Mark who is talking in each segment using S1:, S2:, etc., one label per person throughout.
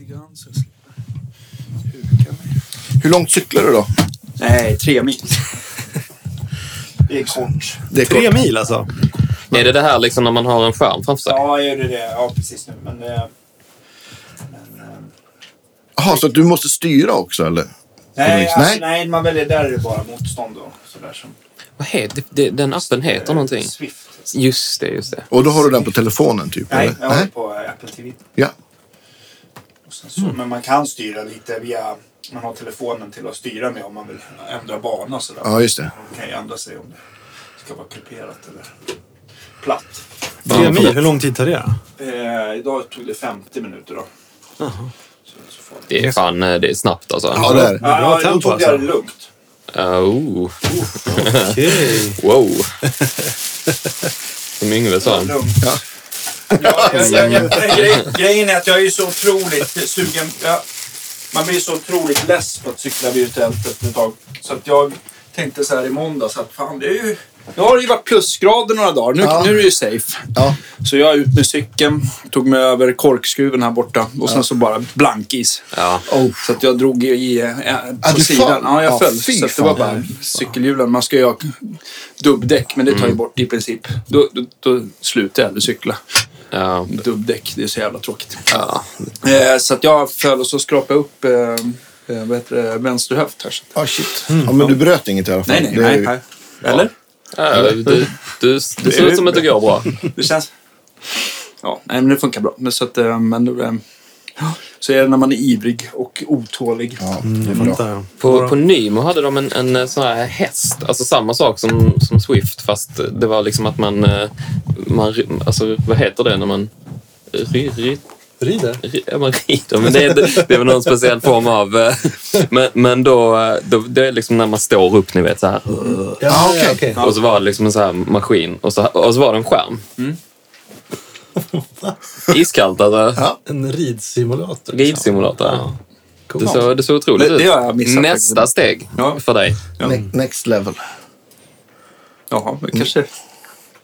S1: grann så jag slipper huka mig.
S2: Hur långt cyklar du då?
S3: Nej, tre mil. Det är kort.
S2: Det är
S4: Tre
S2: kort.
S4: mil alltså?
S5: Är det det här liksom när man har en skärm framför sig?
S3: Ja, jag gjorde det. Ja, precis nu. Men, eh, men, eh,
S2: Jaha, så att du måste styra också eller?
S3: nej,
S2: vis.
S3: alltså,
S2: Nej.
S3: nej, man väljer där är det bara motstånd då. Sådär som,
S5: Vad heter det- det? Den appen heter
S3: eh,
S5: någonting.
S3: Swift.
S5: Just det, just det.
S2: Och då har du den på telefonen typ?
S3: Nej,
S2: eller?
S3: jag har det på eh, Apple TV.
S2: Ja.
S3: Och sen
S5: Mm.
S3: så, Men man kan styra lite via... Man har telefonen till att styra med om man vill ändra bana och sådär.
S2: ja, just det.
S3: Man kan ju ändra sig om det ska vara kuperat eller platt.
S4: Tre mil, hur lång tid tar det?
S3: Eh, idag tog det 50 minuter då. Så, så får det.
S5: Det är fan eh, det är snabbt alltså.
S2: Ja, det är det.
S3: Ja,
S4: bra
S3: ja, då
S4: tempo,
S3: tog jag det
S4: alltså.
S3: lugnt.
S5: Eh, oh,
S4: Okej.
S5: wow. Som Yngve sa.
S3: lugnt. Ja. jag, jag, jag, grej, grejen är att jag är så otroligt sugen. Jag, man blir så otroligt less på att cykla vid tält efter ett tag. Så att jag tänkte så här i måndags att fan, det är ju, nu har det ju varit plusgrader några dagar. Nu,
S2: Ja.
S3: nu är det ju safe.
S2: Ja.
S3: Så jag ut med cykeln, tog mig över korkskruven här borta och sen så bara blankis.
S5: Ja.
S3: Så att jag drog i eh, på
S2: Oh. Ja, du
S3: sidan.
S2: föll?
S3: Ja, jag
S2: Ja,
S3: föll.
S2: fy
S3: Så att det var
S2: fan.
S3: bara cykelhjulen. Man ska ju ha dubbdäck, men det
S5: Mm.
S3: tar ju bort i princip. Då, då, då slutar jag aldrig cykla.
S5: Ja.
S3: Dubbdäck, det är så jävla tråkigt.
S5: Ja.
S3: Eh, så att jag föll och så skrapade jag upp eh, eh, vad heter det, vänster höft här. Så att,
S2: Ah, shit. Ja, men du bröt inget i alla fall.
S3: nej, nej,
S2: Det är
S3: nej,
S2: ju-
S3: nej. Eller?
S5: Ja, du, du, det ser ut som att det går bra.
S3: Det känns... Ja, nej, men det funkar bra. Men så att, eh, men, då, eh, så är det när man är ivrig och otålig.
S2: Ja, det är
S4: Jag
S2: bra.
S4: fattar.
S5: På, på Nymo hade de en, en eh, sån här häst, alltså samma sak som, som Swift fast det var liksom att man, eh, man ri- alltså vad heter det när man ri, ri,
S4: Rider?
S5: ri, ja, man rider, men det, är inte- det var någon speciell form av, eh, men, men då, eh, då, det är liksom när man står upp ni vet så här.
S2: Ja, okej.
S5: Och så var det liksom en sån här maskin och så, och så var det en skärm.
S3: Mm.
S5: Iskallt alltså.
S2: Ja.
S4: En ridsimulator. liksom.
S5: Ridsimulator. Ja.
S4: Coolt.
S5: Det såg, det såg otroligt
S3: Det-
S5: ut.
S3: det har jag missat
S5: Nästa
S3: faktiskt.
S5: steg
S3: Ja.
S5: för dig.
S2: Ne- Next level.
S3: Jaha, men
S2: Mm.
S3: kanske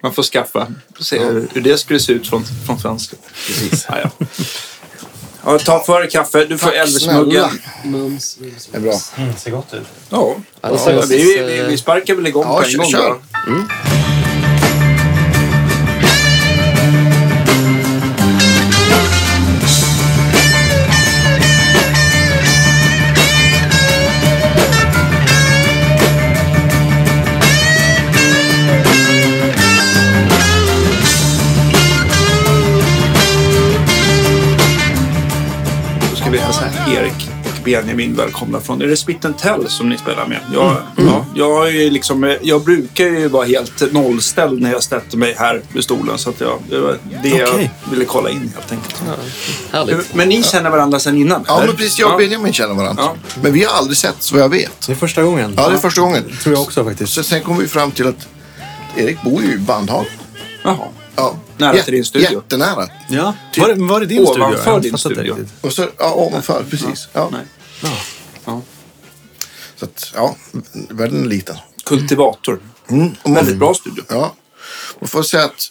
S3: man får skaffa. Får se hur, hur det skulle se ut från, från svenska. Precis. Ja, ja. ja, ta för dig kaffe. Du får Elversmuggen.
S2: Snälla. Det är bra.
S4: Mm, ser gott ut.
S3: Ja,
S5: det
S3: ja,
S5: ser ut-
S3: vi, vi, vi sparkar väl igång
S2: eh, Ja,
S3: på en
S2: kör,
S3: gång.
S2: kör.
S3: bara. Då ska vi hälsa Erik och Benjamin välkomna från... Är det Spitten Tell som ni spelar med? Jag,
S2: Mm.
S3: ja, jag, är ju liksom, eh, jag brukar ju vara helt nollställd när jag sätter mig här vid stolen. Så att jag, det var det
S4: Okej.
S3: jag ville kolla in helt enkelt.
S5: Härligt.
S3: Men ni känner varandra sedan innan?
S2: Ja,
S3: eller?
S2: men precis. Jag och Benjamin känner varandra.
S3: Ja.
S2: Men vi har aldrig sett så vad jag vet.
S4: Det är första gången.
S2: Ja, det är första gången.
S4: Tror jag också faktiskt.
S2: Så sen kom vi fram till att Erik bor ju i Bandhagen.
S3: Jaha.
S2: Ja.
S3: Nära till din studio.
S2: Jättenära.
S4: Ja. Var, det- var det din
S3: Ovanför
S4: studio? Jag
S3: din
S4: fattar inte
S3: studio.
S4: riktigt.
S2: Och så, ja, ovanför. Precis. Ja.
S3: Nej.
S4: Ja.
S3: Ja.
S2: Så att, ja, världen är liten.
S3: Kultivator.
S2: Mm. Och man,
S3: Väldigt bra studio.
S2: ja. Man får säga att,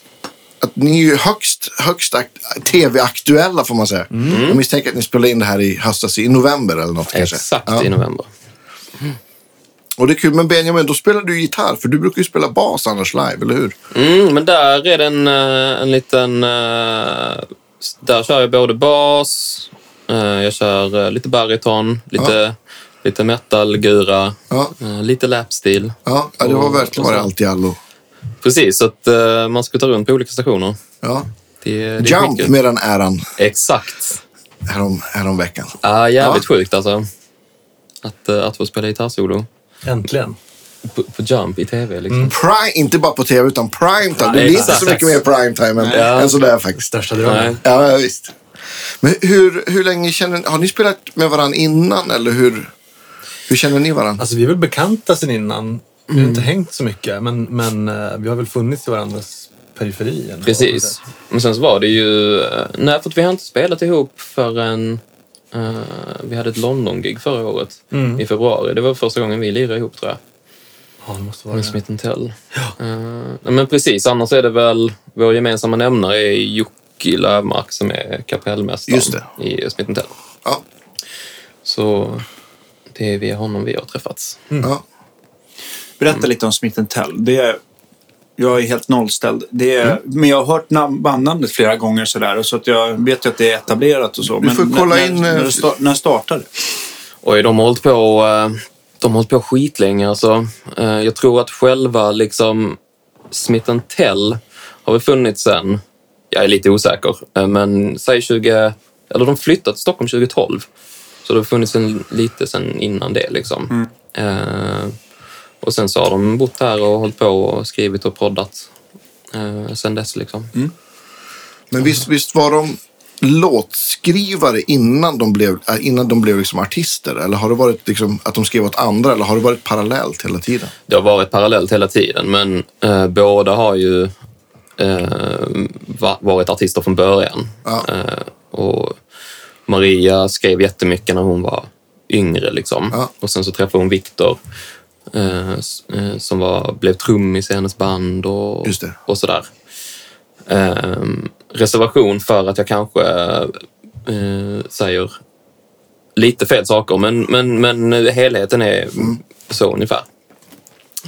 S2: att ni är ju högst, högst akt- tv-aktuella får man säga.
S5: Mm.
S2: Jag misstänker att ni spelade in det här i höstas, i november eller något kanske.
S5: Exakt
S2: Ja.
S5: i november.
S2: Och det är kul, men Benjamin, då spelar du gitarr. För du brukar ju spela bas annars live, eller hur?
S5: Mm, men där är det en, eh, en liten... eh, s- Där kör jag både bas, eh, jag kör eh, lite bariton, lite, lite metal-gura,
S2: Ja.
S5: eh, lite lapstil.
S2: Ja, ja det var verkligen vad det allt i allo.
S5: Precis, så att eh, man ska ta runt på olika stationer.
S2: Ja.
S5: Det, det är
S2: Jump
S5: skitkul.
S2: med den äran
S5: Exakt.
S2: härom, härom veckan.
S5: Ah, jävligt
S2: Ja.
S5: sjukt alltså. Att, eh, att få spela gitarrsolo
S4: Äntligen.
S5: på, på Jump i tv. Liksom.
S2: Prime, inte bara på tv utan primetime. Det
S5: Nej,
S2: blir inte
S5: exakt.
S2: så mycket mer primetime än,
S5: Ja.
S2: än sådär faktiskt.
S4: Största
S5: Nej.
S4: drömmen.
S2: Ja, ja, visst. Men hur, hur länge känner ni? Har ni spelat med varandra innan eller hur, hur känner ni varandra?
S4: Alltså vi är väl bekanta sen innan. Vi har inte hängt så mycket, men, men eh, vi har väl funnits i varandras periferi. ändå.
S5: Precis. Men sen så var det ju... eh, Nej, för att vi har inte spelat ihop förrän... eh, vi hade ett London-gig förra året i februari. Det var första gången vi lirade ihop, tror jag.
S4: Ja, det måste vara
S5: Med
S4: det.
S5: Smith Tell. Eh, men precis, annars är det väl... Vår gemensamma nämnare är Jocke Lövmark som är kapellmästaren
S2: Just det.
S5: i Smith Tell.
S2: Ja,
S5: Så det är via honom vi har träffats.
S2: Ja.
S6: Berätta
S2: Mm.
S6: lite om Smith Tell. Det är, jag är helt nollställd. Det är,
S2: Mm.
S6: Men jag har hört nam- bandnamnet flera gånger sådär. och Så att jag vet ju att det är etablerat och så. Du men
S2: får kolla
S6: när,
S2: in,
S6: När,
S2: eh,
S6: när, det sta- när startade det?
S5: Oj, de har hållit på, eh, de har hållit på skitlänge. Alltså. Eh, Jag tror att själva liksom, Smith Tell har väl funnits sen, jag är lite osäker, eh, men säg 20... Eller de flyttade till Stockholm 2012. Så det har funnits en, lite sen innan det. Liksom. Eh, och sen så har de bott här och hållit på och skrivit och proddat eh, sen dess. Liksom.
S2: Men visst, visst var de låtskrivare innan de blev, äh, innan de blev liksom artister? Eller har det varit liksom att de skrev åt andra? Eller har det varit parallellt hela tiden?
S5: det har varit parallellt hela tiden, men eh, båda har ju eh, va- varit artister från början.
S2: Ja.
S5: Eh, och Maria skrev jättemycket när hon var yngre. Liksom.
S2: Ja.
S5: Och sen så träffade hon Viktor eh, s- eh, som var, blev trummis i hennes band och,
S2: Just det.
S5: och sådär. Eh, reservation för att jag kanske eh, säger lite fel saker, men, men, men helheten är
S2: Mm.
S5: så ungefär.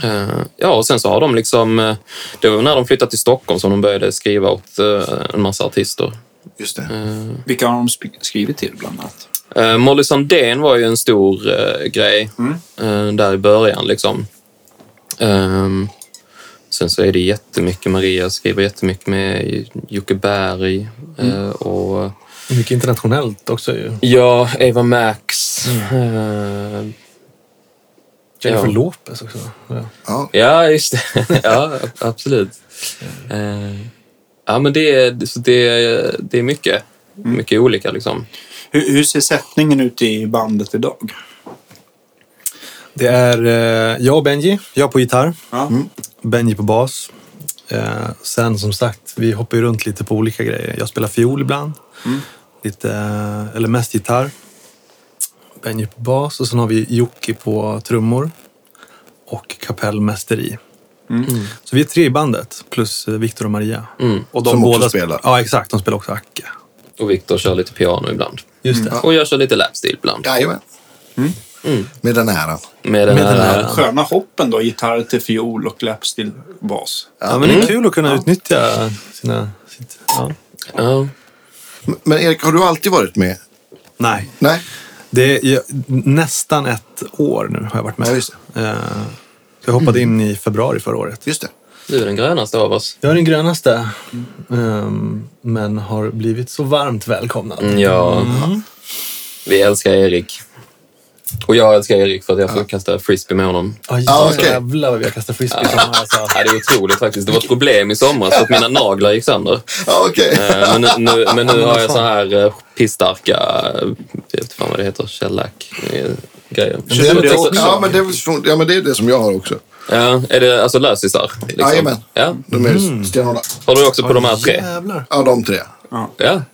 S5: Eh, ja, och sen så har de liksom... eh, det var när de flyttade till Stockholm som de började skriva åt eh, en massa artister.
S2: Just det.
S6: Vilka har de sp- skrivit till bland annat?
S5: Eh, Molly Sandén var ju en stor eh, grej
S4: Mm.
S5: eh, där i början. Liksom. Ehm, sen så är det jättemycket Maria skriver jättemycket med Jocke Berg eh,
S4: Mm.
S5: och
S4: Mycket internationellt också ju.
S5: ja, Eva Max. Eh, Ja.
S4: Jennifer Lopez också. Ja.
S2: Ja.
S5: Ja, just det. ja, ab- absolut. Eh, ja, men det är, så det är, det är mycket.
S4: Mm.
S5: Mycket olika liksom.
S6: Hur, hur ser sättningen ut i bandet idag?
S4: Det är eh, jag och Benji. Jag på gitarr,
S6: Ja.
S4: Benji på bas. Eh, sen som sagt, vi hoppar ju runt lite på olika grejer. Jag spelar fiol ibland. Lite, eh, eller mest gitarr. Benji på bas och sen har vi Jocke på trummor. Och kapellmästeri.
S2: Mm.
S4: Så vi är tre i bandet, plus eh, Viktor och Maria. Och de
S2: Som också
S4: båda sp-
S2: spelar.
S4: Ja, exakt. De spelar också Acke.
S5: Och Viktor kör lite piano ibland.
S4: Just det.
S5: Och jag kör lite lapstil ibland.
S2: Jajamän. Med den äran.
S5: Med den
S4: Med den
S5: här,
S4: här.
S6: Sköna hoppen då, gitarr till fiol och läpps till bas.
S4: Ja, men det är kul att kunna utnyttja sina... Sitt, ja.
S5: ja.
S2: M- Men Erik, har du alltid varit med?
S4: Nej,
S2: Nej?
S4: Det är jag, nästan ett år nu har jag varit med.
S2: Ja, just
S4: Eh, så jag hoppade in i februari förra året.
S2: Just det.
S5: Du är den grönaste av oss.
S4: Jag är den grönaste, ehm, men har blivit så varmt välkomnad.
S5: Mm, Ja. Vi älskar Erik. Och jag älskar Erik för att jag får kasta frisbee med honom.
S4: Aj,
S2: Ah, okej.
S4: Jävlar vad vi har kastat frisbee i sommar. Alltså.
S5: Ja, det är otroligt faktiskt. Det var ett problem i somras för att mina naglar gick sönder.
S2: Ja, okej.
S5: Eh, Men nu, nu, men nu har jag så här eh, pissstarka, eh, jag vet inte fan vad det heter, eh, shellac-grejer.
S2: Det är
S6: det
S2: det
S6: också?
S2: Ja, men det är, väl så- ja, men det är det som jag har också.
S5: Ja, är det alltså lösisar?
S2: Jajamän.
S5: Ja.
S2: De är stenhårda.
S5: Har du också på de här tre?
S4: Jävlar.
S2: Ja, de tre.
S5: Ja.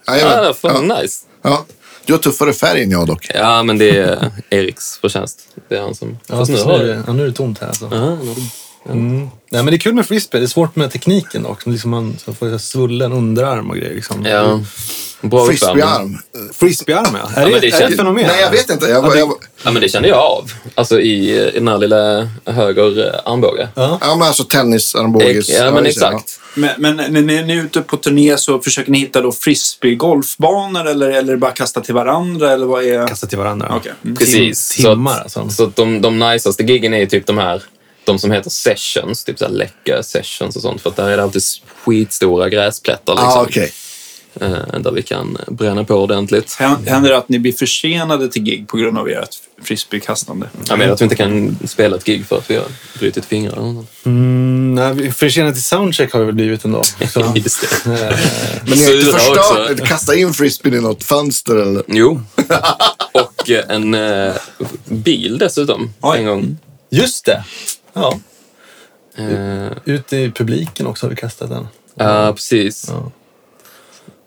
S2: Jajamän.
S5: Ja, fan nice.
S2: Ja. Du har tuffare färg än jag dock.
S5: Ja, men det är Eriks förtjänst. Det är han som...
S4: Ja,
S5: Fast nu
S4: så
S5: har
S4: är
S5: du...
S4: det, ja, nu är det tomt här. Alltså.
S5: Ja, nu har du-
S4: Mm. Nej, men det är kul med frisbee. Det är svårt med tekniken dock. Liksom man så får jag svullen underarm och grejer. Liksom.
S5: Ja. Bra uppvärmning.
S2: Frisbeearm.
S4: Frisbeearm, ja. Är
S5: men
S4: det,
S5: det
S4: är det
S5: känns-
S4: ett fenomen?
S2: Nej, jag vet inte. Jag, var- jag, var-
S5: Ja, men det kände jag av. Alltså i, eh, i den här lilla höger eh, armbåge.
S2: ja, men alltså tennisarmbåges.
S5: Ja, men
S2: just det,
S5: exakt.
S6: Men, men när ni ni är ute på turné så försöker ni hitta då frisbee-golfbanor eller, eller bara kasta till varandra? Eller vad är...
S4: Kasta till varandra.
S6: Okej. Mm.
S5: Precis.
S4: Tim- timmar,
S5: så
S4: alltså.
S5: att, så att de, de najsaste giggen är ju typ de här, de som heter sessions, typ så här läcka sessions och sånt. För att där är det alltid skitstora gräsplättar liksom.
S2: Ja, ah, okej.
S5: eh, där vi kan bränna på ordentligt.
S6: Hän- Händer det att ni blir försenade till gig på grund av ert frisbeekastande?
S5: Jag menar att vi inte kan spela ett gig för att vi har brutit fingrar eller något.
S4: Mm, nej, vi- försenade till soundcheck har vi väl blivit ändå. Så.
S5: Just det.
S4: Eh,
S2: Men ni har inte
S5: Sura
S2: förstört
S5: också.
S2: det? Kasta in frisbeen i något fönster eller?
S5: Jo. Och eh, en eh, bil dessutom.
S6: Oj.
S5: En gång.
S4: Just det! Ja.
S2: Mm.
S5: Eh,
S4: Ute i publiken också har vi kastat den.
S5: Ja, precis.
S4: Ja.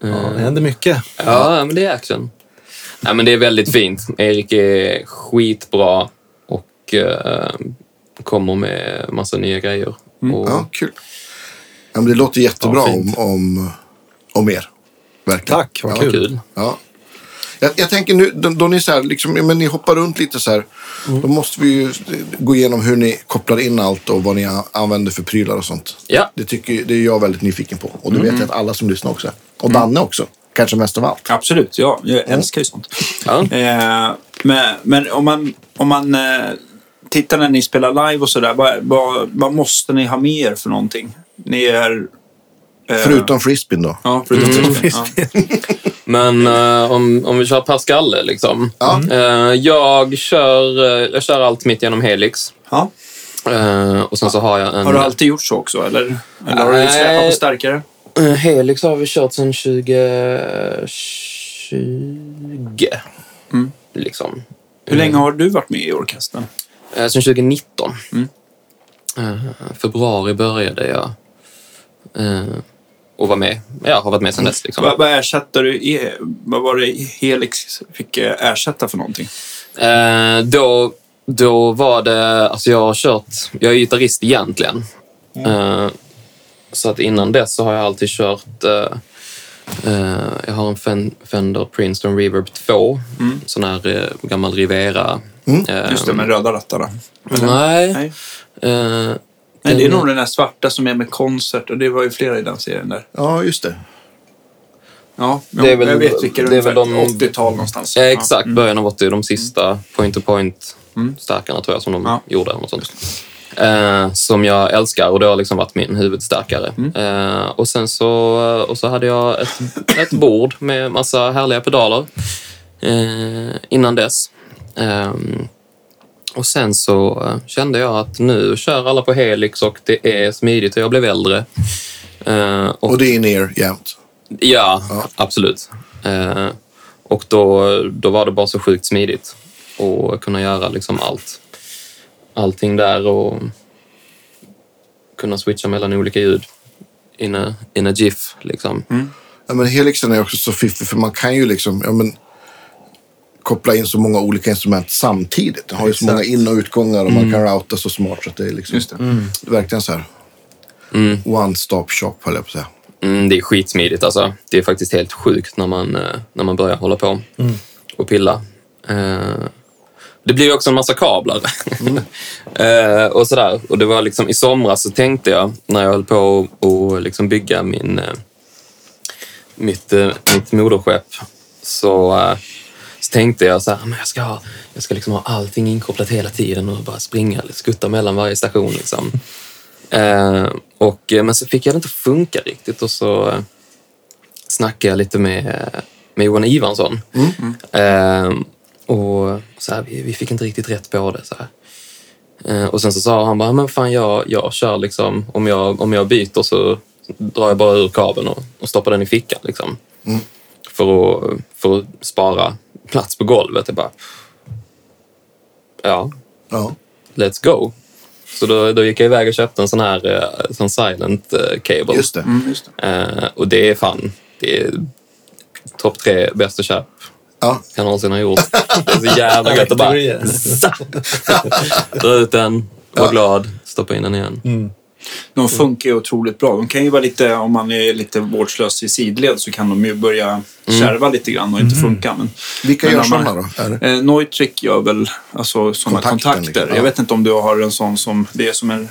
S4: Ja, det händer mycket.
S5: Ja, men det är action. Nej, men det är väldigt fint. Erik är skitbra och eh, kommer med massa nya grejer. Och,
S2: Mm. Ja, kul. Ja, men det låter jättebra
S5: Ja, fint.
S2: om, om, om er. Verkligen.
S4: Tack, vad
S5: vad
S4: kul.
S5: kul.
S2: Ja. Jag, jag tänker nu, då, då ni, så här, liksom, ja, men ni hoppar runt lite så här. Då måste vi ju gå igenom hur ni kopplar in allt och vad ni a- använder för prylar och sånt.
S5: Ja.
S2: Det, tycker, det är jag väldigt nyfiken på. Och det vet jag att alla som lyssnar också är. Och Danne också. Kanske mest av allt.
S3: Absolut, ja. Jag
S6: Mm.
S3: älskar ju sånt.
S5: Ja.
S3: Eh, men men om man, om man eh, tittar när ni spelar live och sådär, vad, vad, vad måste ni ha med er för någonting? Ni är... eh,
S2: Förutom frisbeen då.
S3: Ja, förutom
S6: Mm.
S3: ja.
S5: Men eh, om, om vi kör per skalle liksom. Eh, jag, kör, eh, jag kör allt mitt genom Helix.
S3: ja.
S5: Eh, och sen så har jag en...
S3: Har du
S6: Mm.
S3: alltid gjort så också, eller? Eller har du
S5: Nej.
S3: släpat på starkare?
S5: Eh, Helix har vi kört sedan 2020. Liksom.
S3: Mm. Hur länge har du varit med i orkestern?
S5: Eh, Sen 2019.
S3: Mm.
S5: Eh, februari började jag eh, och var med. Jag har varit med sedan dess. Liksom.
S3: Vad, vad ersatte du? i- Vad var det Helix fick eh, ersätta för någonting?
S5: Eh, då, då var det... Alltså jag har kört... Jag är gitarrist egentligen.
S3: Mm.
S5: Eh, så att innan dess så har jag alltid kört... Eh, eh, jag har en Fen- Fender Princeton Reverb 2. Sån här eh, gammal Rivera. Eh,
S3: Mm. Just det, med röda rattarna.
S5: Nej.
S3: Nej.
S5: Eh,
S3: Nej, det är
S5: den-
S3: nog den där svarta som är med koncert och det var ju flera i den serien där.
S2: Ja, just det.
S3: Ja,
S5: Det är väl-
S3: jag vet vilka
S5: det är väl
S3: ungefär.
S5: de-
S3: 80-tal någonstans. Mm.
S5: Ja, exakt. Början av 80, de sista point-to-point-stärkarna tror jag som de
S3: Ja.
S5: gjorde. Eller något sånt. Eh, som jag älskar och det har liksom varit min huvudstärkare.
S3: Mm.
S5: Eh, och sen så, och så hade jag ett, ett bord med massa härliga pedaler eh, innan dess. Ehm, och sen så eh, kände jag att nu kör alla på Helix och det är smidigt och jag blev äldre. Eh, och
S2: Och det är ner jämt.
S5: Ja, absolut. Eh, och då, då var det bara så sjukt smidigt att kunna göra liksom allt. Allting där och kunna switcha mellan olika ljud in a, in a GIF. Liksom.
S2: Ja, men helixen är också så fiffig för man kan ju liksom ja, men, koppla in så många olika instrument samtidigt. Den har ju så många in och utgångar och man kan routa så smart så att det är liksom,
S3: Just det.
S2: det är verkligen så här one stop shop höll jag på att säga.
S5: Mm, det är skitsmidigt. Alltså. Det är faktiskt helt sjukt när man, eh, när man börjar hålla på och pilla. Eh, det blir ju också en massa kablar. eh, och sådär. Och det var liksom, I somras så tänkte jag, när jag höll på att liksom bygga min, eh, mitt, eh, mitt moderskepp, så, eh, så tänkte jag så här, "Ah, men jag ska, ha, jag ska liksom ha allting inkopplat hela tiden och bara springa, skutta mellan varje station. Liksom. Eh, och, eh, men så fick jag det inte funka riktigt och så eh, snackade jag lite med, eh, med Johan Ivansson. Eh, och så här, vi, vi fick inte riktigt rätt på det. Så här. Eh, och sen så sa han bara, men fan jag, jag kör liksom, om jag, om jag byter så drar jag bara ur kabeln och, och stoppar den i fickan. Liksom. För, att, för att spara plats på golvet. Jag bara, ja,
S2: Ja.
S5: let's go. Så då, då gick jag iväg och köpte en sån här eh, sån silent eh, cable.
S2: Just det.
S3: Mm, just det.
S5: Eh, och det är fan, det är topp tre bästa köp
S2: Ja.
S5: jag någonsin har gjort. Det är så jävla gött att bara dra ut den, vara glad, stoppa in den igen.
S3: Mm. De
S2: Mm.
S3: funkar ju otroligt bra. De kan ju vara lite, om man är lite vårdslös i sidled så kan de ju börja kärva lite grann och inte funka. Men,
S2: Mm. Vilka
S3: men
S2: gör
S3: om man-
S2: sådana då? Är det?
S3: Eh, Neutrik gör väl alltså, sådana
S2: Kontakten,
S3: kontakter.
S2: liksom. Ja.
S3: Jag vet inte om du har en sån som, det är som en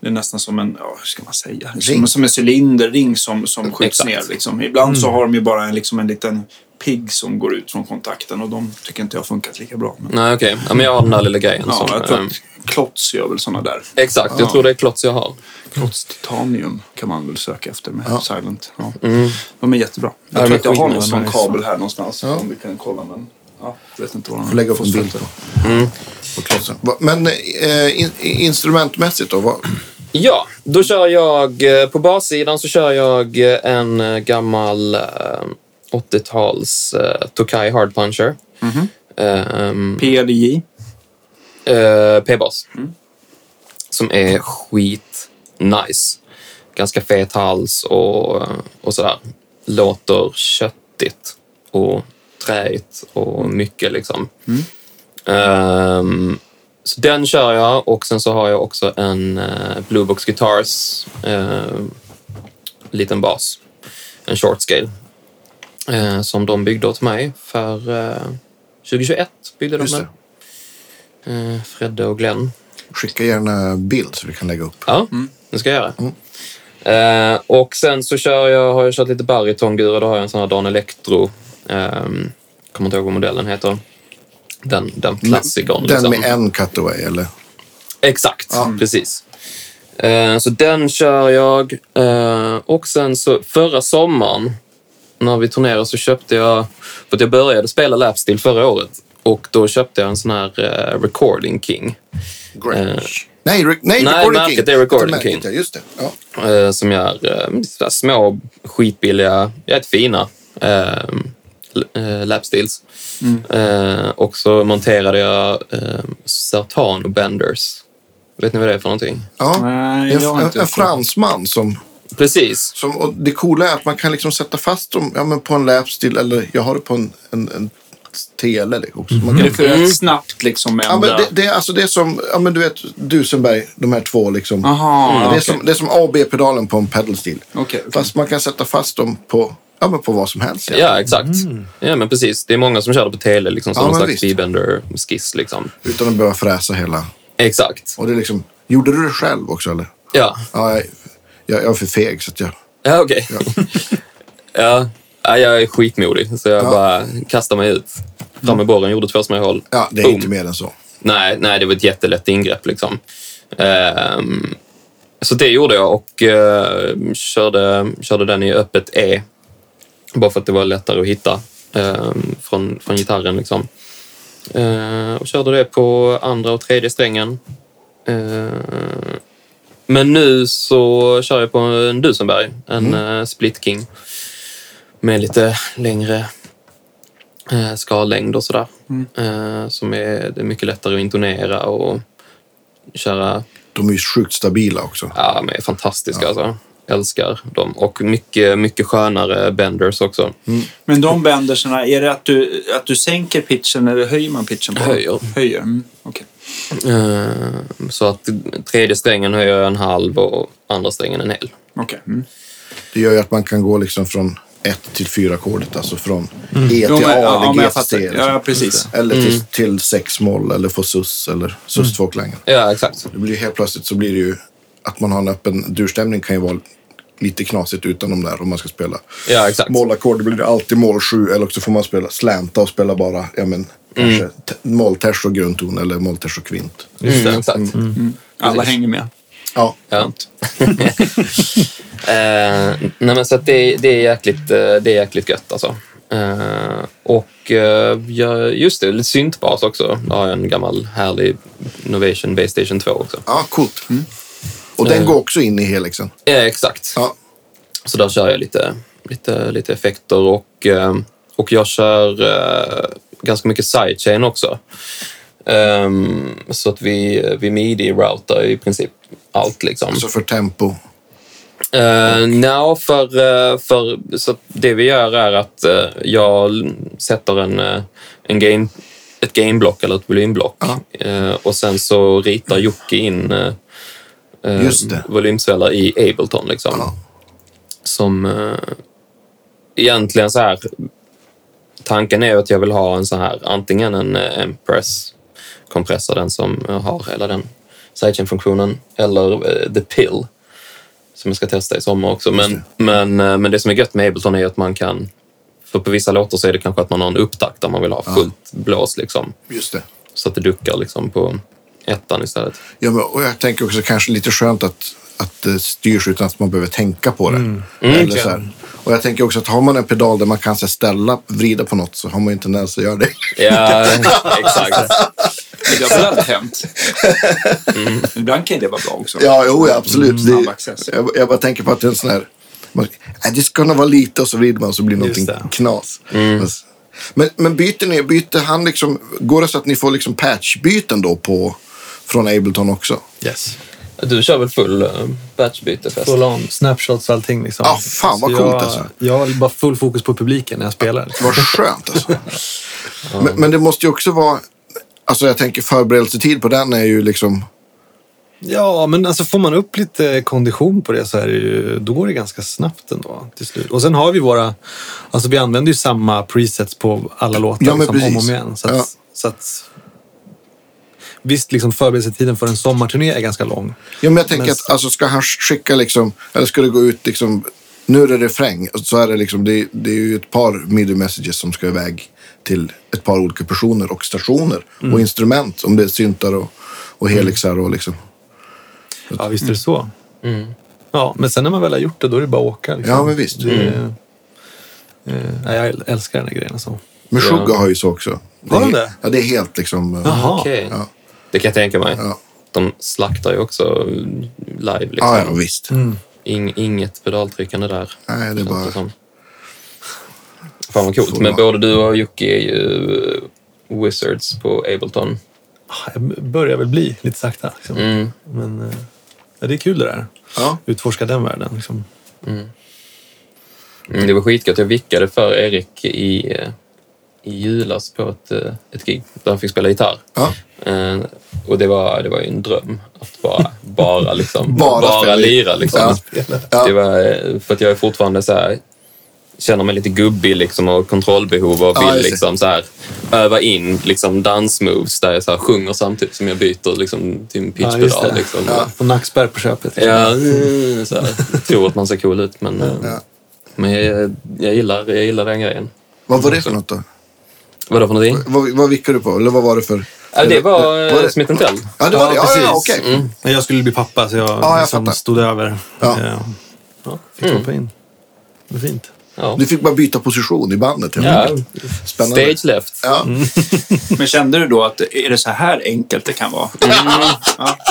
S3: det är nästan som en, ja, hur ska man säga,
S2: Ring.
S3: som, som en cylinderring som, som skjuts
S5: Exakt.
S3: ner. Liksom. Ibland så
S2: Mm.
S3: har de ju bara en, liksom en liten pigg som går ut från kontakten och de tycker inte jag har funkat lika bra.
S2: Mm.
S3: Men,
S5: Nej, okej. Ja, men jag har den där lilla grejen.
S3: ja,
S5: som,
S3: jag tror
S5: eh,
S3: att Klotz gör väl sådana där.
S5: Exakt, jag tror det är Klotz jag har.
S3: Klotz Titanium kan man väl söka efter med Silent. Ja.
S2: Mm.
S3: De är jättebra. Jag
S5: Ja,
S3: tror
S5: men
S3: att jag har
S5: skillnaden
S3: någon sån
S5: är-
S3: kabel här någonstans om vi kan kolla. Men, ja, jag vet inte vad den
S2: Får lägga upp en bild på. på klossen. Va- Men eh, in, instrumentmässigt då? Vad,
S5: Ja, då kör jag eh, på bassidan så kör jag eh, en eh, gammal eh, 80-tals eh, Tokai Hard Puncher. Ehm,
S3: PLJ.
S5: eh, P-bas. Som är skit nice. Ganska fet hals och, och sådär. Låter köttigt och träigt och mycket liksom. Ehm, så den kör jag och sen så har jag också en eh, Blue Box Guitars eh, liten bas. En short scale. eh, som de byggde åt mig för eh, 2021. byggde de
S2: Just
S5: den. Eh, Fredde och Glenn.
S2: Skicka gärna bild så vi kan lägga upp.
S5: Ja, det ska jag göra.
S2: Mm.
S5: Eh, och sen så kör jag, har jag kört lite baritongura. Då har jag en sån här Dan Electro. ehm, kommer inte ihåg vad modellen heter. Den, den klassikern.
S2: Mm.
S5: liksom.
S2: Den med en cutaway eller?
S5: Exakt, precis. Eh, Så den kör jag. Eh, Och sen så förra sommaren när vi turnerade så köpte jag, för att jag började spela Lapsteel förra året och då köpte jag en sån här eh, Recording King Eh.
S2: Nej, re- nej,
S5: Nej,
S2: Recording
S5: märket
S2: King.
S5: är Recording
S2: Märket,
S5: King.
S2: ja, Just det. Ja.
S5: eh, som gör eh, sådär små skitbilliga, jävligt fina eh, l- eh, Lapsteels.
S2: Mm.
S5: Eh, Och så monterade jag eh, Sertano Benders. Vet ni vad det är för någonting?
S2: Ja.
S6: Nej,
S2: en,
S6: jag har
S2: en,
S6: inte
S2: en
S6: gjort det.
S2: fransman som...
S5: Precis.
S2: som och det coola är att man kan liksom sätta fast dem ja, men på en lapstil eller jag har det på en, en, en tele. liksom, Också. Man kan,
S6: Mm. Det är för att snabbt liksom ändra.
S2: ja, men det, det, är alltså, det är som ja, men du vet, Dusenberg, de här två. Liksom.
S6: Aha,
S2: det, är
S6: okej.
S2: som, det är som A och B-pedalen på en pedalstil.
S6: Okej, okej.
S2: Fast man kan sätta fast dem på, ja, men på vad som helst. egentligen.
S5: Ja, exakt. Ja, men precis. Det är många som kör det på tele, liksom, som
S2: Mm. Ja,
S5: någon
S2: men
S5: slags
S2: visst.
S5: V-bender-skiss. Liksom.
S2: Utan att behöva fräsa hela.
S5: Exakt.
S2: Och det är liksom, gjorde du det själv också eller?
S5: Ja,
S2: Ja, jag, jag, jag är för feg så att jag...
S5: ja okej. Ja. ja, jag är skitmodig, så jag bara kastar mig ut. Fram med borren, gjorde två små hål.
S2: Ja, det är
S5: Boom.
S2: inte mer än så.
S5: Nej, nej, det var ett jättelätt ingrepp. Liksom. Ehm, så det gjorde jag och eh, körde, körde den i öppet E. Bara för att det var lättare att hitta ehm, från, från gitarren. Liksom. Eh, och körde det på andra och tredje strängen. Eh, men nu så kör jag på en Dusenberg, en eh, Split King. Med lite längre eh, skallängd och sådär. Eh, som är, det är mycket lättare att intonera och köra.
S2: De är ju sjukt stabila också.
S5: Ja, de är fantastiska alltså. Älskar dem. Och mycket, mycket skönare benders också.
S6: Men de bänderserna, är det att du, att du sänker pitchen eller höjer man pitchen? På? dem?
S5: Höjer.
S6: Höjer, mm, okej.
S5: Eh, så att tredje strängen höjer jag en halv och andra strängen en hel.
S6: Okej, mm.
S2: Det gör ju att man kan gå liksom från 1 till 4-ackordet. Alltså från E till
S6: Mm. Jo,
S2: A
S6: men- ja, men
S2: eller G
S6: jag
S2: till
S6: fattar.
S2: C. liksom.
S6: Ja, precis. Mm.
S2: Eller till, till sex moll eller få sus eller sus tvåklangen.
S5: Ja, exakt.
S2: Det blir ju helt plötsligt så blir det ju att man har en öppen durstämning kan ju vara lite knasigt utan de där om man ska spela
S5: Ja, exakt.
S2: mollackord. Då blir det alltid moll 7 eller också får man spela slänta och spela bara ja,
S6: Mm.
S2: men, kanske t- moll ters och grundton eller moll ters och kvint.
S5: Mm, exakt.
S6: Alla hänger med.
S2: Ja,
S5: Ja. eh, nej men så att det, det, är jäkligt, eh, det är jäkligt gött alltså. Eh, och eh, jag- just det, lite syntbas också. Där har jag en gammal härlig Novation Base Station 2 också.
S2: ja coolt.
S6: Mm.
S2: Och
S6: Eh.
S2: den går också in i helixen.
S5: Ja, exakt.
S2: Ja.
S5: Så där kör jag lite, lite, lite effekter och, eh, och jag kör eh, ganska mycket sidechain också. Ehm, så att vi, vi midi-routar i princip allt. Liksom.
S2: Så för tempo.
S5: Uh, no, för, eh, för så att det vi gör är att eh, jag l- sätter en, eh, en game, ett gameblock eller ett volymblock Eh, och sen så ritar Jocke in eh, eh,
S2: Just det.
S5: volymsvällar i Ableton. Liksom, Som eh, egentligen så här... Tanken är ju att jag vill ha en så här, antingen en eh, Empress kompressor, den som eh, har hela den sidechain-funktionen, eller eh, The Pill som jag ska testa i sommar också. Men, men, eh, men det som är gött med Ableton är att man kan... För på vissa låtar så är det kanske att man har en upptakt där man vill ha fullt blås. Liksom,
S2: Just det.
S5: så att det duckar liksom, på ettan istället.
S2: Ja, men, och jag tänker också kanske lite skönt att, att det styrs utan att man behöver tänka på det.
S6: Mm.
S2: Eller så här. Och jag tänker också att har man en pedal där man kan så här, ställa, vrida på något så har man ju en tendens att göra det.
S5: Ja, exakt.
S6: Det har väl aldrig hänt. Ibland kan ju det vara bra också.
S2: ja, jo, ja, absolut. Det,
S6: Snabb access.
S2: Mm. jag, jag bara tänker på att det är en sån här... Man, nej, det ska nog vara lite och så vrider man och så blir någonting
S4: det.
S2: knas.
S6: Mm.
S2: Men, men byter ni, byter han liksom, går det så att ni får liksom patchbyten då på, från Ableton också?
S4: Yes.
S5: Du kör väl full eh, batchbytefest?
S4: Full on, snapshots och allting. Liksom.
S2: Ah, fan, vad
S4: Så
S2: coolt,
S4: jag,
S2: alltså.
S4: Jag har bara full fokus på publiken när jag spelar. liksom.
S2: Vad skönt alltså. men, men det måste ju också vara, alltså jag tänker förberedelsetid på den är ju liksom,
S4: Ja, men alltså får man upp lite kondition på det så är det ju, då går det ganska snabbt ändå till slut. Och sen har vi våra, alltså vi använder ju samma presets på alla låtar
S2: Ja, men
S4: liksom, om och
S2: precis.
S4: om igen. Så att,
S2: Ja.
S4: så att, visst, liksom förberedelsetiden för en sommarturné är ganska lång.
S2: Ja, men jag tänker
S4: Men-
S2: att alltså, ska han skicka liksom, eller ska det gå ut liksom, nu är det refräng, och så är det liksom, det, det är ju ett par midi messages som ska iväg till ett par olika personer och stationer
S4: Mm.
S2: och instrument, om det är syntar och, och helixar och liksom.
S4: Ja, visst är det så.
S5: Mm.
S4: Ja, men sen när man väl har gjort det, då är det bara att åka. Liksom.
S2: Ja, men visst.
S4: Det,
S5: Mm.
S4: eh, nej, jag äl- älskar den här grejen alltså.
S2: Men
S5: Ja.
S2: Sugar har ju så också.
S4: Har
S2: är-
S4: de det?
S2: Ja, det är helt liksom...
S4: Jaha.
S5: Okej.
S2: Ja.
S5: Det kan jag tänka mig.
S2: Ja.
S5: De slaktar ju också live. Liksom.
S2: Ja, ja, visst.
S4: Mm.
S5: Ing, inget pedaltryckande där.
S2: Nej, det är
S5: känns
S2: bara-
S5: som. Fan vad coolt.
S2: Får
S5: Men
S2: man-
S5: både du och Jocke är ju eh, wizards på Ableton.
S4: Ah, Jag börjar väl bli lite sakta. Liksom.
S5: Mm.
S4: Men eh, ja, det är kul det där.
S2: Ja.
S4: Utforska den världen. Liksom.
S5: Mm, det var skitgött. Jag vickade för Erik i, eh, i julas på ett, eh, ett gig där han fick spela gitarr.
S2: Ja.
S5: Eh, och det var, det var ju en dröm att bara, bara, liksom,
S2: Bara
S5: bara,
S2: spela.
S5: lira. Liksom.
S2: Ja.
S5: Det var, eh, för att jag är fortfarande så här, känner mig lite gubbig liksom, och kontrollbehov och
S2: Ja,
S5: vill
S2: just det.
S5: liksom, så här, öva in liksom, dansmoves där jag så här, sjunger samtidigt som jag byter liksom, till en
S4: Ja, just
S5: pitchpedal.
S4: det.
S5: liksom.
S4: Ja. Och nackspärr på köpet.
S5: Ja, eh, så här, jag tror att man ser cool ut, men, eh,
S2: Ja.
S5: men jag, jag, gillar, jag gillar den grejen.
S2: Vad var det för något då?
S5: Vadå för någonting?
S2: Vad, vad vickade du på? Eller vad var det för?
S5: Ja, det var, eh,
S2: Var det-
S5: Smith Tell.
S2: Ja, det var
S4: Ja,
S2: det. Ja, ja,
S4: precis.
S2: ja okej.
S5: Mm.
S4: Men Jag skulle bli pappa så jag,
S2: jag
S4: liksom
S2: fattar.
S4: stod över.
S2: Ja.
S4: Eh, ja, fick
S5: Mm.
S4: hoppa in. Det var fint.
S5: Ja.
S2: Du fick bara byta position i bandet. helt
S5: Ja.
S2: enkelt. Spännande.
S5: Stage Mm. left.
S2: Ja.
S6: Men kände du då att är det så här enkelt det kan vara?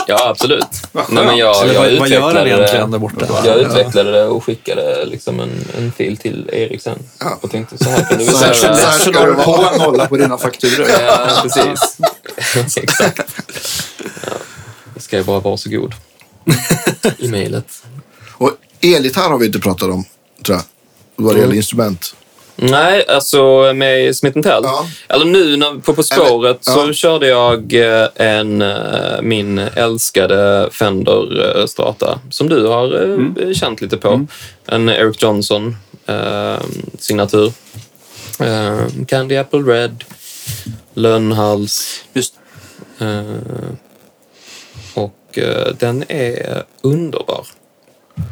S5: Ja, absolut.
S6: Vad
S5: Nej, men jag,
S4: Eller
S5: jag
S4: vad, vad gör
S5: utvecklade
S4: den egentligen
S5: det.
S4: där borta?
S5: Jag utvecklade det och skickade liksom en, en fil till Erik sen.
S2: Ja.
S5: Och tänkte så här kan du
S6: Så här, så
S5: göra.
S6: här ska du ha en nolla på dina fakturor.
S5: Ja, precis. Exakt. Ja. Jag ska ju bara vara så god. I mejlet.
S2: Och elgitarr har vi inte pratat om, tror jag. Vad det gäller instrument.
S5: Nej, alltså med Smith Tell.
S2: Ja.
S5: Eller nu när, på På spåret så
S2: ja.
S5: körde jag eh, en, eh, min älskade Fender eh, Strata som du har eh,
S2: Mm.
S5: känt lite på. En Eric Johnson eh, signatur. Eh, Candy Apple Red, Lönnhals.
S6: Just.
S5: Eh, och eh, den är underbar.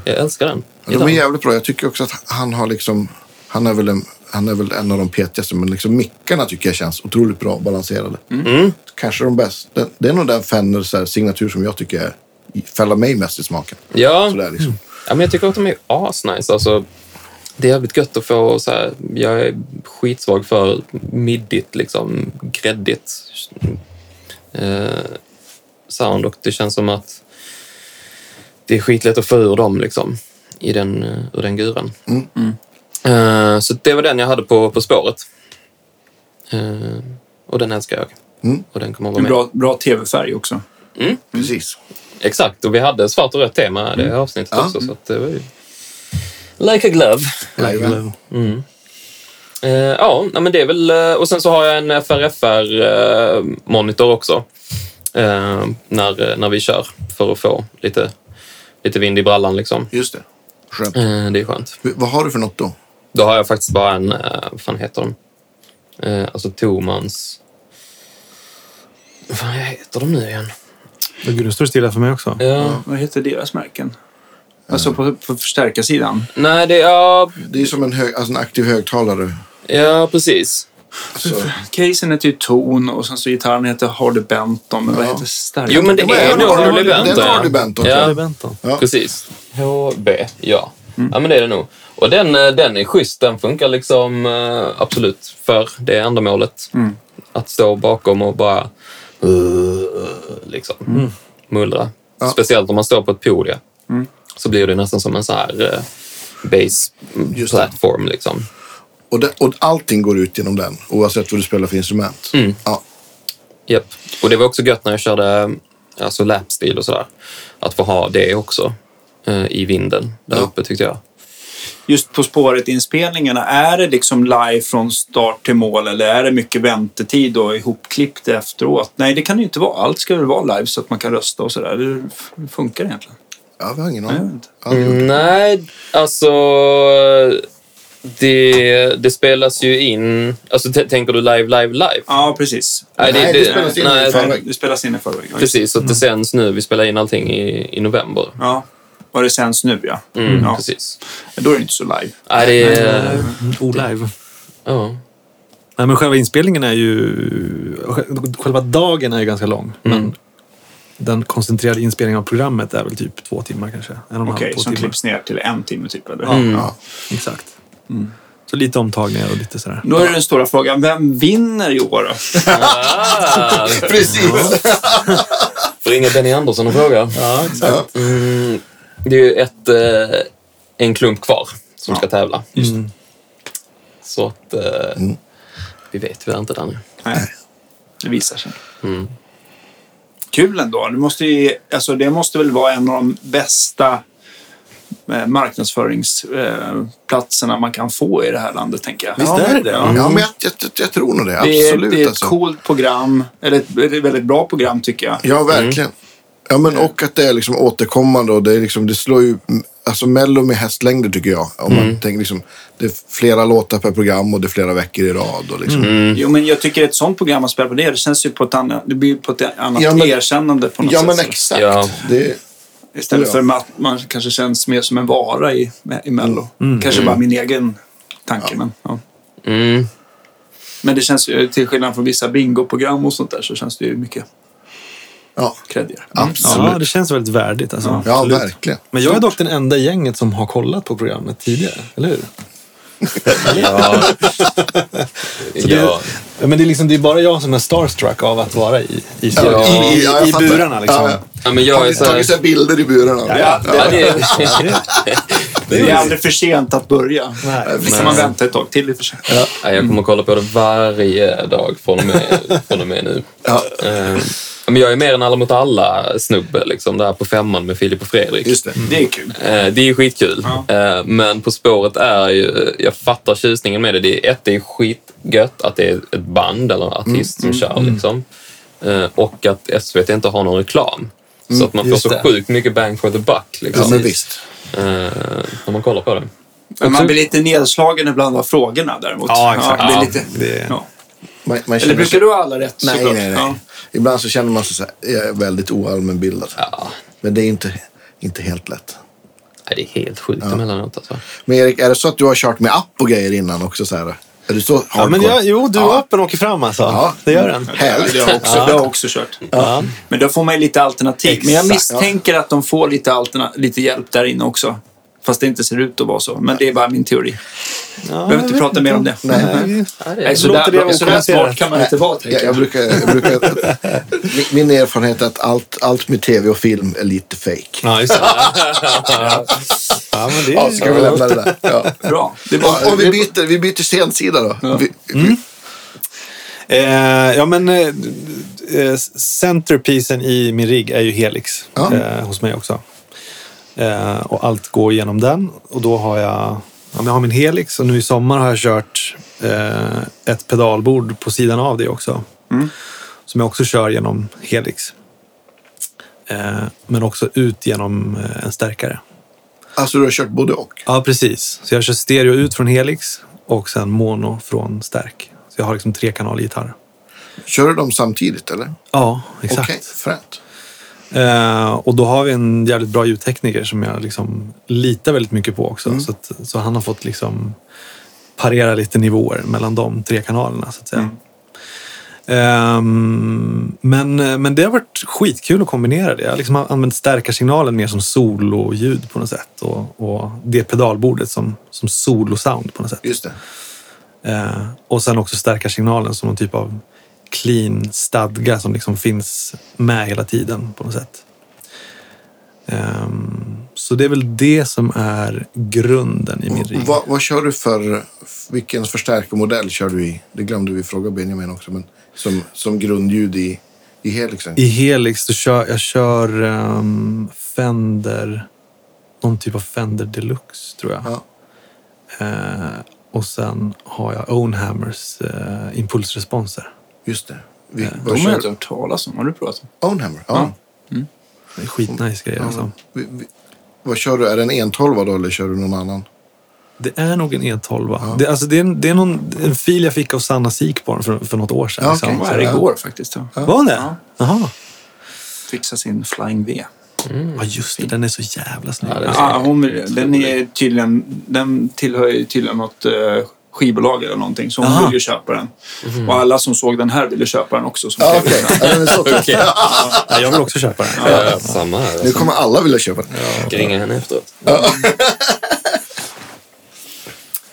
S5: Jag älskar den.
S2: De är jävligt bra. Jag tycker också att han har liksom... Han är väl en, han är väl en av de petigaste, men liksom mickarna tycker jag känns otroligt bra balanserade.
S5: Mm.
S2: Kanske de bästa. Det, det är nog den Fender så här, signatur som jag tycker är, fäller mig mest i smaken.
S5: Ja. Mm.
S2: Sådär, liksom.
S5: Ja, men jag tycker att de är asnice. Alltså, det är jävligt gött att få så här, jag är skitsvag för middigt, liksom gräddigt eh, sound och det känns som att det är skitlätt att få ur dem liksom i den, eh, ur den guran.
S2: Mm.
S5: Mm. Eh, så det var den jag hade på På spåret. Eh, och den älskar jag.
S2: Mm.
S5: Och den kommer att vara
S6: En
S5: med.
S6: bra, bra tv-färg också.
S2: Precis.
S5: Exakt, och vi hade svart och rött tema i det avsnittet
S2: Mm. Ja.
S5: också. Så att det var ju... Like a glove.
S2: Jajamän.
S5: Eh, ja, nej, men det är väl... eh, Och sen så har jag en FRFR-monitor eh, också. Eh, när, när vi kör, för att få lite, lite vind i brallan liksom.
S2: Just det. Skönt.
S5: Eh, det är skönt.
S2: V- Vad har du för något då?
S5: Då har jag faktiskt bara en, eh, vad fan heter de? Eh, alltså Tomans... Vad fan heter de nu igen?
S4: Men Gud, nu står det stilla för mig också.
S5: Ja.
S6: Vad heter deras märken? Alltså på, på förstärkarsidan.
S5: Nej, det är... Ja,
S2: Det är som en, hög, alltså en aktiv högtalare.
S5: ja, precis.
S2: Alltså,
S6: Casen heter ju Tone och sen så gitarren heter Hardy Benton. Men vad
S2: Ja.
S6: heter stärkaren?
S5: Jo, men det är
S2: en
S5: nog
S2: Harley-
S5: Harley
S2: det är en
S5: Benton. ja.
S2: Harley Benton,
S5: Ja,
S2: tror
S4: Harley Benton.
S2: Ja. Mm.
S5: Precis. HB, ja. Ja, men det är det nog. Och den, eh, den är schysst. Den funkar liksom eh, absolut för det ändamålet.
S2: Mm.
S5: Att stå bakom och bara eh, liksom
S2: Mm.
S5: mullra. Speciellt om man står på ett podium. Så blir det nästan som en sån här eh, base
S2: Just det.
S5: platform liksom.
S2: och, det, och allting går ut genom den, oavsett vad du spelar för instrument. Ja.
S5: Japp. Och det var också gött när jag körde alltså lapstil och sådär. Att få ha det också eh, i vinden där
S2: Ja.
S5: uppe tyckte jag.
S3: just På spåret-inspelningarna, är det liksom live från start till mål eller är det mycket väntetid och ihopklippt efteråt? Nej, det kan det ju inte vara. Allt ska väl vara live så att man kan rösta och sådär. Hur hur funkar det egentligen?
S2: Ja, vi har ingen
S3: Nej, jag
S2: aning.
S3: vet inte.
S2: Aldrig gjort.
S5: Nej, alltså... Det, det spelas ju in... Alltså, t- tänker du live, live, live?
S3: Ja, precis.
S2: Nej, det spelas in i
S5: nej,
S2: förväg.
S3: Det spelas in i förväg. Ja, just det.
S5: Precis, så att det sänds nu. Vi spelar in allting i, i november.
S3: Ja. Och det sänds nu, ja.
S5: Mm,
S3: ja.
S5: Precis.
S3: Då är det inte så live.
S5: Nej, det är...
S4: Mm, Olive.
S5: Ja.
S4: Nej, men själva inspelningen är ju... Själva dagen är ju ganska lång. Men den koncentrerade inspelningen av programmet är väl typ två timmar kanske. En och en halv,
S3: Okej,
S4: två
S3: som
S4: timmar.
S3: klipps ner till en timme typ. Eller?
S5: Mm.
S2: Ja.
S4: Exakt. Så lite omtagningar och lite sådär.
S3: Då är det den stora frågan, vem vinner i år då?
S5: Ah,
S2: Precis!
S5: får ringa Benny Andersson och fråga.
S4: Ja,
S2: Ja.
S5: Mm, det är ju ett, eh, en klump kvar som ska tävla.
S4: Mm.
S5: Så att... Eh, Vi vet tyvärr inte det nu.
S3: Nej, det visar sig.
S5: Mm.
S3: Kul ändå. Det måste, ju, alltså det måste väl vara en av de bästa eh, marknadsföringsplatserna man kan få i det här landet, tänker jag.
S4: Visst är det det?
S2: Ja,
S4: Ja.
S2: men Mm. jag, jag, jag, jag tror nog det.
S3: det är,
S2: Absolut.
S3: det är ett
S2: alltså.
S3: coolt program, eller ett, ett väldigt bra program tycker jag.
S2: Ja, verkligen. Ja, men och att det är liksom återkommande och det, är liksom, det slår ju... Alltså Mello med hästlängder tycker jag. Om man tänker liksom, det är flera låtar per program och det är flera veckor i rad. Och liksom.
S3: Jo, men jag tycker ett sånt program man spelar på det, det känns ju på ett annat, det blir på ett annat
S2: Ja, men-
S3: erkännande på något
S2: Ja,
S3: sätt.
S2: men
S3: Alltså, så.
S2: exakt.
S5: Ja.
S2: Det,
S3: Istället
S2: Ja.
S3: för att man kanske känns mer som en vara i, i Mello. Kanske bara min egen tanke. Men, ja.
S5: Mm.
S3: men det känns ju, till skillnad från vissa bingoprogram och sånt där, så känns det ju mycket
S2: ja,
S3: creddigare.
S2: absolut.
S4: ja, det känns väldigt värdigt. Alltså.
S3: Ja.
S2: Ja,
S4: Absolut.
S2: verkligen.
S4: Men jag är dock den enda i gänget som har kollat på programmet tidigare, eller hur?
S5: Ja. ja.
S4: Ja, Men det är, liksom, det är bara jag som är starstruck av att vara i, i,
S5: Ja.
S4: i, i,
S2: Ja, jag
S4: i
S2: fattar.
S4: burarna. Liksom.
S2: Ja, ja.
S5: ja, men jag är
S2: Tagit,
S5: så här...
S2: tagit sig bilder i burarna.
S5: Ja, det är...
S3: Det är aldrig för sent att börja.
S4: Nej.
S3: Visst kan man vänta ett tag till i och för sig.
S5: Ja, jag kommer att kolla på det varje dag från och med, från och med nu.
S2: Ja.
S5: Eh, Men jag är mer en alla mot alla-snubbe, liksom, där på femman med Filip och Fredrik.
S2: Just det.
S3: Det är kul.
S5: Eh, Det är ju skitkul. Eh, Men På spåret är ju... Jag fattar tjusningen med det. det är, ett, det är skitgött att det är ett band eller en artist som kör. Liksom. Eh, Och att SVT inte har någon reklam. Så att man får
S4: just
S5: så
S4: det.
S5: sjukt mycket bang for the buck. Liksom,
S2: Ja, men visst.
S5: eh, När man kollar på det.
S3: Men man blir lite nedslagen ibland av frågorna däremot.
S4: Ja, exakt.
S3: det är
S5: Ja,
S3: lite,
S4: det-
S3: ja.
S2: Man, man
S3: Eller
S2: känner
S3: brukar
S2: sig,
S3: du ha alla rätt?
S2: nej,
S3: såklart?
S2: nej, nej.
S3: Ja.
S2: Ibland så känner man sig så här, jag är väldigt oallmänbildad.
S5: Ja,
S2: Men det är inte, inte helt lätt.
S5: nej, det är helt sjukt emellanåt. Alltså.
S2: Men Erik, är det så att du har kört med app och grejer innan också? Så här? Är du så hardcore?
S4: Ja, men jag, jo, du och
S2: Ja.
S4: appen åker fram alltså.
S2: Ja.
S4: Det gör den.
S2: Härligt.
S3: Det har jag också, det har jag också kört. Men då får man ju lite alternativ. Men jag
S2: Exakt.
S3: misstänker att de får lite, alterna- lite hjälp där inne också. Fast det inte ser ut att vara så. Men det är bara min teori.
S4: Ja,
S3: Behöver inte
S4: jag
S3: prata
S4: vet
S3: mer om det.
S4: inte. Nej.
S5: Ja, det
S3: Nej,
S5: är...
S3: så
S4: Låter det
S3: där,
S4: vara
S3: så där smart
S4: okommenterat.
S3: kan man inte vara, tänker
S2: Jag,
S3: jag.
S2: jag brukar, jag brukar, min- min erfarenhet är att allt, allt med tv och film är lite fake.
S4: Ja, just det. ja, men det
S2: Ja, ska vi lämna det där? Ja.
S3: Bra. Det
S2: Och,
S3: var,
S2: och vi byter, vi byter scensida då. Vi, vi,
S4: Eh, ja, men eh, eh, centerpiecen i min rigg är ju Helix
S2: Ja.
S4: eh, hos mig också. Eh, och allt går genom den. Och då har jag, ja, men jag har min Helix och nu i sommar har jag kört eh, ett pedalbord på sidan av det också.
S2: Mm.
S4: Som jag också kör genom Helix. Eh, men också ut genom eh, en stärkare.
S2: Alltså du har kört både och?
S4: Ja, precis. Så jag kör stereo ut från Helix och sen mono från stärk. Så jag har liksom tre gitarr.
S2: Kör du dem samtidigt eller?
S4: Ja,
S2: Okej,
S4: exakt.
S2: fränt.
S4: Eh, och då har vi en jävligt bra ljudtekniker som jag liksom litar väldigt mycket på också. Så, att, så han har fått liksom parera lite nivåer mellan de tre kanalerna. så att säga. Ehm, men, men det har varit skitkul att kombinera det. Jag har liksom använt stärkarsignalen mer som sololjud på något sätt. Och, och det pedalbordet som, som solosound på något sätt.
S2: Just det.
S4: Eh, och sen också stärka signalen som någon typ av clean stadga som liksom finns med hela tiden på något sätt. Ehm, så det är väl det som är grunden i min rigg.
S2: Vad, vad kör du för, vilken förstärkarmodell kör du i? Det glömde vi fråga Benjamin också, men som, som grundljud i, i Helixen?
S4: I Helix så kör jag kör ehm, Fender, någon typ av Fender Deluxe tror jag.
S2: Ja.
S4: Eh, och sen har jag Ownhammers eh, impulsresponser.
S2: Just det. Vi,
S6: De
S2: vad
S6: har jag
S2: kör
S6: inte
S2: du?
S3: typ-
S6: hört talas om. Har du provat?
S2: Ownhammer? Ja.
S4: Det är skitnice grejer alltså.
S2: Vi, vi, vad kör du? Är det en 112 då eller kör du någon annan?
S4: Det är nog en E12. Det, alltså, det är, en, det är någon, en fil jag fick av Sanna Sikborn för, för något år sedan.
S2: Ja, okej.
S4: liksom.
S6: Jag var här
S2: Ja.
S6: igår faktiskt. Ja.
S4: Var hon det?
S6: Ja.
S4: Jaha.
S6: Fixa sin Flying V.
S4: Ja, just det. Den är så jävla snygg.
S5: Ja, den är-
S6: Ja, hon, den, är tydligen, den tillhör ju tydligen något eh, skivbolag eller någonting, så hon
S4: Aha. Mhm.
S6: vill ju köpa den. Och alla som såg den här ville köpa den också. Som
S2: Ja,
S6: klev in
S2: okej.
S6: den.
S2: Ja, den är så tuff.
S4: Ja, jag vill också köpa den.
S5: Ja, ja, samma här.
S2: Nu
S5: Alltså.
S2: kommer alla vilja köpa den.
S5: Jag ringer henne efteråt.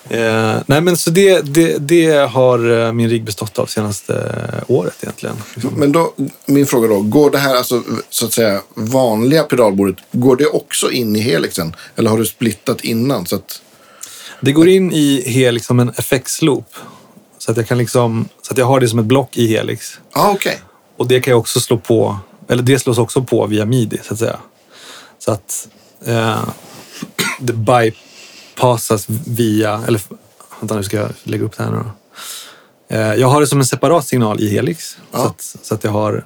S4: Eh, nej, men så det, det, det har eh, min rigg bestått av senaste året egentligen.
S2: Men då, min fråga då. Går det här, alltså, så att säga, vanliga pedalbordet, går det också in i helixen? Eller har du splittat innan? Så att,
S4: Det går in i Helix som en FX-loop. Så att, jag kan liksom, så att jag har det som ett block i Helix.
S2: ah, okej.
S4: Och det kan jag också slå på, eller det slås också på via midi så att säga. Så att eh, det bypassas via, eller vänta nu ska jag lägga upp det här nu då. Eh, jag har det som en separat signal i Helix. Så,
S2: Ja.
S4: att, så att jag har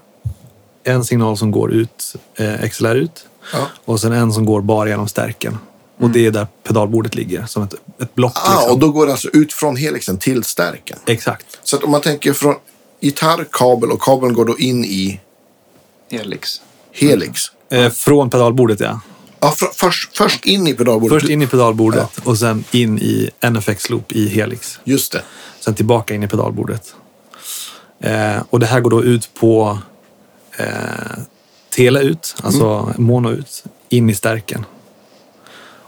S4: en signal som går ut, eh, XLR ut.
S2: Ja. Mm.
S4: Och sen en som går bara genom stärken. Och det är där pedalbordet ligger, som ett, ett block.
S2: Ah,
S4: liksom.
S2: och då går det alltså ut från helixen till stärken.
S4: Exakt.
S2: Så att om man tänker från gitarr, kabel och kabeln går då in i
S6: Helix.
S2: helix.
S4: Eh, från pedalbordet, ja.
S2: Ja, fr- först, först in i pedalbordet.
S4: Först in i pedalbordet och sen in i NFX-loop i Helix.
S2: Just det.
S4: Sen tillbaka in i pedalbordet. Eh, och det här går då ut på eh, tele ut, alltså
S2: Mm.
S4: mono ut, in i stärken.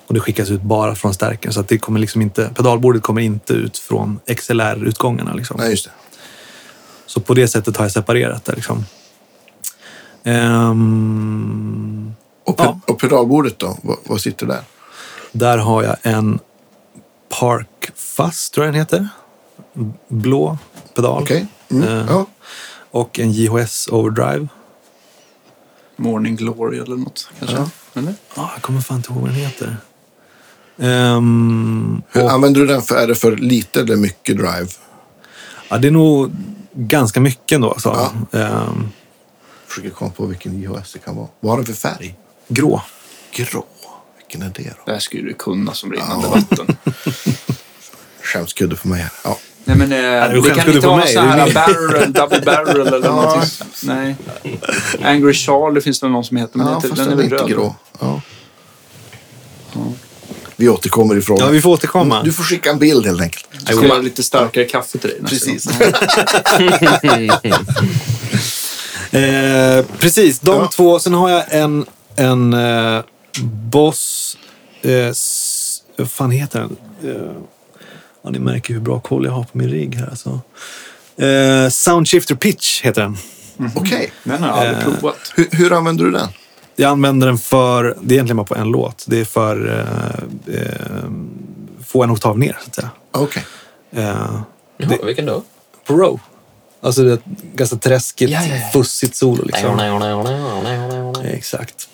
S4: Och det skickas ut bara från stärken så att det kommer liksom inte, pedalbordet kommer inte ut från XLR-utgångarna. Liksom.
S2: Nej, just det.
S4: Så på det sättet har jag separerat det. Liksom. Ehm,
S2: Och, pe-
S4: Ja.
S2: och pedalbordet då? Vad, vad sitter där?
S4: Där har jag en Park Fuzz, tror jag den heter. Blå pedal.
S2: Okej. Mm.
S4: Eh,
S2: Ja.
S4: Och en JHS Overdrive.
S6: Morning Glory eller något kanske. Eller?
S4: Ah, jag kommer fan inte ihåg vad den heter. Ehm,
S2: Hur
S4: och,
S2: använder du den? För, är det för lite eller mycket drive?
S4: ja, det är nog ganska mycket ändå. Så. Ehm,
S2: Försöker komma på vilken IHS det kan vara. Vad har den för färg?
S4: grå.
S2: Grå. Vilken är det då?
S6: Det här skulle du kunna som rinnande vatten.
S2: Skämskudde för mig här. Ja.
S6: Nej, men, eh,
S4: är
S6: det
S4: skämt
S6: kan inte
S4: på
S6: vara
S4: mig,
S6: så
S4: det är
S6: här
S4: min-
S6: barrel, double barrel eller någonting. Nej. Angry Charlie finns det någon som heter, men
S2: Ja,
S6: den,
S2: fast
S6: den är
S2: den
S6: väl
S2: är inte
S6: röd?
S2: grå. Ja. Vi återkommer ifrån.
S4: Ja, vi får återkomma.
S2: Du får skicka en bild helt enkelt.
S6: Jag ska göra lite starkare kaffe till dig nästa
S2: Precis.
S6: gång.
S4: Eh, precis, de
S2: Ja.
S4: två. Sen har jag en, en eh, Boss... Eh, s- vad fan heter den? Eh, ja, ni märker hur bra koll jag har på min rigg här. Alltså. Eh, Soundshifter Pitch heter den.
S2: Okej.
S6: Den har jag aldrig
S2: Eh,
S6: provat.
S2: Hur, hur använder du den?
S4: Jag använder den för... Det är egentligen bara på en låt. Det är för... Eh, eh, få en oktav ner, så att säga.
S2: Okej.
S4: Eh,
S5: Jaha, vilken då?
S4: på row. Alltså det är ett ganska träskigt,
S5: Ja, ja, ja.
S4: fussigt solo. Liksom.
S5: Nej, nej, nej, nej, nej, nej, nej.
S4: Exakt.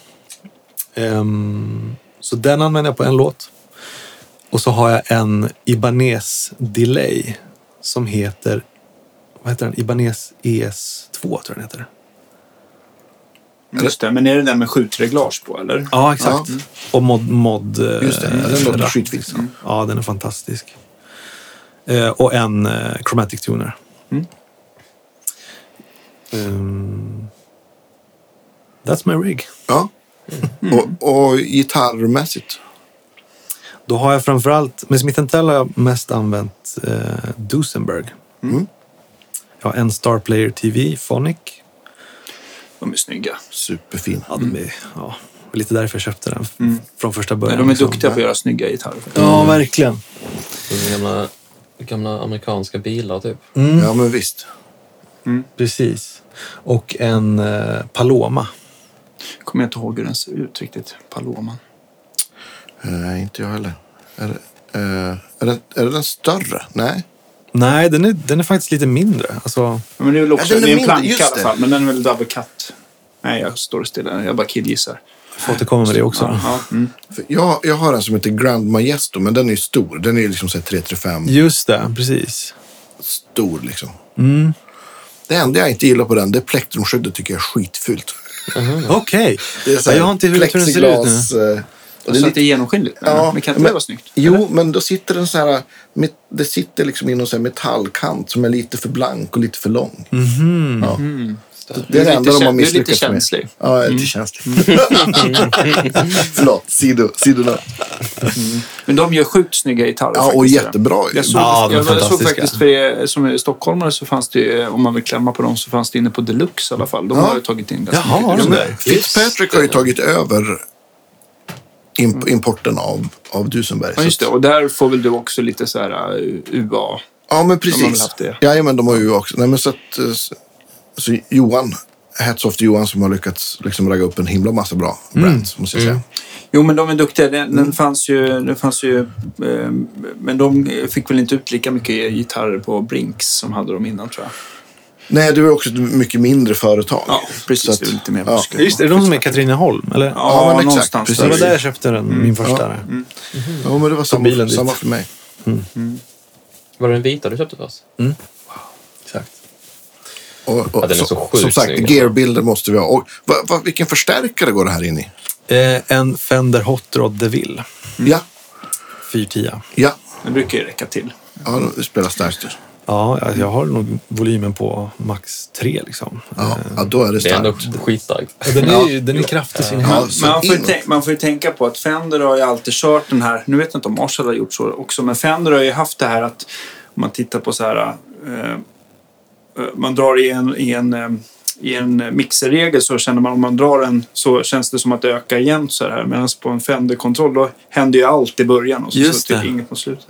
S4: Ehm, så den använder jag på en låt. Och så har jag en Ibanez Delay som heter... Vad heter den? Ibanez ES2 tror jag den heter.
S6: Just det, men är det den med skjutreglage på eller?
S4: Ja, exakt. Och mod... mod eh,
S2: Just det. Den låter
S4: ratt.
S2: skitfin.
S4: Ja, den är fantastisk. Eh, och en eh, Chromatic Tuner.
S2: Mm.
S4: Ehm, that's my rig.
S2: Ja. Och, och gitarrmässigt?
S4: Då har jag framförallt, med Smith Tell har jag mest använt eh, Dusenberg.
S2: Mm.
S4: Jag har en Star Player TV, Phonic.
S6: De är snygga.
S2: Superfin.
S4: Ja, de är, ja, lite därför jag köpte den f-
S2: Mm.
S4: från första början.
S6: Nej, de är
S4: liksom.
S6: duktiga på att göra snygga gitarrer.
S4: Ja, verkligen.
S5: Det är Gamla, gamla amerikanska bilar, typ.
S2: Ja, men visst.
S4: Mm. Precis. Och en eh, Paloma.
S6: Kommer jag inte ihåg hur den ser ut riktigt, Paloman.
S2: Eh, inte jag heller. Är, det- eh, är, det, är det den större? Nej.
S4: Nej, den är, den är faktiskt lite mindre. Alltså,
S6: Ja, men det är väl också,
S2: den är
S6: det är en
S2: mindre,
S6: planka i
S2: just
S6: alla
S2: det.
S6: fall, men den är väl double cut. Nej, jag står stilla. Jag bara killgissar.
S4: får återkomma med det också.
S6: Ja. mm.
S2: För Jag, jag har en som heter Grand Majesto, men den är ju stor. Den är ju liksom så här 335
S4: Just det, precis.
S2: stor liksom. Det enda jag inte gillar på den, det är plektrumskyddet tycker jag är skitfult.
S4: Okej.
S2: Det är så
S4: Ja,
S2: här
S4: Jag har inte huvudet hur den ser ut nu.
S2: plexiglas, eh, och
S3: Och
S2: det är
S3: så att det
S2: lite,
S3: är genomskinligt?
S2: Ja,
S3: men kan inte
S2: men-
S3: det vara snyggt?
S2: jo, men då sitter den så här, met- det sitter liksom i någon så här metallkant som är lite för blank och lite för lång. Ja. Det är det
S3: lite
S2: enda de har
S3: käns- Mm. du är lite
S2: misslyckats med.
S3: känslig. Mm.
S2: Ja, jag är lite känslig. Förlåt, sido, sidorna.
S3: Men de gör sjukt snygga gitarrer
S2: Ja, och
S3: faktiskt.
S2: jättebra.
S3: Jag såg,
S4: Ja, de är
S3: jag, jag såg
S4: fantastiska.
S3: faktiskt, för er som är stockholmare så fanns det ju, om man vill klämma på dem, så fanns det inne på Deluxe i alla fall. De
S2: Ja.
S3: har ju tagit in ganska
S4: Jaha, har de
S3: mycket.
S4: det?
S2: Fitzpatrick har ju tagit över imp- importen av, av Dusenberg.
S3: Mm. Ja, just
S2: så
S3: det.
S2: att-
S3: Och där får väl du också lite så här uh, UA.
S2: Ja, men
S3: De har väl
S2: precis.
S3: haft det.
S2: Ja, men de har ju också. Nej, men så att, eh, så- så Johan, Hats off till Johan som har lyckats liksom ragga upp en himla massa bra
S3: Mm.
S2: brands, måste jag säga.
S3: Jo, men de är duktiga. Den, den fanns ju, den fanns ju eh, men de fick väl inte ut lika mycket gitarrer på Brinks som hade de innan tror jag.
S2: Nej, det var också ett mycket mindre företag.
S3: Ja, precis.
S2: Så att-
S3: det är lite mer
S2: ja.
S3: muskler.
S4: Just det, är det de som är i Katrineholm? Eller?
S3: Ja,
S2: men exakt.
S3: någonstans.
S2: Precis. Mm.
S4: Det var
S3: där.
S4: där jag köpte den, min första.
S2: Ja, men det var samma,
S4: bilen dit.
S2: samma för mig.
S5: Var det den vita du köpte först?
S4: Exakt.
S2: Och, och,
S5: Ja, den är så
S2: som-
S5: sjukt
S2: som sagt,
S5: snygg.
S2: gearbilder måste vi ha. Och, va, va, vilken förstärkare går det här in i?
S4: Eh, en Fender Hot Rod DeVille
S3: Mm.
S2: Ja,
S4: 410.
S2: ja.
S3: Det brukar ju räcka till.
S2: Ja, det spelar starkt.
S4: Ja, jag- jag har nog volymen på max 3 liksom.
S2: Ja, ja, då är det
S5: Det är ändå
S2: starkt.
S5: skitstarkt.
S4: Den är, ju- den är kraftig sin
S2: Ja,
S4: ja.
S2: så
S3: Men man, får ju
S2: inåt.
S3: tänk, man får ju tänka på att Fender har ju alltid kört den här, nu vet jag inte om Marshall har gjort så också, men Fender har ju haft det här att om man tittar på så här, eh, eh, man drar i en, i en eh, i en mixerregel så känner man om man drar den så känns det som att det ökar jämnt så här. Medan på en Fender-kontroll då händer ju allt i början och så,
S4: Just
S3: så är
S4: det.
S3: det inget på slutet.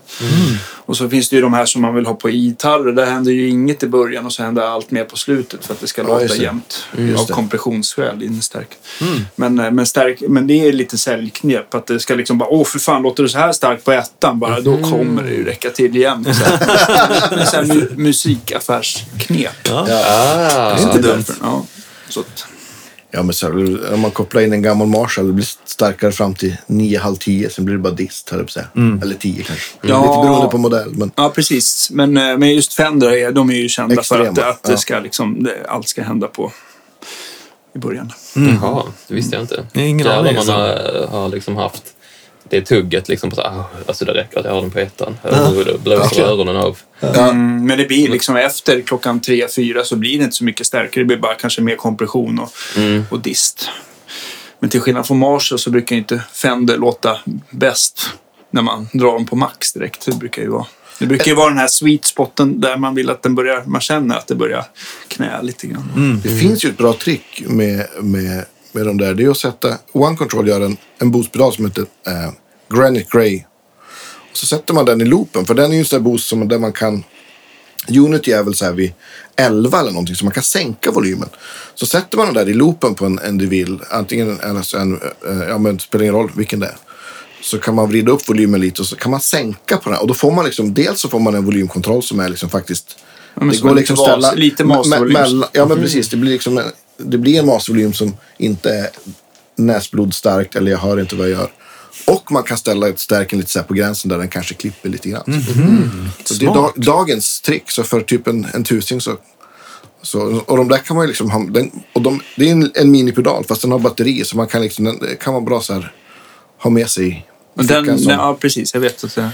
S3: Och så finns det ju de här som man vill ha på gitarrer. Där händer ju inget i början och så händer allt mer på slutet för att det ska
S2: just
S3: låta
S2: det.
S3: jämnt.
S2: Just
S3: av
S2: det. Mm.
S3: kompressionsskäl in i stärk. Men, eh, men, stärk, men det är lite säljknep. Att det ska liksom bara, åh för fan, låter det så här starkt på ettan, bara, då
S2: Mm.
S3: kommer det ju räcka till igen. Så här. Men så här, mu- musikaffärsknep.
S5: Ah,
S3: Så därför, ja. Så att,
S2: Ja, men så här, om man kopplar in en gammal Marshall, det blir starkare fram till 9,5-10, sen blir det bara dist, höll jag på att säga. Eller 10 kanske.
S3: Ja.
S2: Lite beroende på modell, men
S3: ja, precis. Men, eh, men just Fender, är- de är ju kända för att,
S2: Extrema,
S3: att det
S2: ja.
S3: ska liksom, det, allt ska hända på i början.
S5: Jaha, det visste jag inte.
S4: Nej, ingen
S5: Jävlar,
S4: aning,
S5: man
S4: alltså.
S5: har, har liksom haft det tugget liksom på så här, "Ah, alltså det räcker att jag har den på ettan. Jag blåser öronen av.
S3: Mm, men det blir liksom efter klockan tre, fyra så blir det inte så mycket starkare. Det blir bara kanske mer kompression och,
S2: Mm.
S3: och dist. Men till skillnad från Marshall så brukar ju inte Fender låta bäst när man drar dem på max direkt. Det brukar ju vara. Det brukar ju vara den här sweet spoten där man vill att den börjar, man känner att det börjar knä lite grann.
S2: det finns ju ett bra trick med, med, med de där. Det är att sätta, One Control gör en, en boostpedal som heter eh, Granite Grey. Och så sätter man den i loopen, för den är ju en sån där boost som, där man kan Unity är väl så här vid 11 eller någonting, så man kan sänka volymen. Så sätter man den där i loopen på en, en DeVille, antingen en, eller en, eh, ja men det spelar ingen roll vilken det är. Så kan man vrida upp volymen lite och så kan man sänka på den här. Och då får man liksom, dels så får man en volymkontroll som är liksom faktiskt... liksom
S3: men som är lite vas- lite mastervolym.
S2: mellan- Ja men precis, det blir liksom en, det blir en masvolym som inte är näsblodstarkt eller jag hör inte vad jag gör. Och man kan ställa stärken lite så här på gränsen där den kanske klipper lite grann.
S3: Mm.
S2: Mm. Så det är da- dagens trick. Så för typ en, en tusing så... så och de där kan man ju liksom... ha- Den, och de, det är en, en minipedal fast den har batteri så man kan liksom... Den det kan vara bra så här... Ha med sig i
S3: Men den,
S2: fickan som-
S3: ja, precis. Jag vet att det... eh,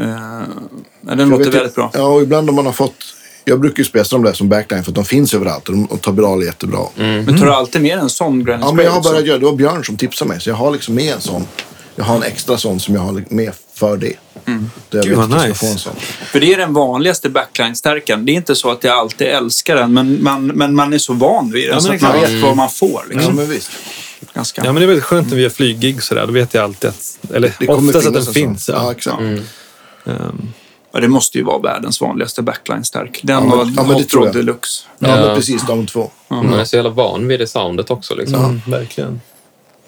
S3: ja, den
S2: Jag
S3: låter
S2: vet ju-
S3: väldigt bra.
S2: Ja, och ibland om man har fått... Jag brukar ju spela de där som backline för att de finns överallt och de och tar bra jättebra.
S3: Men tar du alltid med en sån Granny Square
S2: Mm. Ja, men jag har
S3: också?
S2: börjat göra... Det var Björn som tipsade mig så jag har liksom med en sån. Jag har en extra sån som jag har med för det. Mm. Där jag
S4: Gud,
S2: vet
S4: vad
S2: att jag ska
S4: nice.
S2: få en sån.
S3: För det är den vanligaste backline-stärkan. Det är inte så att jag alltid älskar den, men man, men man är så van vid den
S4: men
S3: så att man
S4: exakt.
S3: vet vad man får. Liksom.
S2: Mm. Ja, men visst.
S3: Ganska.
S4: Ja, men det är väldigt skönt när vi gör flyggig sådär. Då vet jag alltid att, eller
S2: Det kommer
S4: oftast att den
S2: finnas en sån. Ja,
S4: finns. Ja.
S2: exakt.
S3: Mm. Ja, det måste ju vara världens vanligaste backline-stärk. Den
S2: men-
S3: och
S2: ja, men det
S3: Hot
S2: tror
S3: Rod
S2: jag.
S3: Deluxe.
S2: Ja,
S5: Ja.
S2: men precis. De två.
S5: Man är så jävla van vid det soundet också. Liksom.
S4: Mm, verkligen.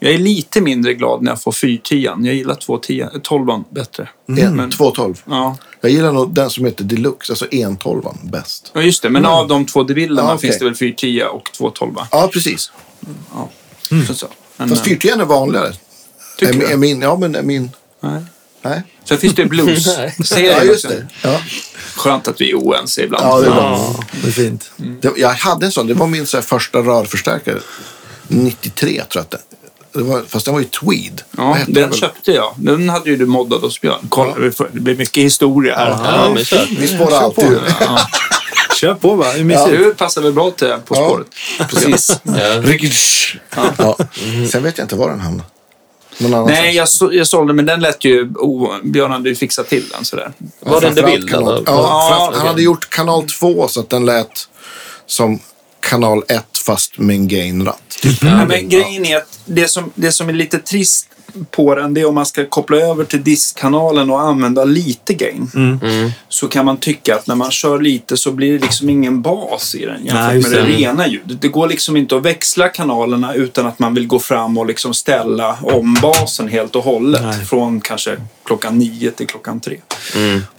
S3: Jag är lite mindre glad när jag får 410 Jag gillar 210 12 bättre.
S2: En,
S3: Men,
S2: Två tolv.
S3: Mm. ja.
S2: Jag gillar nog den som heter Deluxe, alltså 112 bäst.
S3: ja, just det. Men av de två devillerna
S2: Ja, Mm. okej.
S3: finns det väl 410 och 212
S2: Ja, precis.
S3: ja. Så, så. Men,
S2: Fast
S3: eh,
S2: fyrtjärn är vanligare.
S3: Tycker
S2: är,
S3: du?
S2: är min, ja, men är min...
S3: nej.
S2: Nej.
S3: Sen finns det ju blues.
S5: Nej.
S2: Ja,
S3: Serier
S2: just
S3: också.
S2: det. Ja.
S3: Skönt att vi är oense ibland.
S2: Ja, det är bra.
S4: Ja, det är fint.
S2: Det, jag hade en sån. Det var min så här, första rörförstärkare. 93 tror jag att det, det var. Fast den var ju tweed. Vad
S3: Ja,
S2: hette
S3: den
S2: väl?
S3: köpte jag. Den hade ju du moddat hos Björn. Kolla, vi får- det blir mycket historia här.
S5: Ja, men kör.
S2: Vi spårar alltid
S4: på.
S2: ur.
S4: Kör på bara, hur
S3: Ja.
S4: mysigt.
S3: Du passar väl bra till På
S2: Ja.
S3: spåret?
S2: Precis.
S5: Ja.
S2: Ja. Sen vet jag inte var den hamnade. Någon annanstans.
S3: Nej, jag, så, jag sålde, men den lät ju... Oh, Björn hade ju fixat till den sådär.
S5: Var det en
S2: Framförallt
S5: bild?
S2: kanal-
S5: eller?
S2: Ja, framför-
S5: okej.
S2: Han hade gjort kanal 2 så att den lät som kanal 1 fast med en gainratt.
S4: Mm.
S3: Ja, men grejen är att det som, det som är lite trist på den, det är om man ska koppla över till diskkanalen och använda lite gain.
S4: Mm.
S3: Så kan man tycka att när man kör lite så blir det liksom ingen bas i den jämfört
S4: Nej, just
S3: med det
S4: det.
S3: rena ljudet. Det går liksom inte att växla kanalerna utan att man vill gå fram och liksom ställa om basen helt och hållet.
S4: Nej.
S3: Från kanske klockan nio till klockan tre.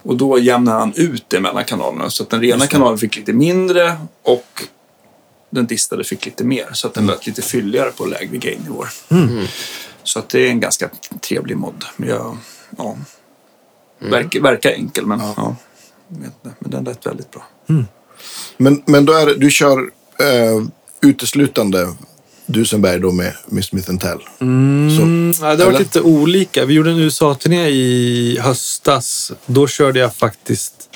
S3: Och då jämnar han ut det mellan kanalerna. Så att den rena kanalen fick lite mindre och den distade fick lite mer. Så att den lät lite fylligare på lägre gainnivåer. Så att det är en ganska trevlig mod. Men jag, ja, verkar, verkar enkel, men ja. jag vet inte. Men den lät väldigt bra.
S2: Men, men då är det, du kör eh, uteslutande Dusenberg då med, med Smith Tell.
S4: Mm, ja, det har
S2: eller?
S4: varit lite olika. Vi gjorde en USA-turné i höstas. Då körde jag faktiskt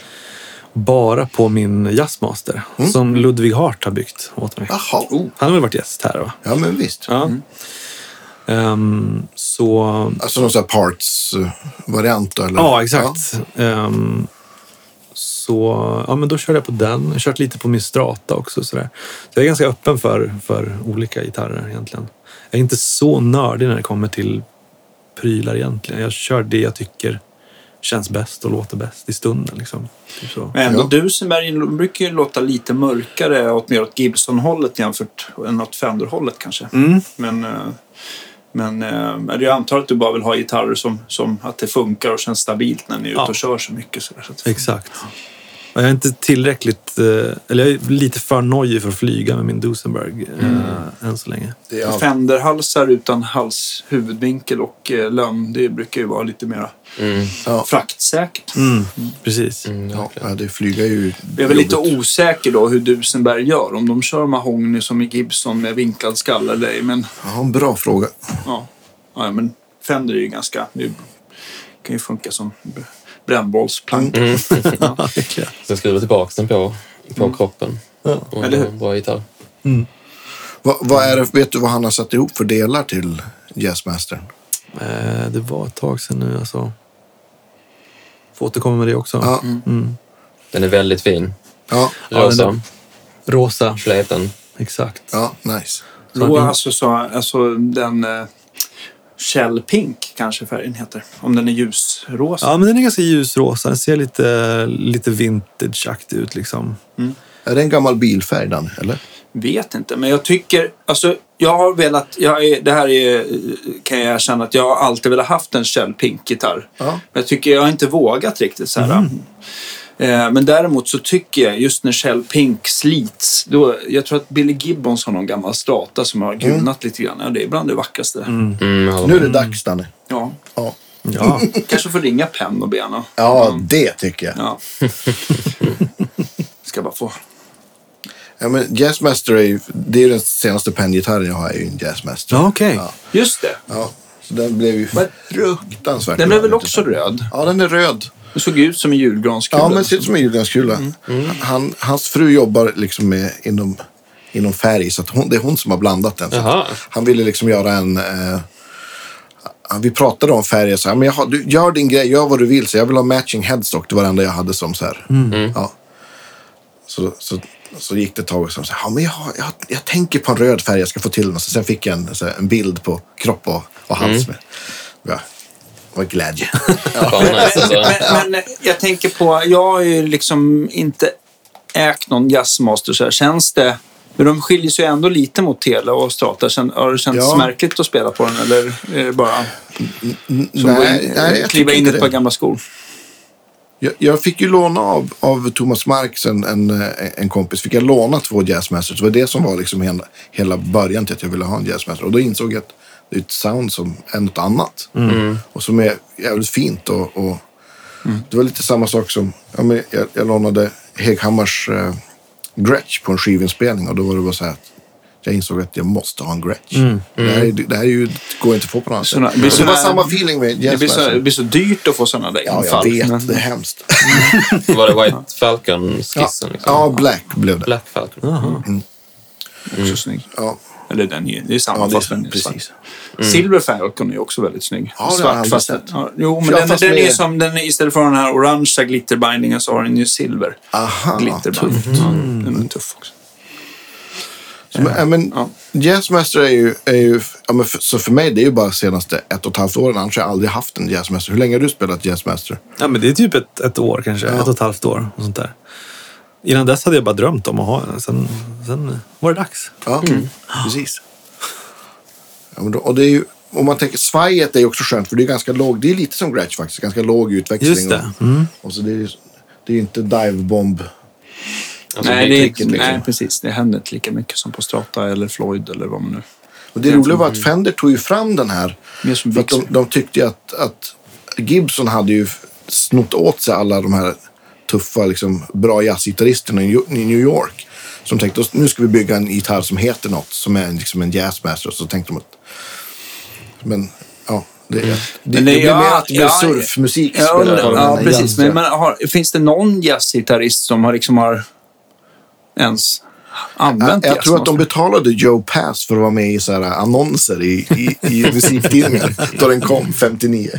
S4: bara på min Jazzmaster som Ludvig Hart har byggt åt mig.
S2: Jaha.
S4: Han har väl varit gäst här? va?
S2: Ja, men visst.
S4: Ja. Ehm, så
S2: Alltså någon sån här parts-variant? eller?
S4: Ja, exakt. Ehm, så ja, men då körde jag på den. Jag har kört lite på min Strata också. Sådär. Så jag är ganska öppen för, för olika gitarrer egentligen. Jag är inte så nördig när det kommer till prylar egentligen. Jag kör det jag tycker känns bäst och låter bäst i stunden. Liksom. Typ så.
S3: Men ändå
S2: Ja.
S3: Dusenberg de brukar ju låta lite mörkare, åt mer åt Gibson-hållet jämfört än åt Fender-hållet kanske.
S4: Mm.
S3: Men, eh, men eh, men jag antar att du bara vill ha gitarrer som, som att det funkar och känns stabilt när ni är ute
S4: Ja.
S3: och kör så mycket. Så där, så att,
S4: Exakt. Och Jag är inte tillräckligt, eh, eller jag är lite för nojig för att flyga med min Duesenberg eh, än så länge.
S2: Det är allt.
S3: Fenderhalsar utan hals, huvudvinkel och eh, lönn, det brukar ju vara lite mer
S5: Mm.
S2: Ja.
S3: fraktsäkert.
S4: Precis.
S2: Ja, det flyger ju.
S3: Jag är väl lite
S2: jobbigt.
S3: osäker då hur Dusenberg gör, om de kör mahogny som i Gibson med vinklad skalle eller ej. Men
S2: Ja, en bra fråga.
S3: Ja, ja men Fender är ju ganska... Det kan ju funka som b-
S5: Mm.
S3: brännbollsplank.
S4: Ja, verkligen.
S5: Sen skruvar tillbaka den på, på kroppen. Och
S3: Eller hur?
S5: en Bra gitarr.
S2: Vad, vad är det, vet du vad han har satt ihop för delar till Jazzmastern?
S4: Eh, det var ett tag sedan nu alltså. Får återkomma med det också.
S2: Ja.
S5: Den är väldigt fin.
S2: Ja,
S4: Ja, den
S5: Rosa.
S4: där- Rosa.
S5: Släten.
S4: Exakt.
S2: ja nice.
S3: Då alltså, så, alltså den... Eh, Shell Pink kanske färgen heter. Om den är ljusrosa.
S4: Ja, men den är ganska ljusrosa. Den ser lite, lite vintageaktig ut liksom.
S2: Är det en gammal bilfärg, Danne, eller?
S3: Vet inte, men jag tycker... Alltså, jag har velat... Jag är, det här är, kan jag erkänna att jag har alltid velat haft en Shell Pink-gitarr.
S2: Ja. Mhm.
S3: Men jag tycker jag har inte vågat riktigt så här. Eh, Men däremot så tycker jag just när Shell Pink slits. Då, jag tror att Billy Gibbons har någon gammal strata som
S2: Mm.
S3: har gulnat lite grann. Ja, det är bland det vackraste.
S5: Mm, jag håller
S2: Nu är
S5: med.
S2: det dags, Danne.
S3: Ja,
S2: Ja,
S4: Ja,
S3: kanske får ringa Penn och Bena.
S2: ja det tycker jag.
S3: Mm. Ja. Ska bara få.
S2: Ja, men Jazzmaster är ju, det är ju den senaste penngitarren jag har, är ju en Jazzmaster.
S4: ja okej.
S2: Ja.
S3: Just det.
S2: Ja, så den blev ju
S3: Men-
S2: fruktansvärt
S3: Den blev väl
S2: röd.
S3: också röd?
S2: Ja, den är röd.
S3: Den såg ut som en julgranskula. liksom.
S2: Ja, men ser ut som en julgranskula.
S3: Mm.
S2: Mm. Han, hans fru jobbar liksom med, inom, inom färg, så att hon, det är hon som har blandat den. Så
S5: Jaha.
S2: att han ville liksom göra en... Eh, ja, vi pratade om färg och så här, men jag har, du, gör din grej, gör vad du vill. Så jag vill ha matching headstock, det var det enda jag hade som så här.
S3: Mm.
S2: Ja. Så, så, så gick det ett tag och så här, ja, men jag, har- jag, jag tänker på en röd färg, jag ska få till den. Så sen fick jag en, så här, en bild på kropp och, och
S3: Mm.
S2: hals. Med. Ja, vad glädje.
S5: Fan, nice, alltså.
S3: men, men jag tänker på, jag har ju liksom inte ägt någon jazzmaster så här. Känns det, men de skiljer sig ju ändå lite mot Tele och Strata. Kän- Har det känts
S2: Ja.
S3: märkligt att spela på den eller är det bara som att gå
S2: Nej,
S3: in,
S2: nej,
S3: kliva
S2: jag tycker
S3: in i
S2: inte
S3: ett par
S2: det.
S3: gamla skor?
S2: Jag, jag fick ju låna av, av Thomas Marx, en, en, eh, en kompis, fick jag låna två jazzmasters. Det var det som var liksom hela, hela början till att jag ville ha en jazzmaster. Och då insåg jag att det är ett sound som är något annat.
S3: Mm.
S2: Och som är jävligt fint. Och, och Det var lite samma sak som, ja, men jag, jag lånade Heghammars eh, Gretsch på en skivinspelning och då var det bara så här att jag insåg att jag måste ha en Gretsch. Det, här, är- det här är ju, går inte att få på något annat
S3: Såna-
S2: sätt.
S3: blir
S2: Det var
S3: såna-
S2: samma feeling med
S3: Det
S2: Jens
S3: blir, så, det
S2: Persson.
S3: blir så dyrt att få sådana där
S2: Ja, jag
S3: infall.
S2: vet.
S3: Men-
S2: Det är hemskt.
S5: Var det White
S2: Ja,
S5: Falcon-skissen? Liksom?
S2: ja, Black blev det.
S5: Black Falcon.
S2: Mm.
S3: Också snygg.
S2: Ja.
S3: Eller den är, det är samma
S2: Ja, det är
S3: fast den är
S2: precis.
S3: svart.
S2: Mm.
S3: Silver Falcon är också väldigt snygg.
S2: Ja, det har jag
S3: svart
S2: aldrig
S3: fast
S2: sett.
S3: ja, Jo, men
S2: Ja,
S3: den,
S2: fast
S3: den är
S2: med-
S3: som, den är, istället för den här orangea glitterbindingen så har den ju silver.
S2: Aha, Mm.
S3: Glitterbinding. Ja, den är tuff också.
S2: Så, men, ja. men,
S3: Ja.
S2: Jazzmaster är ju... Är ju ja, men för, så för mig det är ju bara senaste ett och ett halvt åren. Annars har jag aldrig haft en Jazzmaster. Hur länge har du spelat Jazzmaster?
S4: Ja, men det är typ ett, ett år kanske, ett och ett halvt år. Och sånt där. Innan dess hade jag bara drömt om att ha en. Sen, sen var det dags.
S2: Ja, Mm. precis. Ja, men då, och det är ju, om man tänker, svajet är ju också skönt för det är ganska låg. Det är lite som Gratch faktiskt. Ganska låg utväxling.
S4: Just det.
S2: Och, och så det är ju det är ju inte divebomb.
S5: Alltså,
S3: nej, det är,
S2: klicket, liksom.
S3: nej, precis. Det händer inte lika mycket som på Strata eller Floyd eller vad man nu...
S2: Och det roliga var att Fender tog ju fram den här.
S3: Mm. Mer som
S2: För att de,
S3: Bixby.
S2: de tyckte ju att, att Gibson hade ju snott åt sig alla de här tuffa, liksom, bra jazzgitarristerna i New- i New York. Som tänkte "Oss, nu ska vi bygga en gitarr som heter något, som är en- liksom en jazzmaster. Så tänkte de att... Men ja, det, det, det,
S3: Mm. Men det-
S2: blir
S3: ja,
S2: mer att det blir
S3: ja,
S2: surfmusik
S3: Ja,
S2: spelad av den
S3: ja
S2: här
S3: precis.
S2: jazz-
S3: Men, men har, finns det någon jazzgitarrist som har, liksom har ens
S2: jag,
S3: använt
S2: Äh, jag tror att de
S3: jazzmaster?
S2: betalade Joe Pass för att vara med i så här äh, annonser i, i, i musiktidningar då den kom 59.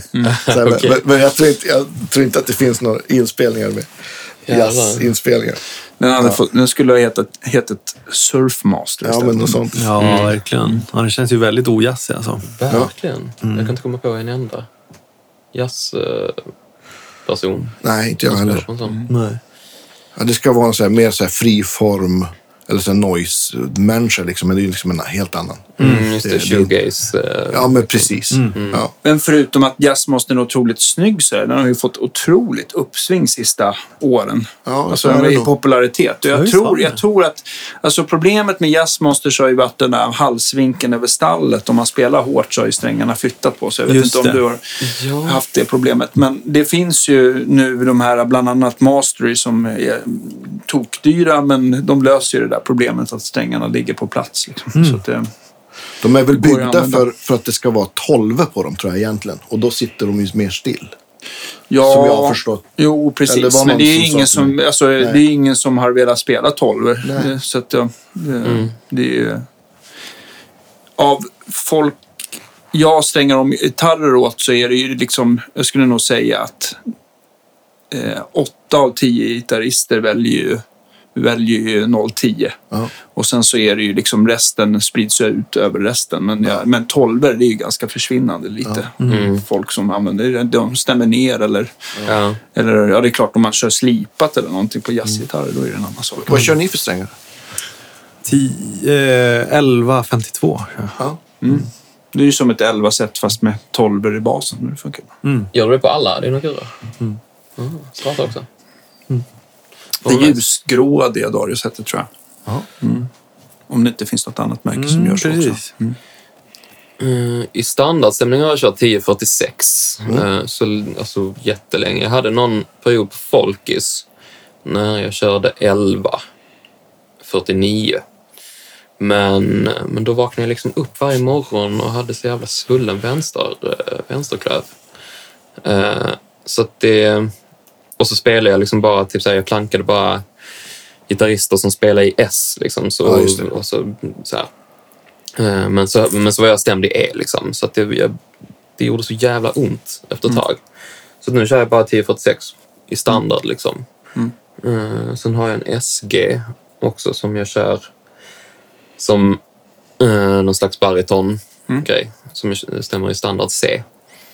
S2: Så här,
S5: okej.
S2: Men, men jag, tror inte, jag tror inte att det finns några inspelningar med
S5: Jävlar.
S2: jazzinspelningar.
S3: Den, hade fått, den skulle ha hetat, hetat Surfmaster
S2: Ja,
S3: istället.
S2: men något sånt.
S4: Ja, verkligen. Ja, den känns ju väldigt ojazzig alltså.
S5: Verkligen. Jag kan inte komma på en enda jazzperson.
S2: Nej, inte jag heller.
S5: Mm.
S4: Nej.
S2: Ja, det ska vara en så här, mer så här fri form eller så här noise-människa. Liksom, men det är ju liksom en helt annan.
S5: Mm, just det,
S2: Det- det-
S5: shoegaze. eh,
S2: Ja, men precis. Ja.
S3: Men förutom att jazzmastern är otroligt snygg så är den har ju fått otroligt uppsving sista åren.
S2: Ja,
S3: alltså,
S2: så är
S3: den
S2: det
S3: i
S2: nog.
S3: popularitet. Och
S4: Ja,
S3: jag,
S4: visst har
S3: tror,
S4: den
S3: jag
S4: det.
S3: tror att alltså, problemet med jazzmasters har ju varit den där halsvinkeln över stallet. Om man spelar hårt så har ju strängarna flyttat på sig. Jag vet
S4: Just
S3: inte om
S4: det.
S3: du har haft det problemet. Men det finns ju nu de här, bland annat Mastery, som är tokdyra. Men de löser ju det där problemet att strängarna ligger på plats. Liksom.
S4: Mm.
S3: Så att, det-
S2: De är
S3: går
S2: väl
S3: att
S2: byggda
S3: använda.
S2: för, för att det ska vara 12 på dem, tror jag egentligen. Och då sitter de ju mer still.
S3: Ja,
S2: Som jag har förstått.
S3: Jo,
S2: Eller
S3: precis.
S2: var
S3: Men
S2: någon
S3: det är,
S2: som sa
S3: ingen
S2: till
S3: som, alltså, det är ingen som har velat spela 12.
S2: Nej.
S3: Så att, ja, det, det är ju... Av folk jag stänger om gitarrer åt så är det ju liksom, jag skulle nog säga att eh, 8 av 10 gitarrister väljer ju, väljer ju 010.
S2: Ja.
S3: Och sen så är det ju liksom resten sprids ju ut över resten. Men, ja, men tolver det är ju ganska försvinnande lite.
S2: Mm.
S3: Folk som använder det, de stämmer ner eller,
S5: Ja.
S3: eller ja det är klart om man kör slipat eller någonting på jazzgitarrer då är det en annan sak.
S2: Vad kör ni för strängar?
S4: 10, eh, 11, 52.
S2: Ja.
S3: Det är ju som ett 11-set fast med tolver i basen. men Det funkar bra.
S5: Gör du det på alla dina kurer? Mm. Svarta också?
S3: Det ljusgråa Diadario-setet tror jag. Mm. Om det inte finns något annat märke som gör så också.
S4: Mm, precis.
S5: Eh, I standardstämning har jag kört 1046,
S2: Mm.
S5: eh, så, alltså jättelänge. Jag hade någon period på Folkis när jag körde 1149. Men, eh, men då vaknade jag liksom upp varje morgon och hade så jävla svullen vänster, eh, vänsterklöv. Eh, Så att det... Och så spelade jag liksom bara, typ så här, jag plankade bara gitarrister som spelar i S. Liksom, så,
S2: Ja, just det.
S5: och så, så här. Eh, Men så, men så var jag stämd i E. Liksom, så att det, jag, det gjorde så jävla ont efter ett tag. Så nu kör jag bara 1046 i standard. Liksom. Eh, sen har jag en SG också som jag kör som eh, någon slags bariton-grej som jag- stämmer i standard C.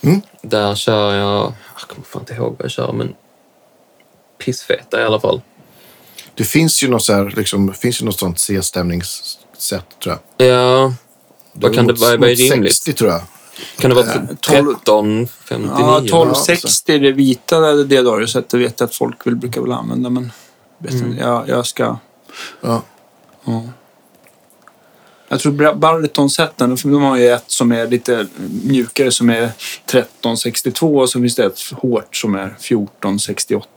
S2: Mm.
S5: Där kör jag... ah, Jag kommer fan inte ihåg vad jag kör, men pissfeta i alla fall.
S2: Det finns ju något, så här, liksom, det finns ju något sånt C-stämningssätt tror jag.
S5: Ja, vad kan det
S2: Mot-
S5: vara? Vad är
S2: mot
S5: rimligt?
S2: 60 tror jag.
S5: Kan det vara typ
S3: tolv-
S5: 13, 59?
S3: Ja, alltså. 1260
S2: 1260
S3: är det vita Diadario-setet. Det vet jag att folk väl brukar väl använda men vet inte, jag, jag ska...
S2: Ja.
S3: Jag tror baritonsätten, de har ju ett som är lite mjukare som är 1362 och så finns det ett hårt som är 1468.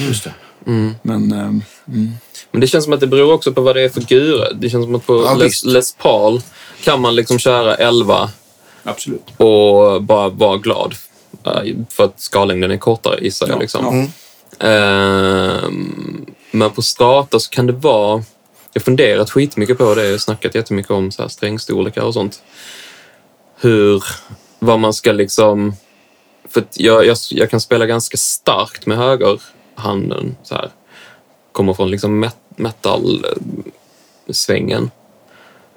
S2: Just det.
S5: Mm.
S3: Men ehm, mm.
S5: Men det känns som att det beror också på vad det är för gura. Det känns som att på
S2: Ja,
S5: Les,
S2: visst.
S5: Les Paul kan man liksom köra 11
S3: absolut.
S5: och bara vara glad. eh, För att skallängden är kortare gissar jag.
S3: Ja,
S5: Liksom.
S3: ja.
S2: Mm.
S5: Ehm, men på strata så kan det vara... Jag har funderat skitmycket på det och snackat jättemycket om så här strängstorlekar och sånt. Hur... Vad man ska liksom... För att jag, jag, jag kan spela ganska starkt med högerhanden. Så här. Kommer från liksom met, metal-svängen.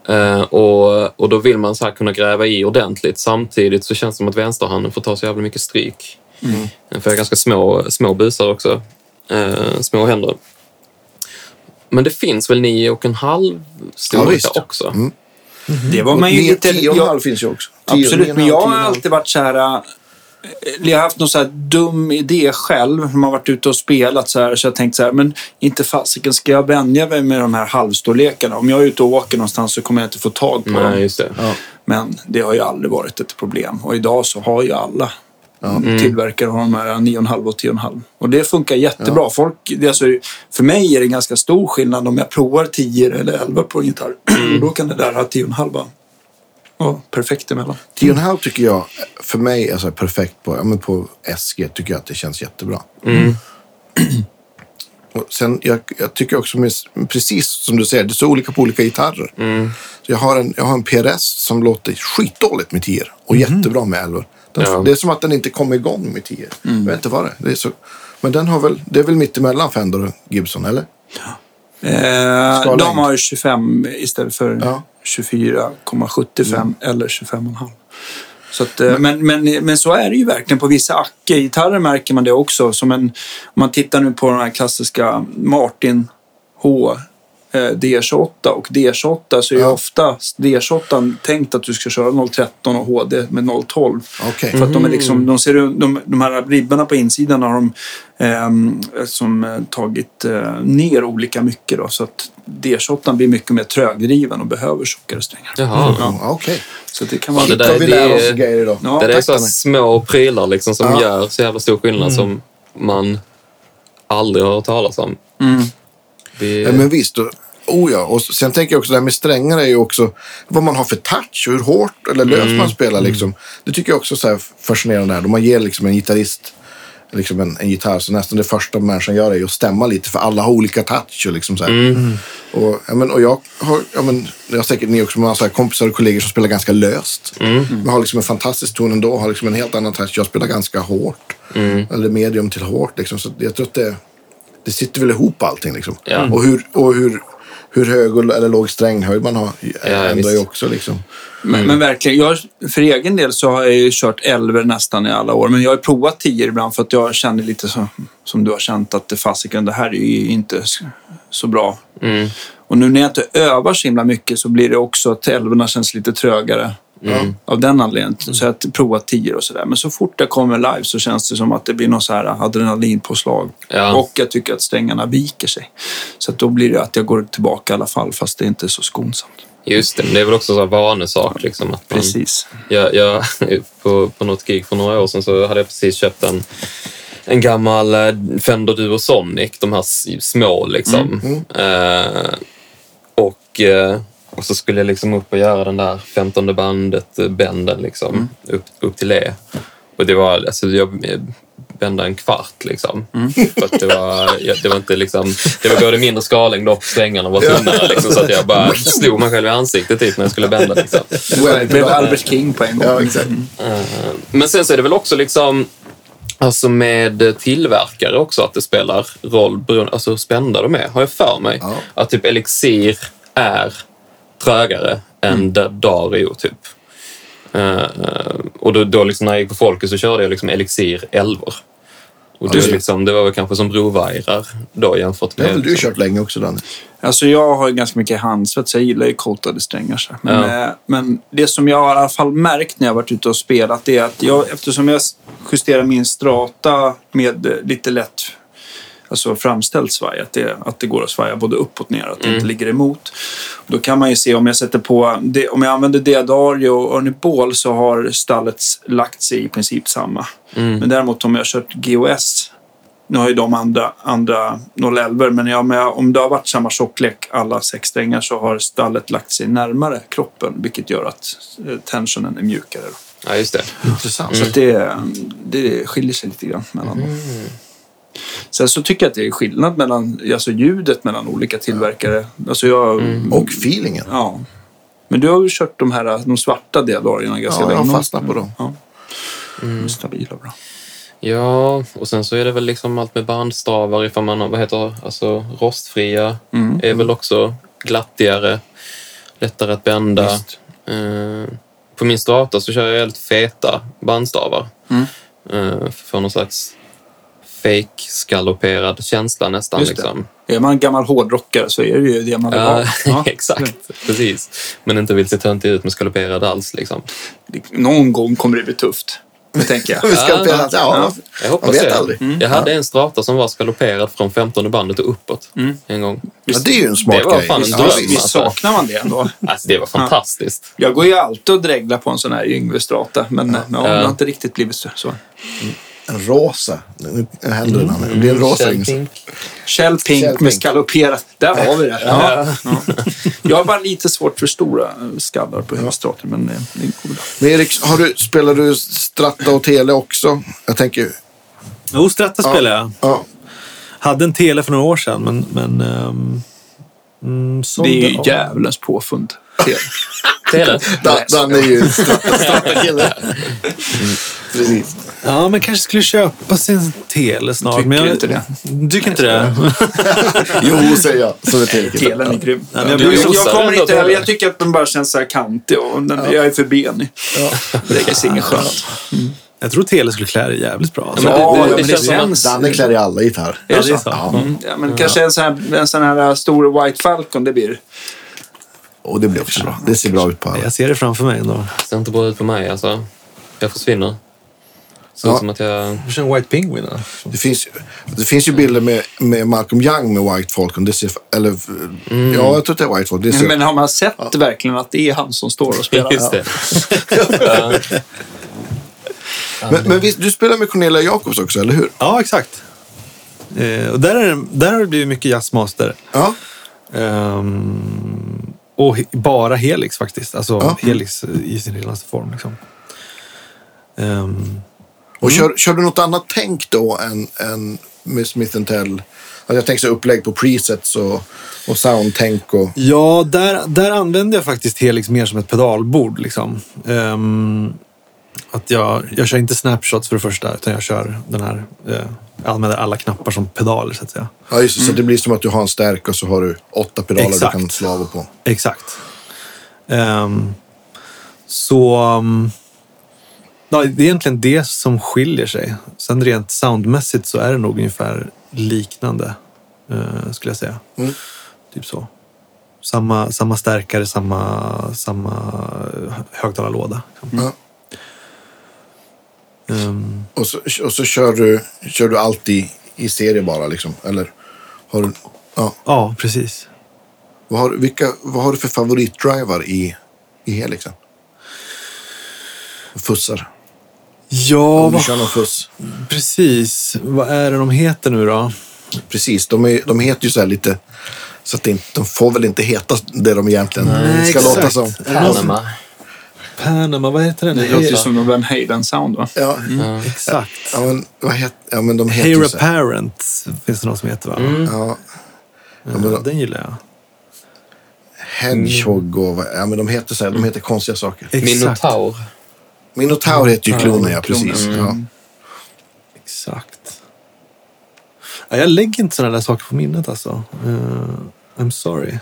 S5: Eh, och, och då vill man så här kunna gräva i ordentligt. Samtidigt så känns det som att vänsterhanden får ta så jävla mycket stryk.
S2: Mm.
S5: För jag har ganska små, små busar också. Eh, små händer. Men det finns väl nio och en halv
S2: Ja,
S5: storlekar
S2: visst.
S5: också?
S2: Mm.
S3: Det var
S2: Och
S3: man ju
S2: nio-
S3: lite...
S2: tio och en
S3: jag-
S2: halv finns ju också. Tio, nio
S3: Absolut,
S2: och
S3: men
S2: en
S3: jag
S2: halv, tio och
S3: har
S2: en halv.
S3: alltid varit så här... eh, Jag har haft någon så här dum idé själv när man varit ute och spelat så här. Så jag tänkt så här, men inte fasiken ska jag vänja mig med de här halvstorlekarna. Om jag är ute och åker någonstans så kommer jag inte få tag på
S5: Nej,
S3: dem.
S5: just det.
S2: Ja.
S3: Men det har ju aldrig varit ett problem. Och idag så har ju alla Mm. tillverkare av de här 9,5 och 10,5. Och det funkar jättebra. Folk, det är alltså, för mig är det ganska stor skillnad om jag provar 10 eller 11 på en gitarr. Då kan det där ha 10,5. Ja, perfekt emellan.
S2: Tio och en halv tycker jag, för mig är så här perfekt på, ja, men på SG tycker jag att det känns jättebra.
S5: Mm.
S2: Och sen, jag, jag tycker också, med, precis som du säger, det är så olika på olika gitarrer.
S5: Mm.
S2: Så jag, har en, jag har en PRS som låter skitdåligt med tior och
S3: Mhm.
S2: jättebra med elvor. Den,
S5: Ja.
S2: Det är som att den inte kommer igång med tior.
S3: Mm.
S2: Jag vet inte vad det är. Det är så, men den har väl, det är väl mittemellan Fender och Gibson, eller?
S3: Eh,
S2: Skallängd.
S3: de har ju 25 istället för
S2: Ja.
S3: 24,75 eller 25,5. Så att, eh, men, men, men så är det ju verkligen på vissa Acke-gitarrer märker man det också. Som en, om man tittar nu på de här klassiska Martin H eh, D28 och D28 så är ju
S2: Ja.
S3: ofta D28 tänkt att du ska köra 013 och HD med 012.
S2: Okej.
S5: Mm.
S3: För att de, är liksom, de, ser, ut- de, de här ribborna på insidan har de ehm, som eh, tagit eh, ner olika mycket. Då, så att D28 blir mycket mer trögdriven och behöver tjockare strängar.
S5: Jaha.
S3: Ja,
S2: Ja, Okej.
S3: så det kan vara...
S5: det
S2: Shit,
S5: där-
S2: vad vi lär
S5: det-
S2: oss grejer idag.
S3: Ja,
S5: det är
S3: tack,
S5: så här
S3: Danne.
S5: små prylar liksom som
S2: Ja. Mm.
S5: gör så jävla stor skillnad som man aldrig har hört talas om. Vi,
S2: Mm. Ja, men visst. och- Oh ja, och sen tänker jag också det här med strängar är ju också vad man har för touch, hur hårt eller löst man spelar liksom. Det tycker jag också är så här fascinerande här. Då man ger liksom en gitarrist liksom en, en gitarr så nästan det första människan gör är ju att stämma lite för alla har olika touch och liksom så här. Och, ja, men, och jag har, ja, men, jag har säkert ni också, man har så här kompisar och kollegor som spelar ganska löst.
S5: Mm.
S2: Man har liksom en fantastisk ton ändå, har liksom en helt annan touch. Jag spelar ganska hårt.
S5: Mm.
S2: Eller medium till hårt liksom. Så jag tror att det, det sitter väl ihop allting liksom.
S5: Ja.
S2: Och, hur, och hur, hur hög och- eller låg stränghöjd man har ändrar
S5: visst.
S2: ju också liksom.
S3: Men,
S5: Mm.
S3: men verkligen, jag, för egen del så har jag ju kört elver nästan i alla år. Men jag har ju provat tior ibland för att jag känner lite så, som du har känt att det fasiken, det här är ju inte s- så bra.
S5: Mm.
S3: Och nu när jag inte övar så himla mycket så blir det också att elverna känns lite trögare.
S5: Mm.
S3: Av den anledningen. Så jag har provat tior och sådär. Men så fort jag kommer live så känns det som att det blir någon så här adrenalinpåslag.
S5: Ja.
S3: Och jag tycker att strängarna viker sig. Så att då blir det att jag går tillbaka i alla fall fast det är inte är så skonsamt.
S5: Just det, men det är väl också så här vanesak. Liksom, att man,
S3: Precis.
S5: jag, jag, på, på något gig för några år sedan så hade jag precis köpt en, en gammal eh, Fender Duo Sonic, de här s- små liksom. Eh, och, eh, och så skulle jag liksom upp och göra den där 15 bandet, eh, bänden liksom, upp, upp till E. Och det var, alltså jag eh, bände en kvart liksom. För att det var, ja, det var inte liksom, det var både mindre skallängd och strängarna var tunnare liksom. Så att jag bara slog mig själv i ansiktet typ när jag skulle bända liksom.
S3: Det blev Albert King på en gång.
S2: Ja, exakt.
S5: Men sen så är det väl också liksom Alltså med tillverkare också, att det spelar roll beroende alltså hur spända de är, har jag för mig.
S2: Ja.
S5: Att typ Elixir är trögare än mm. Dario, typ. Eh, och då, då liksom när jag gick på Folket så körde jag liksom Elixir 11 Och det,
S2: just
S5: var
S2: det.
S5: liksom, det var väl kanske som brovajrar då jämfört
S2: Det
S5: med...
S2: har väl du
S5: liksom,
S2: kört länge också Danne?
S3: Alltså jag har ju ganska mycket handsvett så jag gillar ju koltade strängar. Så. här. Men,
S5: Ja.
S3: eh, men det som jag har i alla fall märkt när jag har varit ute och spelat det är att jag, eftersom jag justerar min strata med eh, lite lätt
S2: Mm.
S3: alltså framställt svaj, att det, att det går att svaja både upp och ner, att det inte ligger emot. Då kan man ju se om jag sätter på, det- om jag använder Diadario och Ernie Ball så har stallets lagt sig i princip samma.
S2: Mm.
S3: Men däremot om jag har kört GOS, nu har ju de andra, andra 011 men ja, men jag, om det har varit samma tjocklek alla sex strängar så har stallet lagt sig närmare kroppen vilket gör att eh, tensionen är mjukare. Då.
S5: Ja, just det.
S2: Intressant.
S3: Så att det, det skiljer sig lite grann mellan dem.
S2: Mm.
S3: Sen så tycker jag att det är skillnad mellan alltså ljudet mellan olika tillverkare. Alltså jag,
S2: Och feelingen.
S3: ja. Men du har ju kört de här de svarta diadarierna ganska
S2: Ja, jag
S3: länge.
S2: har fastnat på dem. Mm.
S3: Ja. Stabila och bra.
S5: Ja, och sen så är det väl liksom allt med bandstavar ifall man har, vad heter alltså rostfria
S3: Mm.
S5: är väl också glattigare, lättare att bända. Eh, på min strata så kör jag helt feta bandstavar.
S3: Mm.
S5: Eh, för någon slags fake skaloperad känsla nästan.
S3: Just det.
S5: Liksom.
S3: Är man gammal hårdrockare så är det ju det man vill
S5: Ja,
S3: ha. Ja. Mm.
S5: exakt. Precis. Men inte vill se töntig ut med skaloperad alls. Liksom.
S3: Någon gång kommer det bli tufft. Det tänker jag.
S2: Vi ska
S5: Ja,
S2: spela. Ja,
S5: Jag
S2: man
S5: hoppas
S2: vet
S5: det. Mm.
S2: aldrig.
S3: Mm.
S5: Jag hade en strata som var skaloperad från 15 bandet och uppåt
S3: Mm.
S5: en gång.
S2: Ja, det är ju en smart
S5: Det var
S2: grej.
S5: fan en
S2: Ja,
S5: dröm.
S2: visst.
S3: Visst saknar man det ändå.
S5: Alltså det var fantastiskt.
S3: Jag går ju alltid och dreglar på en sån här Yngve Strata, men ja. Ja, det har inte riktigt blivit så- så.
S2: En rosa. Nu händer den här. Det blir en rosa
S5: Kjell
S2: yngsel.
S5: Pink.
S3: Shell pink
S2: Shell
S3: med
S2: pink.
S3: skaloperat. Där har vi det. Ja. Ja. Jag har bara lite svårt för stora eh, skallar på huvudstaten, men eh, det går bra.
S2: Men Erik, har du, spelar du Stratta och Tele också? Jag tänker...
S4: Jo, Stratta spelar jag.
S2: Ja,
S4: Hade en tele för några år sedan, men... men ehm, mm, sålde
S3: Det är ju
S4: av.
S3: djävulens påfund.
S5: Tele.
S2: Dan, Dan är ju Stratta, Stratta-kille. Mm. Precis.
S4: Ja, men kanske skulle köpa sin tele snart.
S3: Tycker
S4: men
S3: inte det.
S4: Tycker inte det?
S2: Jo, säger jag. Som är tele.
S3: Telen är grym.
S4: men jag
S3: jag,
S4: blir
S3: jag,
S5: osar
S3: kommer
S5: ändå
S3: inte,
S5: på det.
S3: jag tycker att den bara känns så här kantig och den, jag är för benig. Lägger sig inget skönt.
S4: Jag tror tele skulle klä dig jävligt bra. Alltså.
S5: men det-
S3: Ja,
S5: det-
S3: ja,
S5: det
S3: men
S5: känns som att-
S2: Danne klär i alla Alltså, gitarr.
S3: Är det
S4: det är
S3: så?
S4: så.
S3: Mm. Ja, men kanske en sån, här, en sån här stor White Falcon det blir.
S2: Och det blir också bra. Det ser bra ut på alla.
S4: Jag ser det framför mig ändå.
S5: Ser inte bra ut på mig alltså. Jag försvinner. Ser
S2: Ja.
S5: ut som att jag...
S4: Du kör White Penguin eller?
S2: Det finns, det finns ju bilder med, med Malcolm Young med White Falcon. Det ser, eller, Ja, jag tror att det är White Falcon. Det ser,
S3: Mm. Men har man sett verkligen att det är han som står och spelar?
S5: Just det.
S2: men, men visst, du spelar med Cornelia Jacobs också, eller hur?
S4: Ja, exakt. Eh, och där, är det, där har det blivit mycket jazzmaster.
S2: Ja.
S4: Ehm, och he- bara Helix faktiskt. Alltså
S2: Ja.
S4: Helix i sin renaste form. Liksom. Ehm,
S2: Och kör, kör du något annat tänk då än, än med Smith Tell? Alltså jag tänker så här upplägg på presets och, och soundtänk och...
S4: ja, där, där använde jag faktiskt Helix mer som ett pedalbord. Liksom. Ehm, att jag, jag kör inte snapshots för det första, utan jag kör den här... Eh, jag använder alla knappar som pedaler, så att säga.
S2: Ja, just det. Så det blir som att du har en stärk och så har du åtta pedaler
S4: Mm. Exakt.
S2: du kan slava på.
S4: Exakt. Ehm, så... Um, ja, det är egentligen det som skiljer sig. Sen rent soundmässigt så är det nog ungefär liknande, eh, skulle jag säga. Typ så. Samma, samma stärkare, samma, samma eh, hö- högtalarlåda.
S2: Ja.
S4: Ehm,
S2: Och så, och så kör, du, kör du allt i, i serie bara liksom? Eller har du... Ja.
S4: ja, precis.
S2: Vad har, vilka, vad har du för favoritdrivar i, i Helixen? Fussar.
S4: Ja,
S2: Om du
S4: vad-
S2: kör någon fuss.
S4: precis. Vad är det de heter nu då?
S2: Precis, de, är, de heter ju så här lite... Så att det inte, de får väl inte heta det de egentligen
S4: Nej,
S2: ska låta
S4: exakt.
S2: som.
S5: Panama.
S4: Panama, vad heter den?
S3: Det låter ju som någon Van Halen-sound va?
S2: Ja,
S4: Mm. Exakt.
S2: ja, men, vad heter, ja men de heter
S4: Hey
S2: ju så här.
S4: Parent finns det någon som heter va?
S2: Ja,
S4: Ja,
S2: men då-
S4: Den gillar jag.
S2: Hedgehog och... vad- Ja, men de heter så här, de heter konstiga saker.
S5: Minotaur.
S2: Minotaur heter ju klonen, ja. Precis.
S4: Mm.
S2: Ja.
S4: Exakt. Ja, jag lägger inte sådana där saker på minnet alltså. Eh, I'm sorry.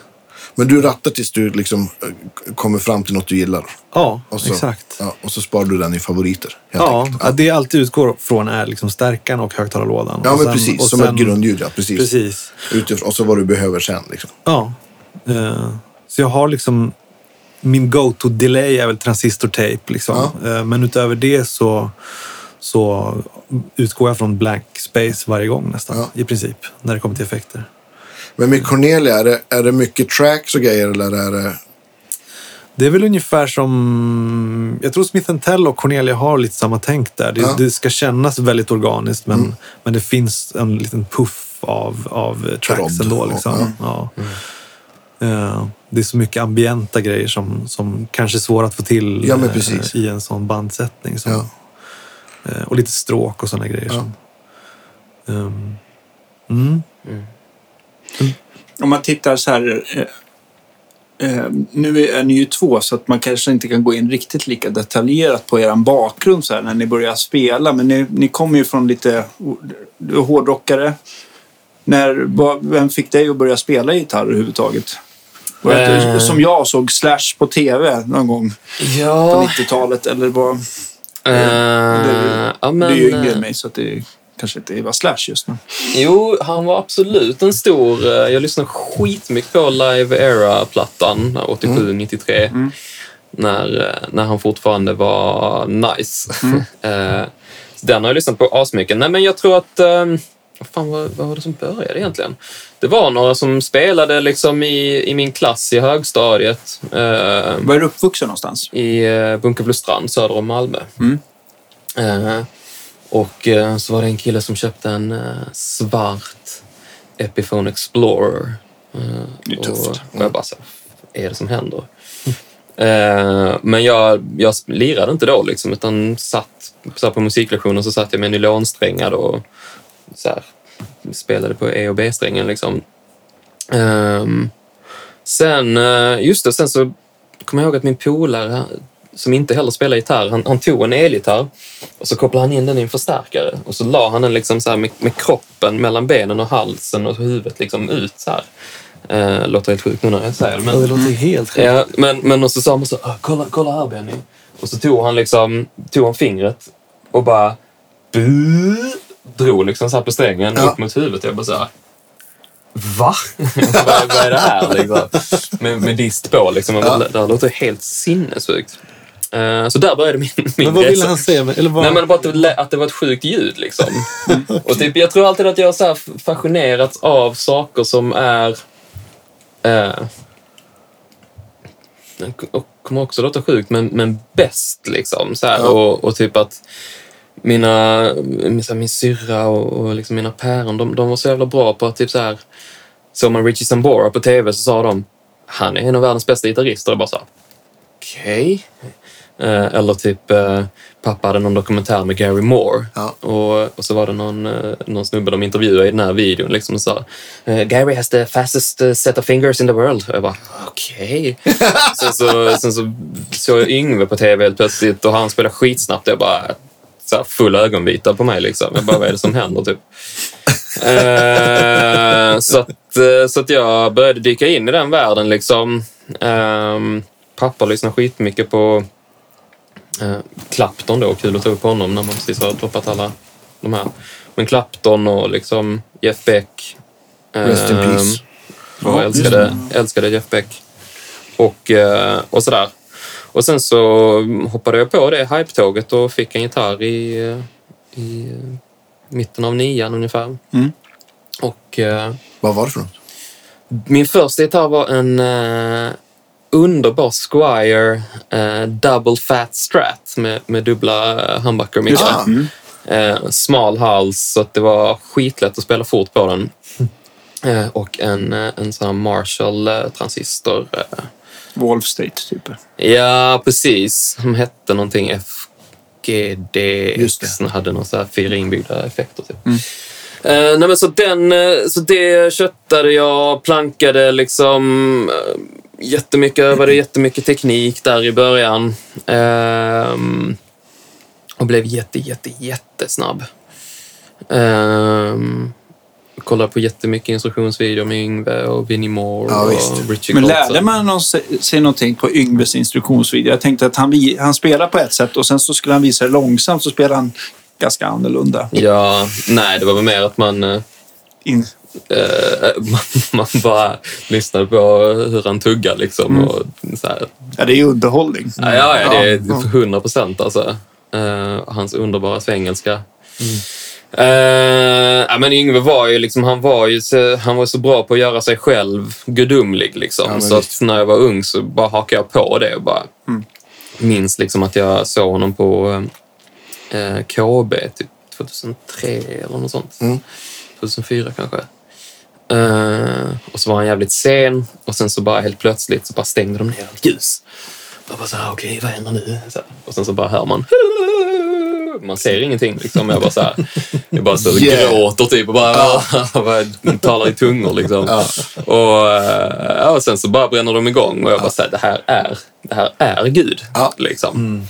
S2: Men du rattar tills du liksom eh, k- kommer fram till något du gillar.
S4: Ja,
S2: Och så,
S4: exakt.
S2: Ja, och så sparar du den i favoriter. helt
S4: Ja,
S2: enkelt.
S4: ja, det jag alltid utgår från är liksom stärkan och högtalarlådan.
S2: Ja,
S4: Och
S2: men
S4: sen-
S2: precis.
S4: och
S2: Som
S4: sen-
S2: ett grundljud, ja. Precis.
S4: Precis.
S2: Utifrån, och så vad du behöver sen. Liksom.
S4: Ja. Eh, så jag har liksom... Min go-to-delay är väl transistortape. Liksom. Eh, men utöver det så, så utgår jag från blank space varje gång nästan.
S2: Ja.
S4: I princip. När det kommer till effekter.
S2: Men med Cornelia, är det, är det mycket tracks och grejer eller är det...
S4: Det är väl ungefär som... Jag tror Smith Tell och Cornelia har lite samma tänk där. Det,
S2: Ja. Mm.
S4: det ska kännas väldigt organiskt, men, men det finns en liten puff av, av tracks
S2: Rodd.
S4: ändå. Liksom.
S2: Ja. Mm.
S4: Ja. Eh, det är så mycket ambienta grejer som, som kanske är svåra att få till
S2: Ja, men
S4: eh,
S2: precis.
S4: i en sån bandsättning. Som,
S2: Ja.
S4: eh, och lite stråk och såna grejer. Som, Ehm, mm.
S3: Om man tittar så här. eh, Eh, nu är ni ju två så att man kanske inte kan gå in riktigt lika detaljerat på er bakgrund så här, när ni börjar spela. Men ni, ni kommer ju från lite du är hårdrockare. När, vad- vem fick dig att börja spela gitarr överhuvudtaget? Var det
S5: Eh.
S3: inte som jag såg Slash på tv någon gång på
S5: Ja.
S3: 90-talet? Eller var, du
S5: Eh, ja,
S3: är
S5: men,
S3: ju yngre än
S5: eh,
S3: mig så att det kanske inte var Slash just nu.
S5: Jo, han var absolut en stor... eh, Jag lyssnade skitmycket på Live Era-plattan, 87-93. När, eh, när han fortfarande var nice. Eh, så den har jag lyssnat på asmycket. Nej, men jag tror att... eh, vad fan, vad, vad var det som började egentligen? Det var några som spelade liksom i, i min klass i högstadiet. eh,
S3: Var är du uppvuxen någonstans?
S5: i eh, Bunkeflostrand söder om Malmö.
S3: Mm.
S5: Eh, och eh, så var det en kille som köpte en eh, svart Epiphone Explorer. Eh,
S3: Det är
S5: Och,
S3: tufft. Mm.
S5: och jag bara, så, här, vad är det som händer? Eh, men jag, jag lirade inte då, liksom, utan satt så här, på musiklektionen så satt jag med nylonsträngar då och så här, spelade på E och B-strängen. Liksom. Ehm, sen, eh, just det, sen så kommer jag ihåg att min polare, som inte heller spelar gitarr, han, han tog en elgitarr och så kopplade han in den i en förstärkare och så la han den liksom så här med, med kroppen mellan benen och halsen och huvudet liksom ut så här. Eh, låter helt sjukt nu när jag säger det. Men,
S4: Det låter helt sjukt.
S5: Ja, men, men och så sa man så, "Ah, kolla, kolla här Benny. Och så tog han liksom, tog han fingret och bara bu, drog liksom så här på strängen
S2: Ja.
S5: upp mot huvudet. Jag bara så här, va? vad, är- vad är det här liksom? Med, med dist på liksom. Jag bara, Det här låter helt sinnessjukt. Eh, så där började min, min
S4: Men vad ville
S5: resa.
S4: han säga? Eller vad,
S5: Nej, men bara att det, lä- att det var ett sjukt ljud liksom. Och typ, jag tror alltid att jag har så här fascinerats av saker som är... Eh, den k- och kommer också låta sjukt, men, men bäst liksom. Så här, och, och typ att mina, min, så här, min syrra och, och liksom mina päron, de, de var så jävla bra på att typ så här... Såg man Richie Sambora på tv så sa de han är en av världens bästa gitarrister. Och jag bara så här, okej. Eh, eller typ eh, pappa hade någon dokumentär med Gary Moore.
S2: Ja.
S5: Och, och så var det någon, eh, någon snubbe de intervjuade i den här videon liksom och sa eh, Gary has the fastest eh, set of fingers in the world. Och jag bara okej. sen, så, sen så såg jag Yngve på tv helt plötsligt och han spelade skitsnabbt. Jag bara så här full ögonvita på mig liksom. Jag bara vad är det som händer typ? Eh, så, att, eh, så att jag började dyka in i den världen. Liksom. Ehm, pappa lyssnar skitmycket på eh, Clapton då. Kul att ta upp honom när man precis har droppat alla de här. Men Clapton och liksom Jeff Beck.
S2: Rest in
S5: Ehm,
S2: peace.
S5: och älskade, älskade Jeff Beck. Och, eh, och sådär. Och sen så hoppade jag på det hype-tåget och fick en gitarr i, eh, i eh, mitten av nian ungefär. Och eh,
S2: Vad var det för något?
S5: min första gitarr var en eh, underbar Squire eh, Double Fat Strat med, med dubbla eh, humbucker och mickar. Eh, smal hals, så att det var skitlätt att spela fort på den. Eh, och en, eh, en sån här Marshall-transistor. Eh,
S3: Wolf State, typ.
S5: Ja, precis. De hette någonting
S2: Just det. Mm.
S5: FGDX. Den hade någon så här fyra inbyggda effekter. Typ. Eh, nej, men så, den, eh, så det köttade jag, plankade liksom uh, jättemycket, övade jättemycket teknik där i början. Ehm, och blev jätte, jätte, jättesnabb. Um, kollade på jättemycket instruktionsvideor med Yngve och Vinnie Moore
S2: Ja,
S5: och
S2: visst.
S5: Richie
S3: Men
S5: Colton.
S3: lärde man någon, sig sig någonting på Yngves instruktionsvideo? Jag tänkte att han, vi- han spelar på ett sätt och sen så skulle han visa det långsamt så spelar han ganska annorlunda.
S5: Ja, nej, det var väl mer att man, eh,
S3: In,
S5: eh, man, man bara lyssnade på hur han tuggar liksom.
S2: Mm.
S5: Och så här.
S3: ja, det är ju underhållning.
S5: Ja,
S2: Mm.
S5: ja, ja, det är 100 procent alltså. Eh, hans underbara svengelska. Eh, ja, men Yngve var ju liksom, han var ju så, han var så bra på att göra sig själv gudomlig. Liksom.
S2: Ja, men
S5: så att
S2: visst. Mm.
S5: när jag var ung så bara hakade jag på det och bara minns liksom att jag såg honom på eh, KB typ 2003 eller något sånt.
S2: Mm.
S5: 2004 kanske. Eh, och så var han jävligt sen och sen så bara helt plötsligt så bara stängde de ner allt ljus. Jag bara så här, okej, vad händer nu? Så här. Och sen så bara hör man... Man ser ingenting liksom. Jag bara så här, jag bara så
S2: Yeah.
S5: gråter typ och bara, bara talar i tungor liksom. Och, eh, ja, och sen så bara bränner de igång och jag bara så här, det här är, det här är Gud.
S2: Ja. Mm.
S5: Liksom.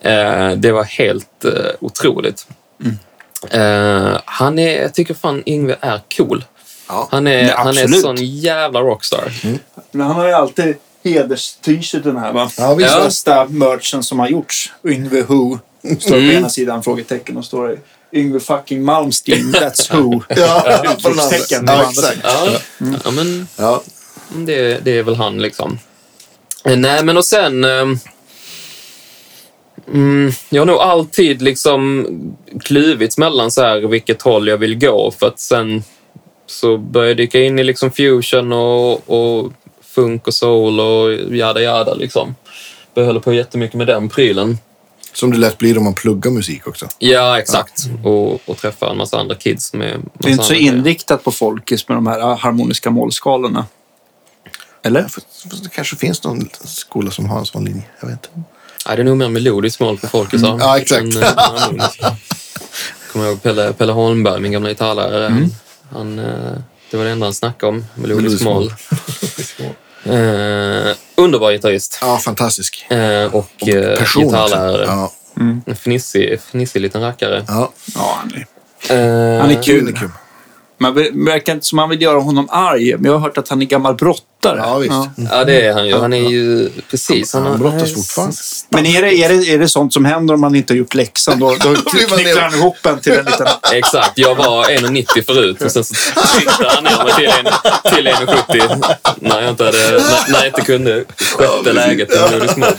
S5: Eh, det var helt eh, otroligt. Eh, han är, jag tycker fan Yngve är cool.
S2: Ja.
S5: Han är,
S3: Ja,
S5: han är en
S3: absolut. Mm.
S5: sån jävla rockstar.
S3: Men han har ju alltid hederstyset den här va?
S2: Ja, visst.
S3: Den bästa merchen som har gjorts. Yngve Who. Står på ena sidan frågetecken och står det Yngwe fucking Malmsteen, that's who.
S2: Ja, på den andra.
S3: Utropstecken på den
S2: Ja,
S3: andra
S2: exakt.
S5: Ja, ja, men
S2: Ja.
S5: det, det är väl han liksom. Eh, Nej, men och sen... ehm, Mm, jag har nog alltid liksom kluvits mellan så här vilket håll jag vill gå för att sen så började jag dyka in i liksom fusion och, och funk och soul och jada jada liksom. Började hålla på jättemycket med den prylen.
S2: Som det lätt blir om man pluggar musik också.
S5: Ja, exakt. Och, och träffa en massa andra kids med... Massa
S3: Det är inte så
S5: andra-
S3: inriktat på folkis med de här ah, harmoniska målskalorna. Eller?
S2: Fast- fast Det kanske finns någon skola som har en sån linje. Jag vet inte.
S5: Nej, det är nog mer melodiskt mål på folk. Mm.
S2: ja, exakt.
S5: kommer jag ihåg Pelle, Pelle Holmberg, min gamla gitarrlärare. Han, eh, det var det enda han snackade om, melodiskt
S2: Melodiskt
S5: mål. Eh, underbar gitarrist
S2: Ja, fantastisk.
S5: eh, och eh,
S2: Person också.
S5: gitarrlärare.
S2: Ja,
S5: En fnissig, fnissig liten rackare.
S2: ja.
S3: Ja, han är,
S5: Eh,
S3: han är kul.
S2: Unikum.
S3: Man ver- verkar inte som man vill göra honom arg, men jag har hört att han är gammal brottare.
S2: Ja, visst.
S5: ja, det är han ju. Han är ju... Precis.
S2: Han
S5: har-
S2: brottas
S5: är
S2: fortfarande.
S5: s-
S3: Men är det, är, det, är det sånt som händer om man inte har gjort läxan? Då, då
S2: blir man
S3: knycklar han
S2: ner.
S3: ihop en till en liten...
S5: Exakt, jag var 1,90 förut och sen så tryckte han ner mig till, en, till 1,70 när jag inte, hade, när, när jag inte kunde sjätte läget i Nordisk Mod.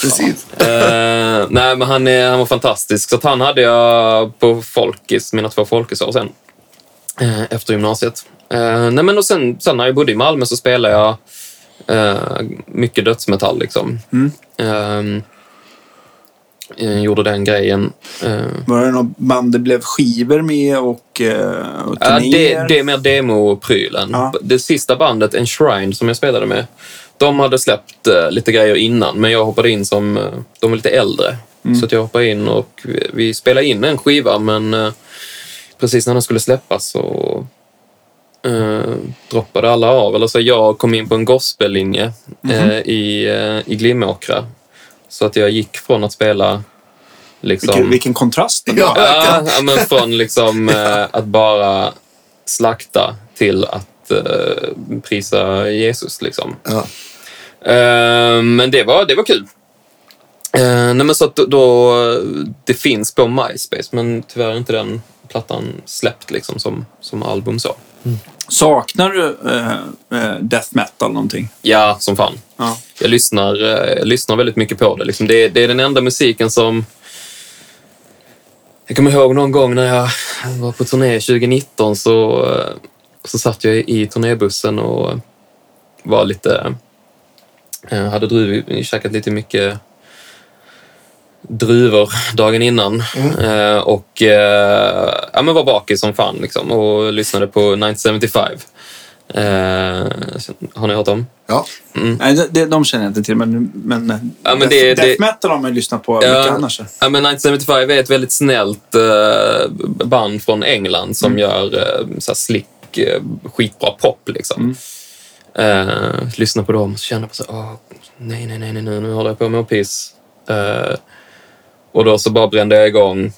S2: Precis.
S5: Eh, nej, men han, är, han var fantastisk. Så att han hade jag på Folkis, mina två Folkisår sen. eh, efter gymnasiet. Eh, nej, men och sen, sen när jag bodde i Malmö så spelade jag eh, mycket dödsmetall. Liksom. Eh, jag gjorde den grejen. Eh,
S3: Var det något band det blev skivor med och, eh, och
S5: Ja,
S3: turnéer?
S5: det, det är mer demoprylen.
S3: Ja.
S5: Det sista bandet, Enshrine, som jag spelade med, de hade släppt eh, lite grejer innan, men jag hoppade in som... eh, de är lite äldre.
S3: Mm.
S5: Så att jag hoppade in och vi, vi spelade in en skiva, men eh, precis när den skulle släppas så eh, droppade alla av. Eller så jag kom in på en gospellinje
S3: Mhm.
S5: eh, i, eh, i Glimåkra. Så att jag gick från att spela... Liksom,
S3: vilken, vilken kontrast det var.
S2: Ja.
S5: Ja, ja, men från liksom eh, att bara slakta till att eh, prisa Jesus. Liksom.
S2: Ja.
S5: Eh, men det var, det var kul. Eh, nej, men så att då, då, det finns på MySpace, men tyvärr är inte den plattan släppt liksom, som, som album. så.
S3: Saknar du eh, eh, death metal någonting?
S5: Ja, som fan.
S3: Ja.
S5: Jag lyssnar, eh, jag lyssnar väldigt mycket på det. Liksom det, är- det är den enda musiken som... Jag kommer ihåg någon gång när jag var på turné 2019 så, eh, så satt jag i turnébussen och var lite... eh, Hade druv, käkat lite mycket druvor dagen innan Eh, och eh, ja, men var bakis som fan liksom, och lyssnade på 1975. Eh, har ni hört om?
S2: Ja.
S3: Mm. Nej, det, det, de känner jag inte till, men, men, eh,
S5: Ja, men
S3: death,
S5: det-
S3: death
S5: det-
S3: metal har man ju lyssnat på mycket annars.
S5: Ja, men 1975 är ett väldigt snällt eh, band från England som
S3: Mm.
S5: gör eh, så här slick, eh, skitbra pop. Liksom.
S3: Mm.
S5: Eh, lyssna på dem och så känner jag på så här, "Åh, nej, nej, nej, nej, nej, nu håller jag på med att piss. Eh, och då så bara brände jag igång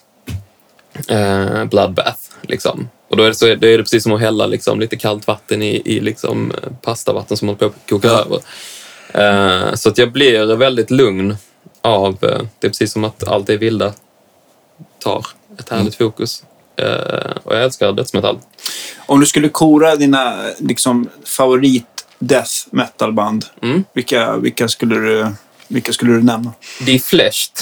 S5: eh, Bloodbath. Liksom. Och då är, det så, då är det precis som att hälla liksom, lite kallt vatten i, i liksom, eh, pastavatten som håller på att koka över. Eh, så att jag blir väldigt lugn av... Eh, det är precis som att allt det vilda tar ett härligt
S3: Mm.
S5: fokus. Eh, och jag älskar dödsmetall.
S3: Om du skulle kora dina liksom, favorit death metal-band,
S5: Mm.
S3: vilka, vilka, skulle du, vilka skulle du nämna?
S5: The Fleshed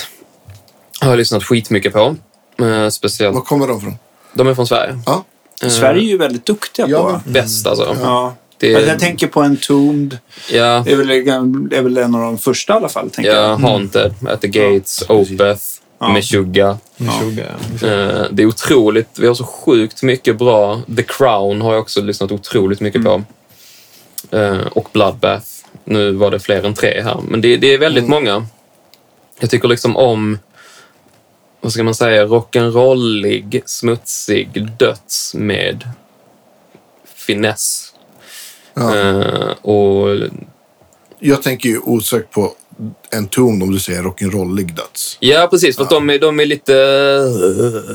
S5: har jag lyssnat skitmycket på. Eh, speciellt
S2: Var kommer de från?
S5: De är från Sverige.
S2: Ja.
S5: Eh,
S3: Sverige är ju väldigt duktiga
S2: Ja,
S3: på.
S2: men-
S5: Bäst alltså. Ja.
S3: Ja.
S5: Det-
S3: Alltså, jag tänker på Entombed.
S5: Ja,
S3: Det är väl, det är väl en av de första i alla fall. Tänker jag.
S5: Haunted, At the Gates, Opeth,
S3: Ja.
S5: Meshuggah.
S4: Meshuggah, ja.
S5: Eh, det är otroligt. Vi har så sjukt mycket bra. The Crown har jag också lyssnat otroligt mycket på. Eh, och Bloodbath. Nu var det fler än tre här, men det, det är väldigt många. Jag tycker liksom om, vad ska man säga, rock'n'rollig, smutsig döds med finess.
S2: Ja.
S5: Eh, och
S2: Jag tänker ju osökt på en ton om du säger rock'n'rollig döds.
S5: Ja, precis. För att de, är, de är lite...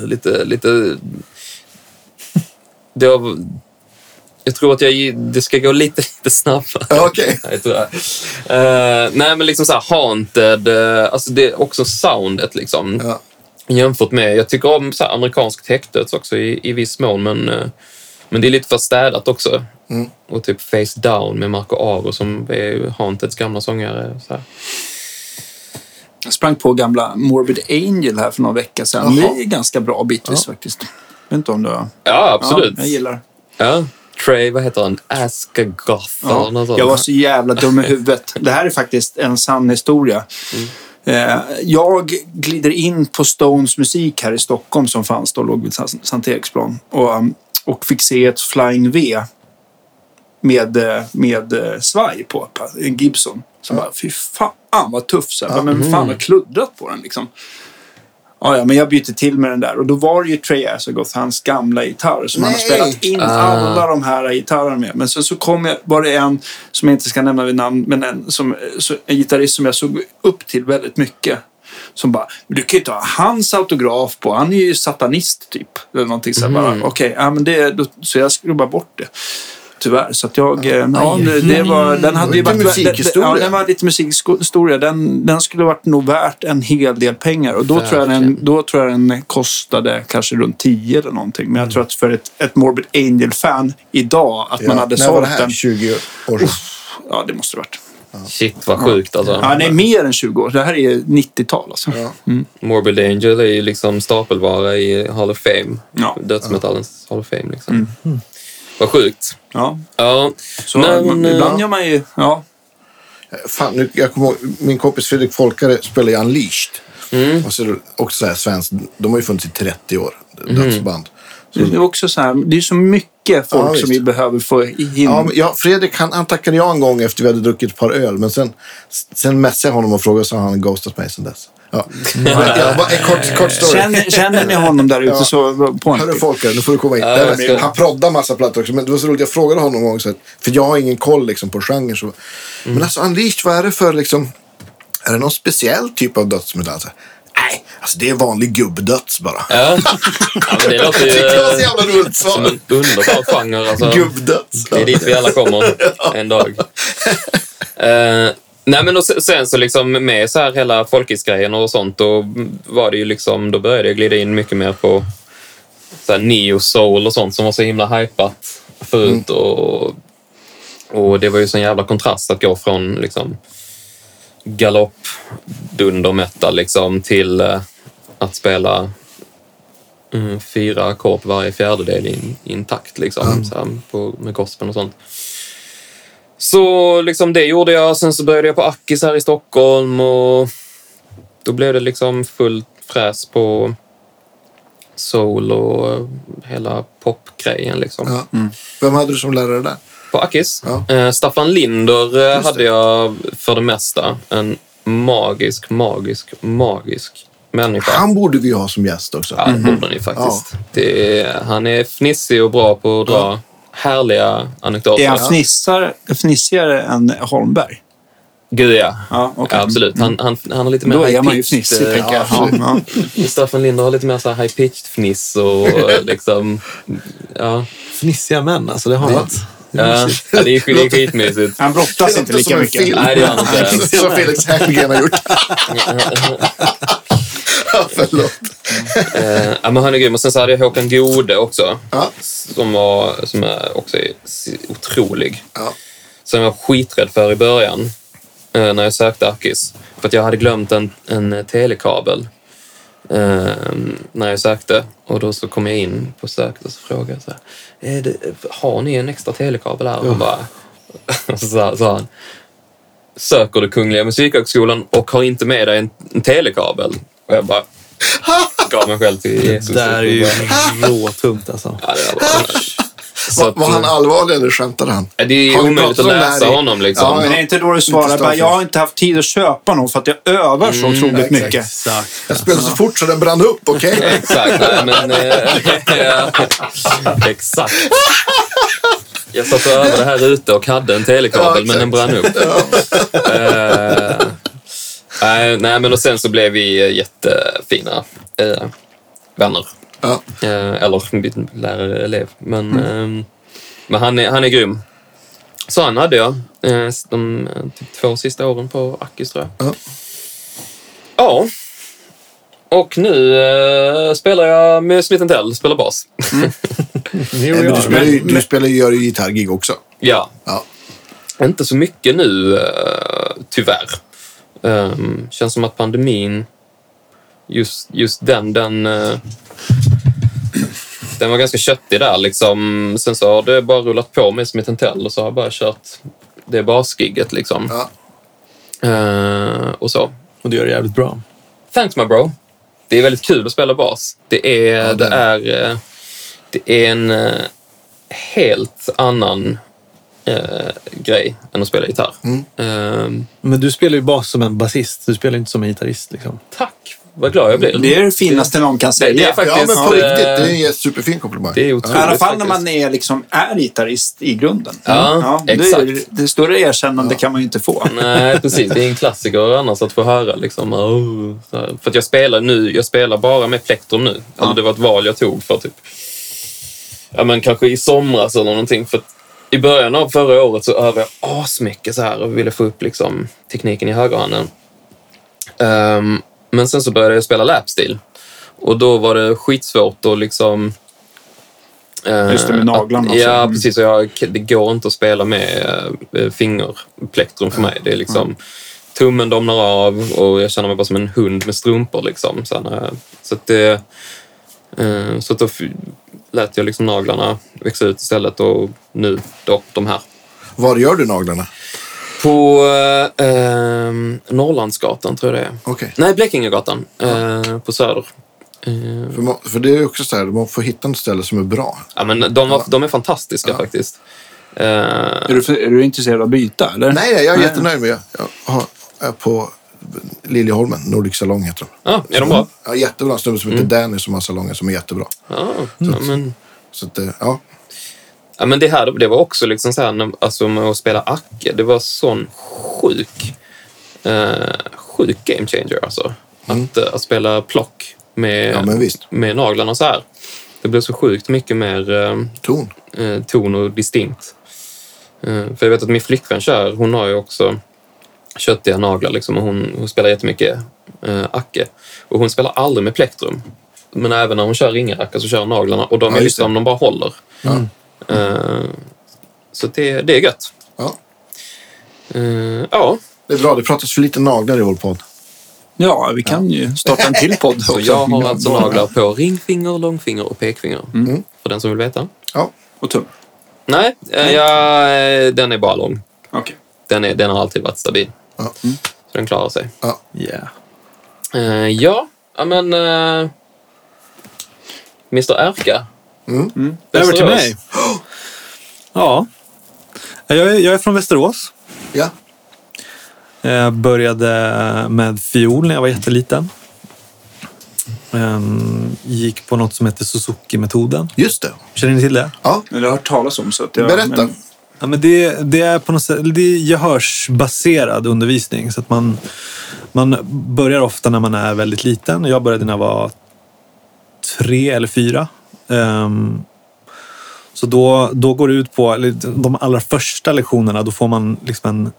S5: Lite... lite det har, jag tror att jag, det ska gå lite, lite snabbare.
S2: Ja, Okej.
S5: Nej, jag tror jag. Eh, nej, men liksom så här haunted. eh, alltså det är också soundet liksom.
S2: Ja.
S5: Jämfört med, jag tycker om så här amerikansk täckdöds också i, i viss mån, men, eh, men det är lite för städat också. Och typ Face Down med Marco Aro som är ju Haunteds gamla sångare. Så här.
S3: Jag sprang på gamla Morbid Angel här för några veckor sedan.
S2: Jaha.
S3: Det är ganska bra bitvis faktiskt. Jag vet inte om du har...
S5: Ja, absolut.
S3: Ja, jag gillar
S5: Ja. Trey, vad heter han? Askagoth eller något sånt.
S3: Jag var så jävla dum i huvudet. Det här är faktiskt en sann historia.
S5: Mm.
S3: Eh, Jag glider in på Stones musik här i Stockholm som fanns då, låg vid San- Sankt Eriksplan. Och, um, och fick se ett Flying V med, eh, med eh, svaj på, på en Gibson. Så bara, fy fan vad tuff. Så här, Men fan vad kluddrat på den liksom. Ja, ja, men jag bytte till med den där. Och då var det ju Trey Azagoth, hans gamla gitarr, som han har
S2: Nej.
S3: spelat in alla de här gitarrerna med. Men sen så kom jag, var det en, som jag inte ska nämna vid namn, men en, som, så, en gitarrist som jag såg upp till väldigt mycket. Som bara, "Men du kan ju inte ha hans autograf på, han är ju satanist typ. Eller någonting så här, bara, okej, ja, men det, då, så jag skrubbar bort det. Tyvärr, så att jag... eh, Ja, det, det var, den hade ju
S2: Lite
S3: varit...
S2: musikhistoria.
S3: Den, den, ja, den var lite musikhistoria. Den, den skulle varit nog värt en hel del pengar. Och då, tror jag den,
S5: Verkligen.
S3: då tror jag den kostade kanske runt 10 eller någonting. Men jag
S5: Mm.
S3: tror att för ett, ett Morbid Angel-fan idag, att man hade
S2: När var det
S3: sålt
S2: här?
S3: den...
S2: 20 år sedan?
S3: Ja, det måste det varit.
S5: Shit, vad sjukt alltså.
S3: Ja, nej, mer än 20 år. Det här är 90-tal alltså.
S5: Morbid Angel är ju liksom stapelvara i Hall of Fame.
S3: Ja.
S5: Dödsmetallens Hall of Fame liksom. Vad sjukt.
S3: Ja.
S5: Ja,
S3: Så
S5: men,
S3: man,
S5: eh,
S3: ibland gör man ju... Ja,
S2: Fan, nu, jag kommer ihåg, min kompis Fredrik Folkare spelar i Unleashed. Och så, också så här svenskt. De har ju funnits i 30 år, dödsband. Så,
S5: Mm.
S3: det är också så här, det är så mycket folk
S2: Ja, visst.
S3: som vi behöver få in.
S2: ja, men, ja, Fredrik han, han tackade jag en gång efter vi hade druckit ett par öl. Men sen, sen messade jag honom och frågade så har han ghostat mig sen dess. Ja. Men, ja, bara en kort, kort story.
S3: Känner, känner ni honom där ute
S2: Ja.
S3: så på en
S2: Hörru Folkare, nu får du komma in.
S5: Ja,
S2: Nej,
S5: jag
S2: men
S5: ska-
S2: Han proddar massa plattor också. Men det var så roligt, jag frågade honom en gång, så här, för jag har ingen koll liksom, på genren.
S5: Mm.
S2: Så... Men alltså Unleashed, vad är det för liksom, är det någon speciell typ av dödsmetall? Så här, Nej, alltså det är vanlig gubbdöds bara.
S5: ja. ja men det låter
S2: Jag tyckte det var så
S5: ju
S2: jävla roligt
S5: som
S2: svar.
S5: en underbar genre. Alltså.
S2: Gubbdöds.
S5: Det är dit vi alla kommer en dag. Eh, nej men och se- sen så liksom med så här hela folkisgrejen och sånt, då var det ju liksom, då började jag glida in mycket mer på så här neo-soul och sånt som var så himla hypat förut. Och, och det var ju sån jävla kontrast att gå från liksom galopp, dunder metal liksom till eh, att spela mm, fyra ackord på varje fjärdedel in, intakt liksom, så här, på, med gospeln och sånt. Så liksom det gjorde jag. Sen så började jag på Ackis här i Stockholm och då blev det liksom full fräs på soul och eh, hela popgrejen liksom.
S2: Ja. Vem hade du som lärare där?
S5: På Ackis.
S2: Ja.
S5: Eh, Staffan Linder eh,
S2: Just
S5: hade
S2: det.
S5: jag för det mesta. En magisk, magisk, magisk människa.
S2: Han borde vi ju ha som gäst också.
S5: Ja, det borde ni faktiskt. Det är, han är fnissig och bra på att dra härliga anekdoter.
S3: Är han fnissar, fnissigare än Holmberg?
S5: Gud ja.
S3: Ja, okej. Mm.
S5: Absolut. Han, han, han har lite mer
S3: Då är man ju
S5: high-pitched,
S3: fnissig,
S5: eh,
S3: tänker jag. Ja, ja.
S5: Staffan Linder har lite mer så här high-pitched fniss och eh, liksom... Ja. Eh,
S4: Fnissiga män, alltså. Det har han varit.
S5: Ja, det är skit- det är skitmysigt.
S3: Han brottas inte
S2: låter som
S3: lika
S2: en
S3: mycket.
S2: film.
S5: Nej, det gör han inte.
S2: Som Felix Herngren har gjort. ja, förlåt.
S5: Eh, ja, men han är grym. Och sen så hade jag Håkan Gode också.
S2: Ja.
S5: Som, var, som är också är si- otrolig.
S2: Ja.
S5: Som jag var skiträdd för i början. eh, När jag sökte Arkis. För att jag hade glömt en, en telekabel. Ehm, när jag sökte och då så kom jag in på söket och så frågade jag så här, "Är det, har ni en extra telekabel här? Och han bara, och så sa- sa han, söker du Kungliga Musikhögskolan och har inte med dig en, en telekabel? Och jag bara gav mig själv till Jesus.
S4: Det där är ju råtunt alltså.
S5: Ja, det där var- så
S2: Var,
S5: att,
S2: var han allvarlig eller skämtade han?
S5: eh, det
S2: Har
S5: är
S2: vi
S5: omöjligt
S2: pratat
S5: att
S2: om det här
S5: läsa
S2: i-
S5: honom liksom.
S2: Ja,
S3: Men det är inte då du svarar bara,
S2: status.
S3: jag har inte haft tid att köpa någon för att jag övar
S5: Mm,
S3: så otroligt
S2: exakt.
S3: mycket.
S4: Exakt.
S2: Jag spelade så fort så den brann upp, okej?
S5: Exakt, nej men... Eh, exakt. Jag satt och övade här ute och hade en
S2: Ja,
S5: telekabel,
S2: exakt.
S5: men den brann upp. Eh, nej, nej, men och sen så blev vi eh, jättefina eh, vänner.
S2: Ja.
S5: Eh, eller min lärare, elev. Men, ehm, men han, är, han är grym. Så han hade jag eh, de eh, typ två sista åren på Akis, tror jag.
S2: Ja.
S5: Ja. Och nu eh, spelar jag med Smith Tell, spelar bas.
S4: Here
S2: Men
S4: we
S2: du
S4: are.
S2: spelar ju, du spelar ju, gör ju gitarrgig också.
S5: ja,
S2: Ja.
S5: inte så mycket nu, eh, tyvärr. Ehm, känns som att pandemin, just, just den, den, eh, den var ganska köttig där. Liksom. Sen så har det bara rullat på med Smith Tell och så har jag bara kört det basgigget. Liksom.
S2: Ja.
S5: Eh, och så.
S4: Och du gör det jävligt bra.
S5: Thanks my bro. Det är väldigt kul att spela bas. Det är, det
S2: det
S5: är, eh, det är en eh, helt annan eh, grej än att spela gitarr. Ehm,
S4: Men du spelar ju bas som en basist. Du spelar inte som en gitarrist. Liksom.
S5: tack, vad glad jag blir.
S3: Det är det finaste någon kan säga.
S5: Det är faktiskt-
S2: ja, men på
S5: eh,
S2: riktigt. Det är en superfin komplimang.
S5: det är
S3: I
S5: otroligt
S3: alla fall när
S5: faktiskt.
S3: man är, liksom, är gitarrist i grunden.
S5: Ja,
S3: det, är, ju-
S5: exakt.
S3: det större erkännande kan man ju inte få.
S5: Nej, precis. Det är en klassiker annars att få höra. Liksom, "Åh", så här. För att jag spelar nu, jag spelar bara med plektrum nu. Alltså, det var ett val jag tog för typ, ja men kanske i somras eller någonting. För att i början av förra året så övade jag asmycket så här och ville få upp liksom, tekniken i högerhanden. Ehm, men sen så började jag spela lapstil. Och då var det skitsvårt att liksom... eh,
S3: Just det, med naglarna
S5: Att,
S3: och så.
S5: ja,
S3: Mm.
S5: precis. Och jag, det går inte att spela med eh, fingerplektrum för mig. Det är
S3: Mm.
S5: liksom... Tummen domnar av och jag känner mig bara som en hund med strumpor. Liksom. Så, här, eh, så att det... eh, Så att då f- lät jag liksom naglarna växa ut istället och nu då de här.
S2: Var gör du naglarna?
S5: På eh, eh, Norrlandsgatan tror jag det är.
S2: Okej.
S5: Nej, Blekingegatan eh, på Söder. Eh,
S2: För, man- för det är ju också så här, man får hitta ett ställe som är bra.
S5: ja, men de, var, de är fantastiska faktiskt. Eh,
S3: Är, du, för- är du intresserad av att byta? Eller?
S2: Nej, nej, jag är jättenöjd med jag, jag har, jag är på Liljeholmen, Nordic Salong heter de.
S5: ja, är de bra?
S2: Ja, jättebra. En snubbe som
S5: Mm.
S2: heter Danny som har salonger som är jättebra.
S5: Ja, ja,
S2: Mm.
S5: men,
S2: Så att, eh, ja.
S5: ja, men det här det var också liksom så här, när- alltså med att spela Acke, det var sån sjuk, eh, sjuk game changer alltså. Att, eh, att spela plock med,
S2: Mm. Ja, men visst.
S5: med naglarna så här. Det blev så sjukt mycket mer eh,
S2: Ton.
S5: eh, ton och distinkt. Eh, för jag vet att min flickvän kör, hon har ju också köttiga naglar liksom, och hon, hon spelar jättemycket eh, acke. Och hon spelar aldrig med plektrum. Men även när hon kör ringaracka så kör hon naglarna och de
S2: Ja,
S5: är
S2: just det.
S5: liksom, de bara håller. Eh, så det, det är gött.
S2: Ja.
S5: Eh, ja,
S2: Det är bra, det pratas för lite naglar i vår podd.
S3: Ja, vi kan ju starta en till podd.
S5: så
S3: också.
S5: jag har alltså
S3: Bara-
S5: naglar på ringfinger, långfinger och pekfinger.
S2: Mm.
S5: Mm. För den som vill veta.
S2: Ja.
S3: Och tum.
S5: Nej, eh, jag, eh, den är bara lång.
S3: Okej.
S5: Den, är, den har alltid varit stabil.
S2: Ja.
S4: Mm.
S5: Så den klarar sig.
S4: Yeah.
S5: Eh, ja, ja men... eh, Mr Erka.
S4: Över till
S5: Västerås.
S4: mig. Ja. Jag är, jag är från Västerås.
S2: ja.
S4: Jag började med fiol när jag var jätteliten. Ehm, Gick på något som heter Suzuki-metoden.
S2: Just det.
S4: Känner ni till det?
S2: Ja.
S3: Men det har jag hört talas om. Så att jag,
S2: Berätta.
S3: Men,
S4: Ja, men det, det är på något sätt det är gehörsbaserad undervisning. Så att man, man börjar ofta när man är väldigt liten. Jag började när jag var tre eller fyra. Ehm, så då, då går det ut på, eller de allra första lektionerna, då får man liksom en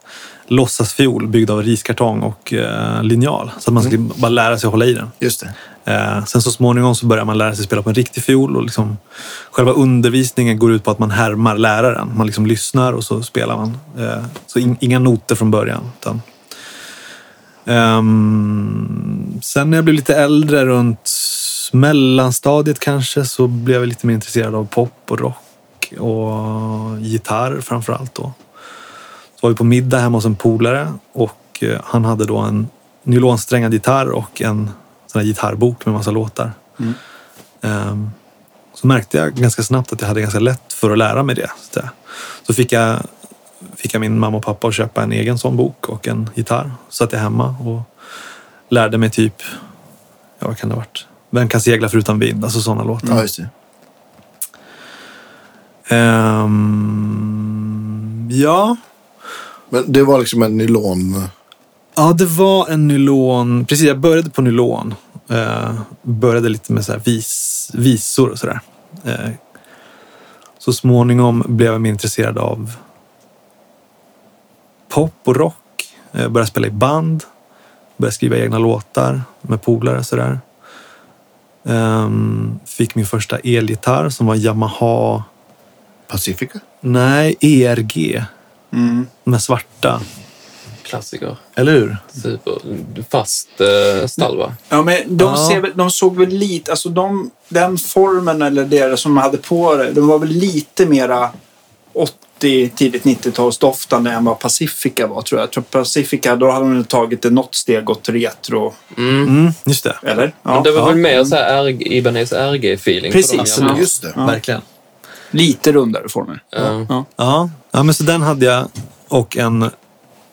S4: låtsasfiol byggd av riskartong och eh, linjal. Så att man ska bara lära sig att hålla i den.
S2: Just det.
S4: Eh, sen så småningom så börjar man lära sig spela på en riktig fiol och liksom, själva undervisningen går ut på att man härmar läraren. Man liksom lyssnar och så spelar man. Eh, så in, inga noter från början. Utan, Ehm, sen när jag blev lite äldre, runt mellanstadiet kanske, så blev jag lite mer intresserad av pop och rock och gitarr framför allt. Då. Så var vi på middag hemma hos en polare och eh, han hade då en nylonsträngad gitarr och en sån här gitarrbok med massa låtar. Ehm, så märkte jag ganska snabbt att jag hade ganska lätt för att lära mig det. Så där. Så fick jag, fick jag min mamma och pappa att köpa en egen sån bok och en gitarr. Så satt jag hemma och lärde mig typ, ja vad kan det ha varit? Vem kan segla förutan vind? Alltså sådana låtar.
S2: Ja, just det.
S4: Ehm, ja.
S2: Men det var liksom en nylon...
S4: ja, det var en nylon. Precis, jag började på nylon. Eh, började lite med så här vis, visor och sådär. Eh, så småningom blev jag mer intresserad av pop och rock. Eh, började spela i band. Började skriva egna låtar med polare och sådär. Ehm, fick min första elgitarr som var Yamaha
S2: Pacifica?
S4: Nej, E ERG. De här svarta.
S5: Klassiker.
S4: Eller hur?
S5: Super. Fast eh, stall, va?
S3: Ja, men de,
S4: Ja.
S3: ser väl, de såg väl lite, alltså de, den formen eller det som de hade på det, de var väl lite mera 80, tidigt 90-talsdoftande än vad Pacifica var tror jag. jag tror Pacifica, då hade de väl tagit det något steg åt retro,
S5: Mm.
S4: Mm, just det.
S3: eller?
S5: Men
S3: Ja,
S5: det var
S4: ja.
S5: väl mer så här RG, Ibanez RG-feeling. på
S3: Precis,
S5: de
S3: absolut.
S5: gamla.
S2: Just det.
S3: Ja.
S4: Verkligen.
S3: lite rundare former.
S5: Ja.
S3: Ja.
S4: Ja. ja, men så den hade jag. Och en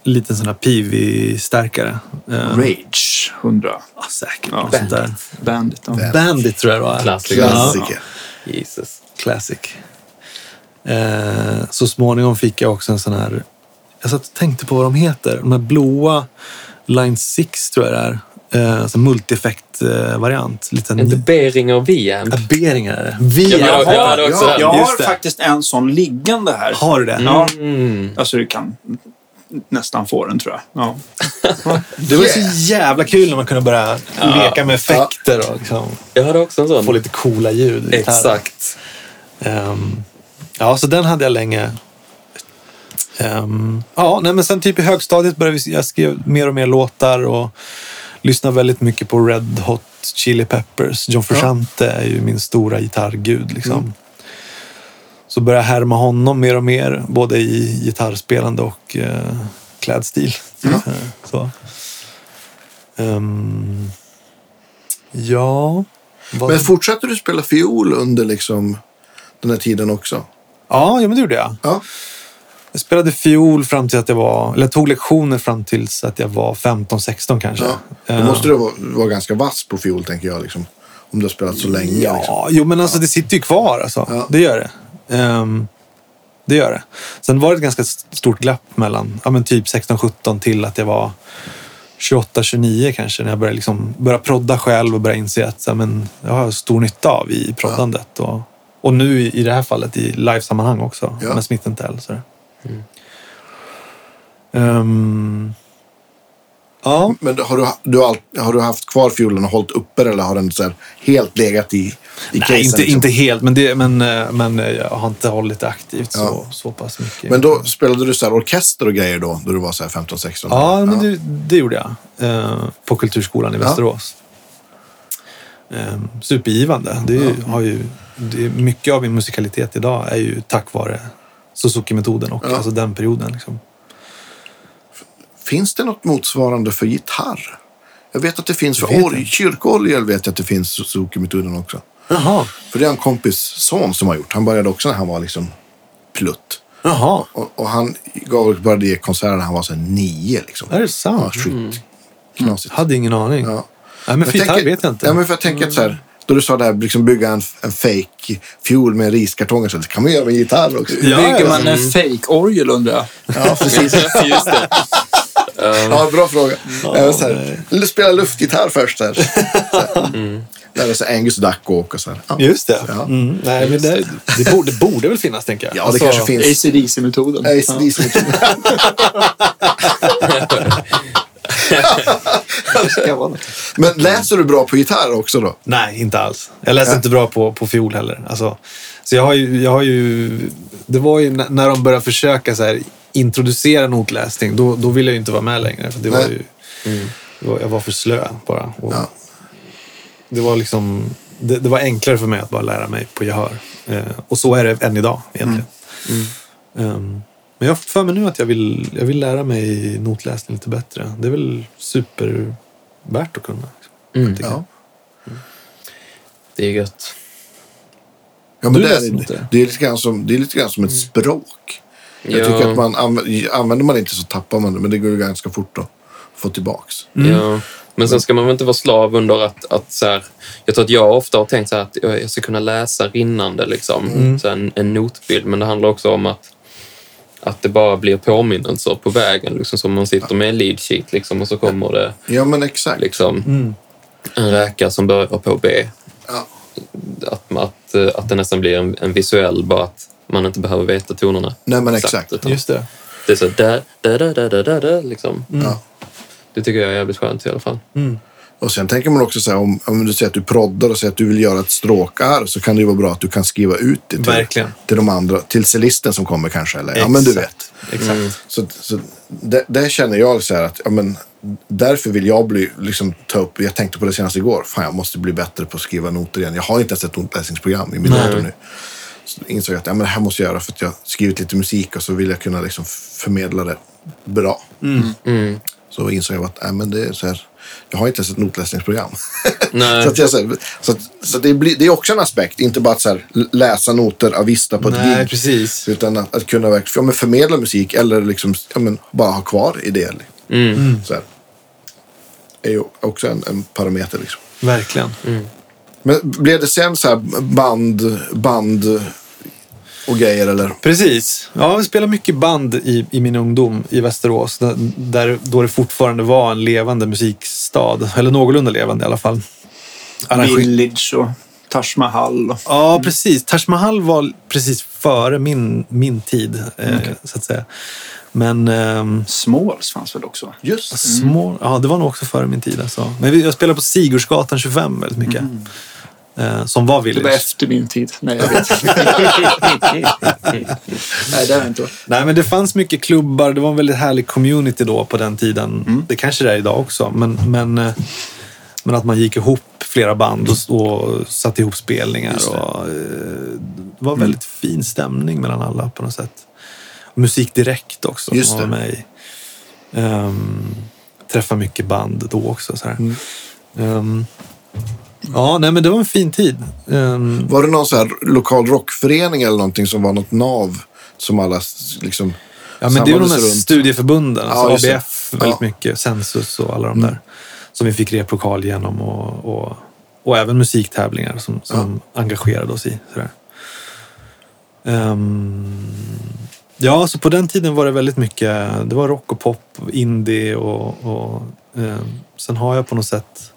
S4: liten sån här PV-stärkare. Eh,
S3: Rage 100.
S4: ja, säkert.
S3: Ja.
S4: något sånt där.
S3: Bandit. Ja.
S4: Bandit tror jag det var.
S5: Klassiker.
S4: Ja,
S2: Klassiker.
S5: Jesus.
S4: classic. Eh, så småningom fick jag också en sån här... Jag satt och tänkte på vad de heter. De här blåa Line 6 tror jag det är. Eh, så multi-effekt-variant. eh, Lite
S5: Inte Beringer Viamp.
S4: Beringar är det. Vi
S5: Jag har- jag hade också
S2: ja,
S5: den.
S3: Jag
S4: Just
S3: har
S4: det.
S3: faktiskt en sån liggande här.
S4: Har du det?
S3: Ja,
S5: Mm.
S3: alltså du kan nästan få den tror jag. Ja.
S4: Det var så jävla kul när man kunde börja leka med effekter och liksom
S5: Jag hade också en
S4: få
S5: sån.
S4: lite coola ljud. i gitarren.
S5: Mm. Exakt.
S4: Ehm, ja, så den hade jag länge. Ehm, ja, nej, men sen typ i högstadiet började vi, jag skrev mer och mer låtar och lyssnade väldigt mycket på Red Hot Chili Peppers. John Frusciante är ju min stora gitarrgud. Liksom. Så började jag härma honom mer och mer, både i gitarrspelande och eh, klädstil. Eh, Så. Ehm, ja. vad-
S2: Men fortsatte du spela fiol under liksom den här tiden också?
S4: ja, ja, men det gjorde jag.
S2: Ja.
S4: Jag spelade fiol fram till att jag var, eller jag tog lektioner fram tills att jag var 15-16 kanske.
S2: ja. Då
S4: Eh,
S2: måste du vara, vara ganska vass på fiol, tänker jag. Liksom. Om du har spelat så länge.
S4: Ja,
S2: Liksom.
S4: jo men alltså det sitter ju kvar alltså.
S2: Ja.
S4: Det gör det. Ehm, det gör det. Sen var det ett ganska st- stort glapp mellan ja, men typ 16-17 till att jag var 28-29 kanske. När jag började, liksom, började prodda själv och började inse att så här, men, jag har stor nytta av i proddandet. Och, och nu i, i det här fallet i livesammanhang också.
S2: Ja. Mm.
S4: Med Smith Tell. Så där. Ehm, ja.
S2: Men har du, du har, all- har du haft kvar fiolen och hållit uppe den, eller har den så här helt legat i, i casen,
S4: Nej, inte,
S2: liksom?
S4: inte helt, men, det, men, eh, men eh, jag har inte hållit det aktivt så, så pass mycket.
S2: Men då spelade du så här orkester och grejer då, då du var så här 15-16?
S4: ja, men Det, det gjorde jag. Eh, på Kulturskolan i
S2: Ja.
S4: Västerås. Eh, supergivande. Det är, ju, har ju, det är mycket av min musikalitet idag är ju tack vare Suzuki-metoden och
S2: Ja.
S4: alltså den perioden. Liksom.
S2: Finns det något motsvarande för gitarr? Jag vet att det finns för
S4: Jag vet
S2: org,
S4: inte.
S2: kyrkoorgel vet jag att det finns Suzuki-metoden också.
S4: Jaha.
S2: För det är en kompis son som har gjort. Han började också när han var liksom plutt.
S4: Jaha.
S2: Och, och han gav, började ge konserter när han var så här nio liksom.
S4: Är det
S2: Ja,
S4: sant?
S2: skit. Knasigt.
S4: Hade ingen aning.
S2: Ja.
S4: Nej, men för gitarr
S2: tänker-
S4: vet jag inte.
S2: Ja, men för jag tänker att så här, då du sa det här, liksom bygga en, en fake fiol med riskartonger, så det kan man göra med en gitarr också.
S4: Ja,
S3: Bygger
S4: ja.
S3: man en fake-orgel undrar jag?
S2: Ja, precis.
S5: Just det.
S2: Ja, bra fråga. Även så här, eller spela luftgitarr först. Här. Så här. Där är så Angus Duck och så här. Ja,
S4: Just det.
S2: Ja.
S4: Mm. Nej, men det, det borde, borde väl finnas, tänker jag. Alltså-
S2: ja det kanske finns.
S3: ACDC-metoden.
S2: ACDC. Men läser du bra på gitarr också då?
S4: Nej, inte alls. Jag läste inte bra på, på fiol heller. Alltså, så jag har ju, jag har ju, det var ju n- när de började försöka så här, introducera notläsning, då, då ville jag ju inte vara med längre. För det var
S2: Nej.
S4: ju, Det var- Jag var för slö bara. Och det, var liksom, det, det var enklare för mig att bara lära mig på gehör. Eh, och så är det än idag egentligen. Mm. Ehm, men jag har fått för mig nu att jag vill, jag vill lära mig notläsning lite bättre. Det är väl supervärt att kunna.
S5: Mm.
S4: tycker jag.
S5: Det är gött.
S2: Ja, men
S4: Du
S2: det, är,
S4: läser inte?
S2: det, är lite grann som, det är lite grann som ett språk. Jag
S5: Ja.
S2: tycker att man anv- använder man det inte så tappar man det, men det går ju ganska fort att få tillbaks.
S5: Ja. Men sen ska man väl inte vara slav under att... att så här, jag tror att jag ofta har tänkt så här att jag jag ska kunna läsa rinnande, liksom.
S2: Mm.
S5: så här, en, en notbild. Men det handlar också om att, att det bara blir påminnelser på vägen. Liksom, som man sitter med en lead sheet liksom, och så kommer det
S2: Ja, men exakt.
S5: liksom,
S2: Mm.
S5: en räka som börjar på B.
S2: Ja.
S5: Att, att, att det nästan blir en, en visuell, bara att man inte behöver veta tonerna.
S2: Nej, men exakt.
S5: utan
S4: Just det.
S5: det är så där, där, där, där, där, där, där, liksom.
S2: Ja.
S5: Det tycker jag är jävligt skönt i alla fall.
S2: Mm. Och sen tänker man också så här, om, om du säger att du proddar och säger att du vill göra ett stråkar så kan det ju vara bra att du kan skriva ut det till,
S4: Verkligen.
S2: till de andra, till cellisten som kommer kanske. Eller, ja, men du
S4: Exakt.
S2: vet.
S4: Exakt.
S2: Så, så där, där känner jag så här att ja, men, därför vill jag bli, liksom, ta upp, jag tänkte på det senast igår, fan jag måste bli bättre på att skriva noter igen. Jag har inte ens ett notläsningsprogram i min dator nu. Så insåg jag att ja, men det här måste jag göra för att jag har skrivit lite musik och så vill jag kunna liksom, förmedla det bra.
S4: Mm.
S2: Så insåg jag att ja, men det är så här, jag har inte ens ett notläsningsprogram.
S5: Nej.
S2: så att jag, så här, så, att- så att det, blir, det är också en aspekt, inte bara att så här, läsa noter avista på ett
S4: Nej,
S2: gig.
S4: precis.
S2: Utan att, att kunna verkligen ja, men förmedla musik eller liksom, ja, men bara ha kvar idéer.
S4: Mm.
S2: Så här. är ju också en, en parameter. Liksom.
S4: Verkligen.
S2: Men blev det sen så här band, band och grejer eller?
S4: Precis. Ja, vi spelade mycket band i, i min ungdom i Västerås. Där, där, då det fortfarande var en levande musikstad. Eller någorlunda levande i alla fall. Arrange-
S3: Village och Taj Mahal. Och...
S4: Ja, precis. Taj Mahal var precis före min, min tid, eh, så att säga. Men ehm,
S3: Smalls fanns väl också? va?
S2: Just
S4: små... Ja, det var nog också före min tid. Alltså. Men vi- jag spelade på Sigurdsgatan 25 väldigt mycket. Eh, som var
S3: Det var
S4: Village.
S3: efter min tid. Nej, jag vet inte. Nej, det har jag inte varit.
S4: Nej, men det fanns mycket klubbar. Det var en väldigt härlig community då på den tiden.
S2: Mm.
S4: Det kanske det är idag också, men, men, eh, men att man gick ihop flera band och, och satte ihop spelningar. Det. Och, eh, det
S2: Mm.
S4: var väldigt fin stämning mellan alla på något sätt. Musik direkt också.
S2: Just
S4: som var
S2: det.
S4: Med i. Ehm, träffa mycket band då också. Så här.
S2: Mm.
S4: Ehm, ja, nej, men det var en fin tid. Ehm,
S2: Var det någon så här lokal rockförening eller någonting som var något nav som alla s- liksom
S4: Ja, men det är ju de
S2: samlades
S4: här
S2: runt?
S4: studieförbunden,
S2: Ja, just
S4: alltså
S2: det.
S4: ABF väldigt
S2: Ja. Mm.
S4: mycket, Sensus och alla de där. Som vi fick replokal genom och, och, och även musiktävlingar som, som engagerade oss i. Sådär. Ehm, ja, så på den tiden var det väldigt mycket, det var rock och pop, indie och, och ehm, sen har jag på något sätt,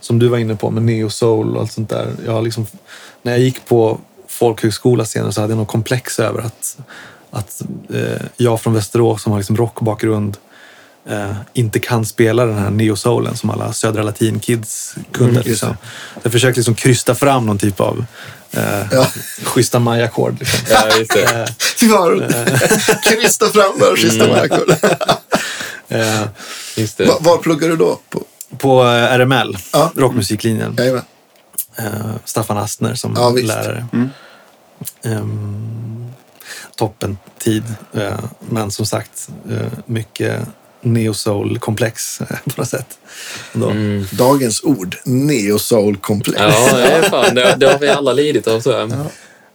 S4: som du var inne på med neo soul och allt sånt där. Jag har liksom, när jag gick på folkhögskola senare så hade jag någon komplex över att, att eh, jag från Västerås som har liksom rockbakgrund eh, inte kan spela den här neo-soulen som alla södra latin-kids kunde. liksom. Jag försökte liksom krysta fram någon typ av eh, schyssta majakord. Liksom.
S5: Ja, just det. Mm.
S2: Fy fan, krysta fram där och kista märkor.
S4: Eh,
S5: Just det.
S2: Va- Var pluggar du då? På?
S4: på eh, RML,
S2: Ja.
S4: rockmusiklinjen.
S2: Jajamän.
S4: eh, Staffan Astner som
S2: Ja, visst.
S4: lärare. Ehm, toppen tid. Eh, men som sagt, eh, mycket neo-soul-komplex eh, på något sätt. Då.
S2: Mm. Dagens ord, neo-soul-komplex.
S5: Ja, det är fan. Det, det har vi alla lidit av, tror jag.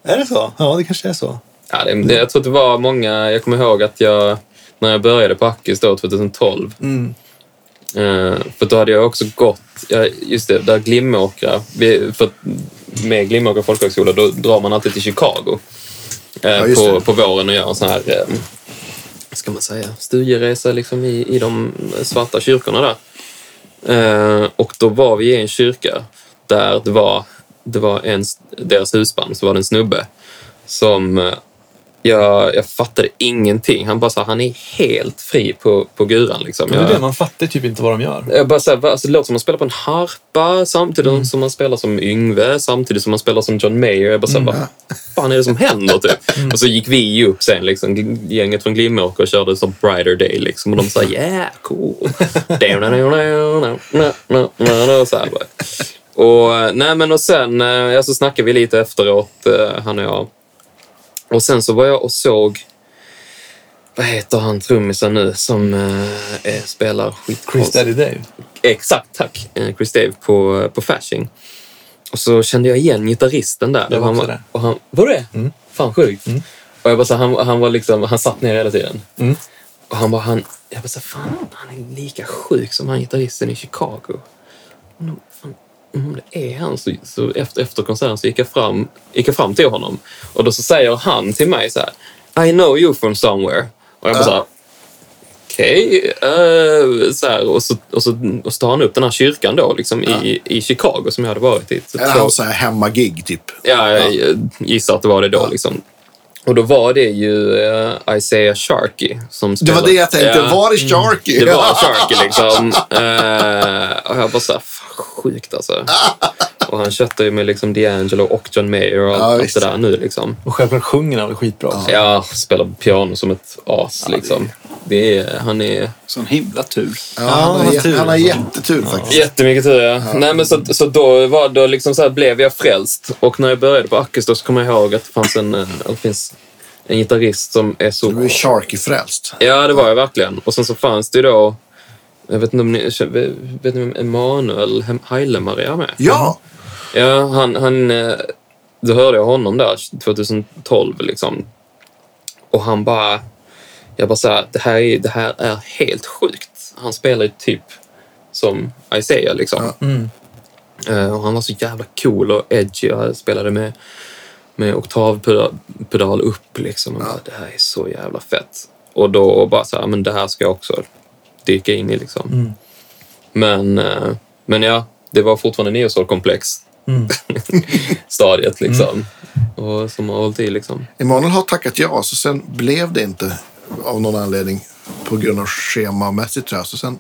S4: Är det så? Ja, det kanske är så.
S5: Ja, det, det, jag tror att det var många... Jag kommer ihåg att jag, när jag började på Ackis då, 2012,
S2: Mm.
S5: eh, för då hade jag också gått... Ja, just det, där Glimåkra... Vi, för, att med Glimåkra folkhögskola, då drar man alltid till Chicago eh,
S2: just
S5: på,
S2: det.
S5: på våren och gör en sån här... Eh, vad ska man säga? Studieresa liksom i, i de svarta kyrkorna där. Eh, och då var vi i en kyrka där det var, det var en, deras husband, så var det en snubbe som eh, jag, jag fattade ingenting. Han bara sa, han är helt fri på, på guran. Liksom.
S4: Det är det,
S5: Jag,
S4: man fattar typ inte vad de gör.
S5: jag bara, så här, va? alltså, det låter som att man spelar på en harpa samtidigt som man spelar som Yngve, samtidigt som man spelar som John Mayer. Jag bara, så här, vad fan är det som händer? Typ. Och så gick vi ju upp sen, liksom, gl- gänget från Glimåker, och körde som Brighter Day. Liksom, och de sa, yeah, cool. så här, bara. Och, nej, men, och sen eh, alltså, snackade vi lite efteråt, eh, han och jag. Och sen så var jag och såg vad heter han trummisen nu som eh, är- spelar skit
S4: Chris Daddy Dave.
S5: Exakt, tack. Eh, Chris Dave på, på Fashing. Och så kände jag igen gitarristen där.
S4: Jag var
S5: Och han
S4: också Mm. där.
S5: Och han, var det? Fan sjukt. Och jag bara, så, här, han, han, var liksom, han satt ner hela tiden.
S4: Mm.
S5: Och han bara, han, jag bara så, här, fan han är lika sjuk som han gitarristen i Chicago. Undrar om- fan, undrar Om det är han. Så, så efter, efter konserten så gick jag, fram, gick jag fram till honom. Och då så säger han till mig så här, I know you from somewhere. Och jag bara så här, okej. eh, så här, och, så, och, så, och så tar han upp den här kyrkan då, liksom, i, i Chicago som jag hade varit i. Så
S2: Är det
S5: två-
S2: hans så här hemmagig typ?
S5: Ja, jag gissar att det var det då. Liksom. Och då var det ju uh, Isaiah Sharkey som
S2: Det
S5: spelade.
S2: var det jag tänkte.
S5: Ja,
S2: Var är Sharky?
S5: det var Sharkey liksom. Eh, och jag bara såhär, fan sjukt alltså. Och han köttar ju med liksom D'Angelo och John Mayer och
S2: Ja,
S5: allt
S2: visst.
S5: det där nu liksom.
S4: Och självklart sjunger han väl skitbra också.
S5: Ja, spelar piano som ett as liksom. Det är, han är
S3: Sån himla tur.
S2: Ja, han,
S4: Ja,
S2: har, jä-
S4: tur.
S2: han har jättetur faktiskt.
S5: Jättemycket tur, ja. Nej, men så, så då, var, då liksom så här blev jag frälst. Och när jag började på Ackes då så kommer jag ihåg att det, fanns en, eh, det finns en gitarrist som är
S2: Du är
S5: så...
S2: Sharky-frälst.
S5: Ja, det var jag verkligen. Och sen så fanns det ju då... Jag vet inte om ni... Vet ni vem Emanuel Hem- Heilemar är med?
S2: Ja,
S5: Ja, han... han eh, då hörde jag honom där 2012 liksom. Och han bara... Jag bara såhär, det här, är, det här är helt sjukt. Han spelar ju typ som Isaiah liksom.
S4: Mm.
S5: Eh, Och han var så jävla cool och edgy. Jag spelade med, med oktavpedal upp. Liksom. Och bara, det här är så jävla fett. Och då bara så här, men det här ska jag också dyka in i. Liksom.
S4: Mm.
S5: Men, eh, men ja, det var fortfarande neosol-komplex.
S4: Mm.
S5: Stadiet liksom.
S2: Mm.
S5: Och som har hållit i liksom.
S2: Emanuel har tackat ja, så sen blev det inte av någon anledning på grund av schemamässigt tror jag. Så sen,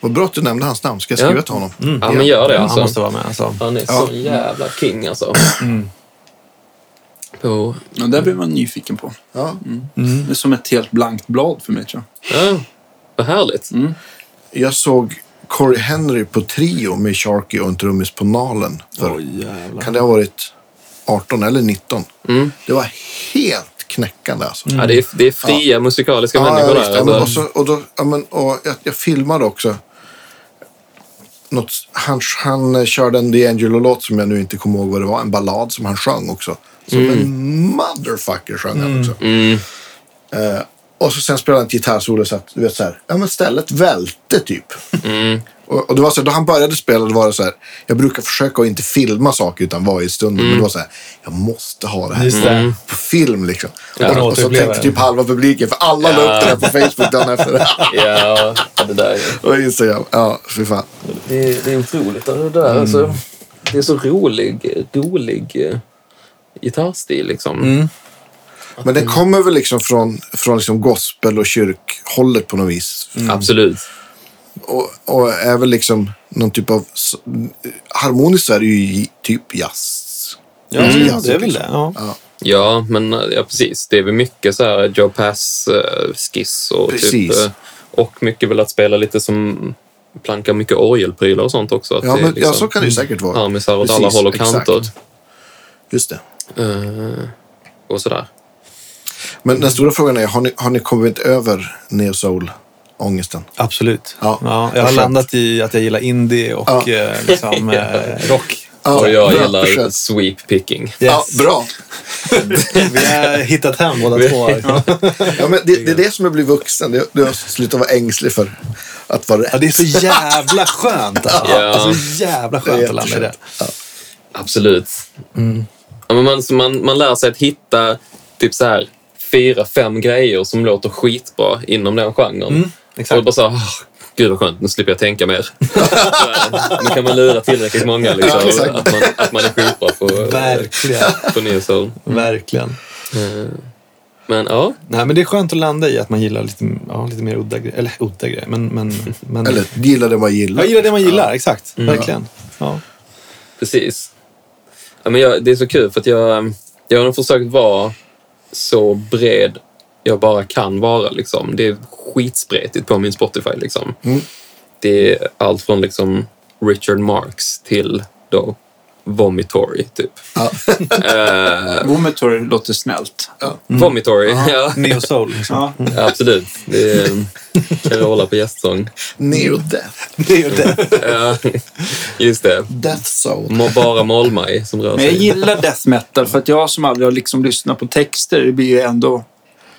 S2: vad bra att du nämnde hans namn. Ska jag
S5: Ja.
S2: skriva till honom?
S5: Ja, men gör det alltså.
S4: Han måste vara med alltså.
S5: Han är
S2: Ja. Mm.
S5: så jävla king alltså. På,
S3: Ja, där blir man nyfiken på.
S2: Ja.
S3: Det är som ett helt blankt blad för mig tror jag.
S5: ja, vad härligt.
S2: Mm. Jag såg Corey Henry på Trio med Sharky och en trummis på Nalen. För,
S4: Mm.
S2: kan det ha varit 18 eller 19?
S5: Mm.
S2: Det var helt knäckande alltså.
S5: Ja, det, är, det är fria musikaliska
S2: ja,
S5: människor
S2: visst.
S5: där.
S2: Ja, men,
S5: Alltså.
S2: och så, och då, ja, men, och jag, jag filmade också. Något, han, han eh, körde en D'Angelo-låt som jag nu inte kommer ihåg vad det var. En ballad som han sjöng också. Som
S5: Mm.
S2: en motherfucker sjöng han också. Eh, och så sen spelade han ett gitarrsolo så att du vet så här, ja men stället välte typ. Och, och det var så här, då han började spela, då var det så här, jag brukar försöka att inte filma saker utan vara i stunden. Men det var så här, jag måste ha det här
S4: Just det. Mm.
S2: på film liksom.
S4: Ja,
S2: och, och så
S4: återuppleva
S2: tänkte
S4: det.
S2: typ halva publiken, för alla la upp det här på Facebook dagen efter.
S5: Ja, det där är...
S2: och Instagram. Ja, fy fan.
S5: Det är, det är otroligt. Det, där,
S2: Mm.
S5: alltså, det är så rolig, rolig eh, gitarrstil. Liksom.
S2: Mm. Men den kommer väl liksom från, från liksom gospel och kyrkhållet på något vis.
S5: Absolut.
S2: Och, och är väl liksom någon typ av... s- Harmoniskt så är det ju typ jazz.
S4: Ja,
S2: Mm.
S4: det är väl det. Ja.
S5: Ja, men eh, ja, precis. Det är väl mycket så här Joe Pass-skiss och, typ,
S2: Precis.
S5: eh, och mycket väl att spela lite som plankar mycket orgelprylar och sånt också. Att
S2: Ja,
S5: det är
S2: men, Mm. ja, så
S5: liksom
S2: kan det ju säkert vara.
S5: harmisar åt alla
S2: Precis,
S5: håll och
S2: exakt.
S5: kanter.
S2: Just det.
S5: Eh, och sådär.
S2: Men den stora frågan är, har ni, har ni kommit över neo-soul-ångesten?
S4: Absolut.
S2: Ja.
S4: Ja. jag har
S2: Skönt.
S4: landat i att jag gillar indie och
S2: Ja.
S4: eh, liksom, eh, rock.
S2: Ja,
S5: och jag
S2: bra,
S5: gillar
S2: skönt.
S5: sweep picking.
S2: Ja,
S4: Yes.
S2: bra.
S4: Vi har hittat hem båda två. Ja.
S2: Ja, men det, det är det som är att bli vuxen. Det, du har slutat vara ängslig för att vara rätt.
S4: det är så jävla skönt. Alltså.
S5: Ja.
S4: Alltså, jävla skönt att landa i det.
S5: Absolut. Ja, men man, så man, man lär sig att hitta typ så här, fyra, fem grejer som låter skitbra inom den genren.
S4: exakt.
S5: Och bara så här, "Åh, gud vad skönt, nu slipper jag tänka mer. nu kan man lura tillräckligt många liksom,
S2: Ja, exakt.
S5: att, man, att man är skitbra på,
S4: Verkligen.
S5: på nyhetssoul.
S4: Verkligen.
S5: Men ja,
S4: Nej, men det är skönt att landa i att man gillar lite, ja, lite mer udda grejer. Eller udda grejer, men... men, men
S2: Eller gilla det man gillar.
S4: jag gillar det man gillar, exakt. Verkligen. Ja.
S5: Precis. Ja, men jag, det är så kul för att jag, jag har nog försökt vara så bred jag bara kan vara. Liksom. Det är skitspretigt på min Spotify. Liksom.
S3: Mm.
S5: Det är allt från liksom, Richard Marx till då, Vomitory, typ.
S3: Vomitory låter snällt.
S5: Vomitory, ja.
S4: Neo soul. Liksom.
S3: Ja.
S5: Mm. Absolut. Det är Carola på gästsång.
S2: Neo Death.
S4: Det är ju det.
S5: Ja, Just det.
S2: Death Zone.
S5: Må- Bara Molmaj som rör
S3: Men jag
S5: sig.
S3: gillar death metal för att jag som aldrig har liksom lyssnat på texter, det blir ju ändå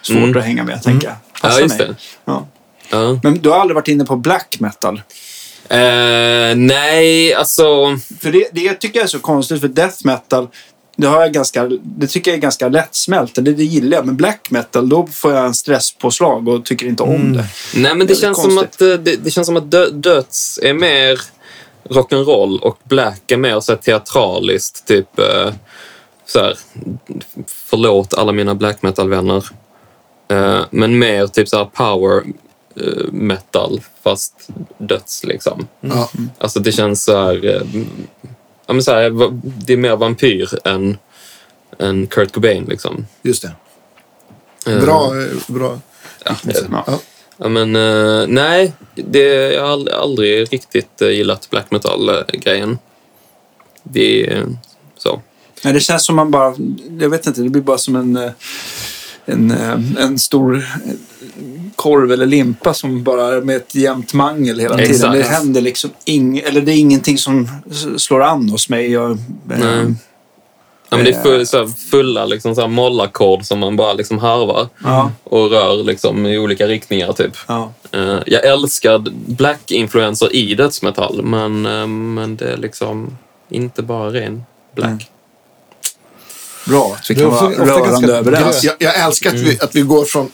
S3: svårt
S5: Mm.
S3: att hänga med, tänker jag.
S5: Ja,
S3: Passar
S5: just
S3: mig.
S5: det.
S3: Ja.
S5: Ja.
S3: Men du har aldrig varit inne på black metal?
S5: Eh, nej, alltså...
S3: För det, det tycker jag är så konstigt, för death metal, det, har jag ganska, det tycker jag är ganska lättsmält. Det, det gillar jag. Men black metal, då får jag en stresspåslag och tycker inte om
S5: Mm.
S3: det.
S5: Nej, men det
S3: Väldigt
S5: känns, som
S3: konstigt.
S5: att, eh, det, det känns som att dö, döds är mer rock'n'roll och black är mer så här teatraliskt. Typ eh, så här, förlåt alla mina black metal-vänner. Eh, men mer typ så här power eh, metal, fast döds liksom.
S4: Mm.
S2: Ja.
S5: Alltså det känns så här... eh, Ja, men så här va- det är mer vampyr än, än Kurt Cobain liksom.
S2: Just det.
S5: Eh,
S2: Bra, eh, bra. Ja.
S5: Ja, men eh, nej, det, jag har aldrig, aldrig riktigt eh, gillat black metal-grejen. Det är eh, så.
S3: Nej, det känns som man bara... Jag vet inte, det blir bara som en, eh, en, eh, en stor eh, korv eller limpa som bara är med ett jämnt mangel hela tiden.
S5: Exakt.
S3: Det händer liksom ing, eller det är ingenting som s- slår an hos mig. Jag, eh,
S5: Nej. Ja, men det är full, så här, fulla liksom, så här mollackord som man bara liksom harvar
S3: Ja.
S5: och rör liksom, i olika riktningar. typ.
S3: Ja.
S5: Eh, jag älskar black-influenser i dödsmetall, men, eh, men det är liksom inte bara ren black.
S3: Mm. Bra att vi
S4: Det
S3: kan
S4: är alltså- Mm.
S3: vara
S4: ofta- ofta
S3: rörande
S4: ganska
S3: överens.
S4: grönt.
S2: Jag, jag älskar att vi, att vi går från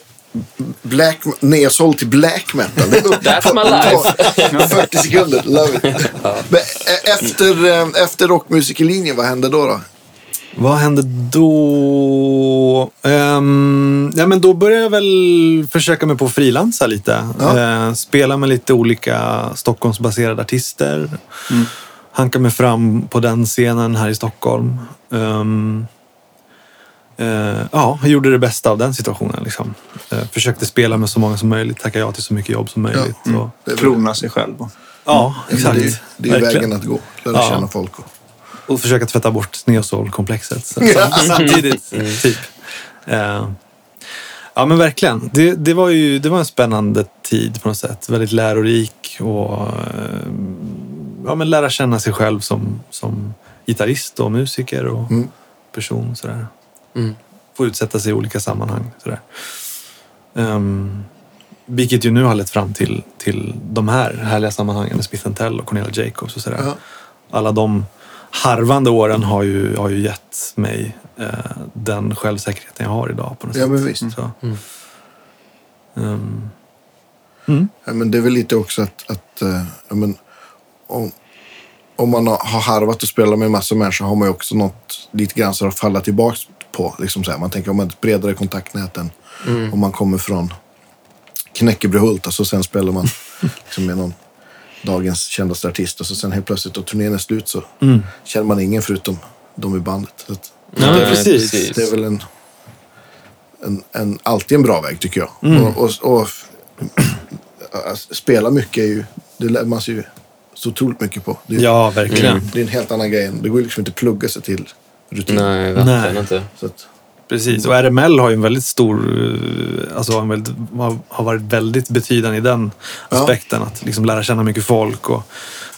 S2: black, neshåll till black metal. Det är
S5: That's my life.
S2: Ta 40 sekunder, love it. Men eh, efter, eh, efter rockmusikerlinjen, vad hände då? då?
S4: Vad hände då? Ehm, ja, men då började jag väl försöka mig på att frilansa lite.
S2: Ja.
S4: Eh, spela med lite olika Stockholmsbaserade artister.
S2: Mm.
S4: Hanka mig fram på den scenen här i Stockholm. Ehm, eh, ja, jag gjorde det bästa av den situationen. Liksom. Eh, försökte spela med så många som möjligt. Tacka ja till så mycket jobb som möjligt. Ja, och,
S2: Det är väl-
S3: Klona sig själv. och-
S4: ja
S2: Mm.
S4: exakt.
S2: Det är, det är
S4: Verkligen.
S2: vägen att gå. Lära
S4: Ja.
S2: känna folk. och-
S4: och försöka tvätta bort neosol-komplexet så- sam- samtidigt. Typ. Eh, ja, men verkligen. Det, det var ju det var en spännande tid på något sätt. Väldigt lärorik och eh, ja, men lära känna sig själv som, som gitarrist och musiker och person. och Sådär.
S5: Mm.
S4: Få utsätta sig i olika sammanhang. Sådär. Um, vilket ju nu har lett fram till, till de här härliga sammanhangen med Smith Tell och Cornelia Jacobs och sådär.
S2: Ja.
S4: Alla de harvande åren har ju, har ju gett mig eh, den självsäkerheten jag har idag på något
S2: Ja,
S4: sätt.
S2: men visst.
S4: Så. Ehm,
S2: Ja, men det är väl lite också att, att eh, ja, men, om, om man har har harvat och spelat med en massa människor har man ju också något lite grann så att falla tillbaka på. Liksom så här. Man tänker om man har ett bredare kontaktnät än om man kommer från Knäckebrehult och så sen spelar man liksom med någon dagens kändaste artist och så sen helt plötsligt då turnén är slut så känner man ingen förutom de i bandet. Så att,
S4: Ja,
S5: Nej,
S4: precis.
S2: det är väl en, en, en, alltid en bra väg tycker jag.
S4: Mm.
S2: Och, och, och att spela mycket är ju, det lär man sig ju så otroligt mycket på. Det är,
S4: ja, verkligen.
S2: det är en helt annan grej. än- Det går ju liksom inte att plugga sig till rutin.
S5: Nej, verkligen
S4: Nej.
S5: inte.
S2: Så att,
S4: Precis, och RML har ju en väldigt stor... eh, Alltså har, en väldigt, har- har varit väldigt betydande i den aspekten. Att liksom lära känna mycket folk. Och,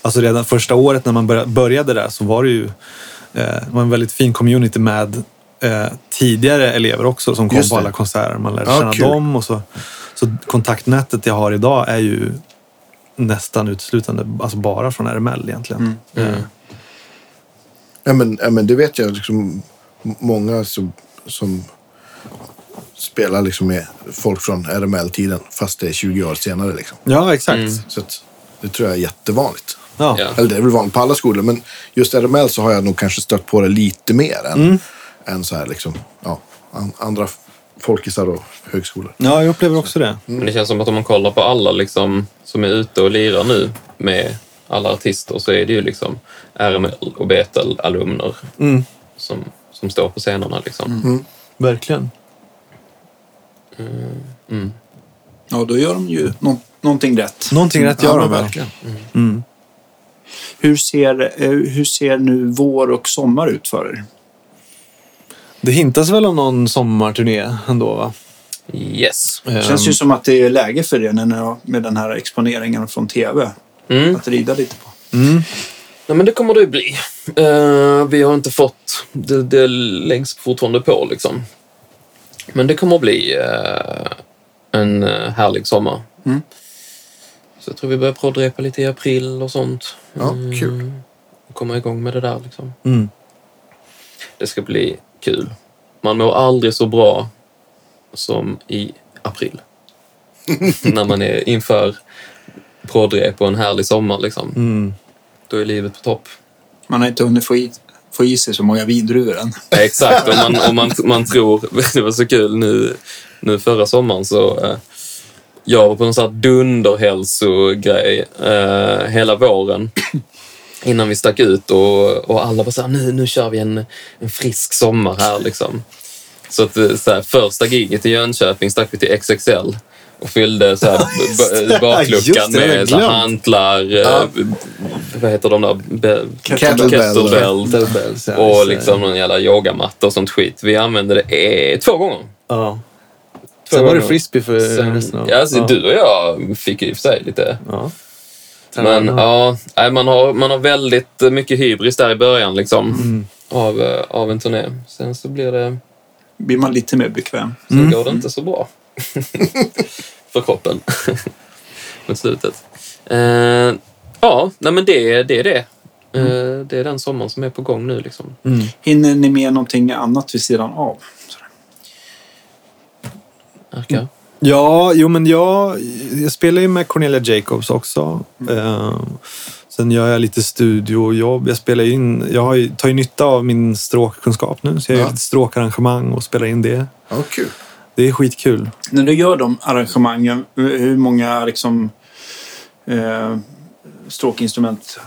S4: alltså redan första året när man börja- började där så var det ju eh, det var en väldigt fin community med eh, tidigare elever också som kom
S2: Just
S4: på
S2: det.
S4: alla konserter. Man lärde
S2: Ja,
S4: känna
S2: kul.
S4: dem. Och så, så kontaktnätet jag har idag är ju nästan uteslutande alltså bara från RML egentligen.
S2: Mm.
S4: Eh,
S5: Mm.
S2: ja, men, ja, men det vet jag liksom, m- många som, som spelar liksom med folk från RML-tiden fast det är 20 år senare. Liksom.
S4: Ja, exakt.
S2: Så att, det tror jag är jättevanligt.
S4: Ja.
S5: Ja.
S2: Eller det är väl vanligt på alla skolor, men just RML så har jag nog kanske stött på det lite mer än, än så här liksom, ja, an, andra f- folkisar och högskolor.
S4: Ja, jag upplever också det.
S5: Men det känns som att om man kollar på alla liksom, som är ute och lirar nu med alla artister så är det ju liksom RML och Betel-alumner
S4: Mm,
S5: som, som står på scenerna. Liksom.
S4: verkligen.
S3: Ja, då gör de ju nå- någonting rätt.
S4: Någonting rätt gör de väl. Mm.
S3: Hur ser, eh, hur ser nu vår och sommar ut för er?
S4: Det hintas väl om någon sommarturné ändå, va?
S5: Yes.
S3: Det känns
S4: Ehm,
S3: ju som att det är läge för det när jag, med den här exponeringen från tv.
S5: Mm.
S3: Att rida lite på.
S4: mm.
S5: Nej, men det kommer det ju bli. Eh, vi har inte fått... Det, det läggs fortfarande på liksom. Men det kommer att bli eh, en eh, härlig sommar.
S3: Mm.
S5: Så jag tror vi börjar prodrepa lite i april och sånt.
S2: Ja,
S5: Mm.
S2: kul.
S5: Och komma igång med det där liksom.
S4: Mm.
S5: Det ska bli kul. Man mår aldrig så bra som i april. När man är inför prodrep och en härlig sommar liksom.
S4: Mm.
S5: Då är livet på topp.
S3: Man har inte hunnit få i, få i sig så många vindruvor än.
S5: Ja, Exakt, och man, och man, man tror... Det var så kul nu, nu förra sommaren så... Eh, jag var på en sån här dunderhälsogrej eh, hela våren innan vi stack ut och, och alla var så här, nu, nu kör vi en, en frisk sommar här liksom. Så att eh, så här, första giget i Jönköping stack vi till XXL och fyllde så här, b- b- bakluckan
S4: Just det, det hade jag
S5: med så här,
S4: glömt.
S5: hantlar, eh, b- vad heter de där? Be-
S2: Kettlebell.
S5: Kettlebell.
S4: Kettlebells, ja, just
S5: Och
S4: det.
S5: liksom någon jävla yogamatta och sånt skit. Vi använde det eh, två gånger.
S4: Ja.
S5: Två
S4: Sen var det
S5: gånger.
S4: frisbee för resten
S5: Sen,
S4: av...
S5: ja, alltså, Du och jag fick ju i och för sig lite...
S4: Ja.
S5: Men ja, nej, man, har, man har väldigt eh, mycket hybris där i början liksom,
S4: Mm.
S5: av, eh, av en turné. Sen så blir det...
S3: Blir man lite mer bekväm.
S5: Så
S4: Mm.
S5: går det inte så bra. För kroppen. Mot slutet. Eh, ja, nej, men det, är- det är det.
S4: Mm.
S5: Eh, det är den sommaren som är på gång nu. Liksom.
S3: Hinner ni med någonting annat vid sidan av?
S4: Mm.
S5: Verkar.
S4: Ja, jo men jag, jag spelar ju med Cornelia Jacobs också. Eh, sen gör jag lite studiojobb. Jag, spelar ju in, jag har ju, tar ju nytta av min stråkkunskap nu, så jag
S2: Ja.
S4: gör lite stråkarrangemang och spelar in det.
S2: Ja, kul.
S4: Det är skitkul.
S3: När du gör de arrangemangen, hur hur många liksom, eh, stråkinstrument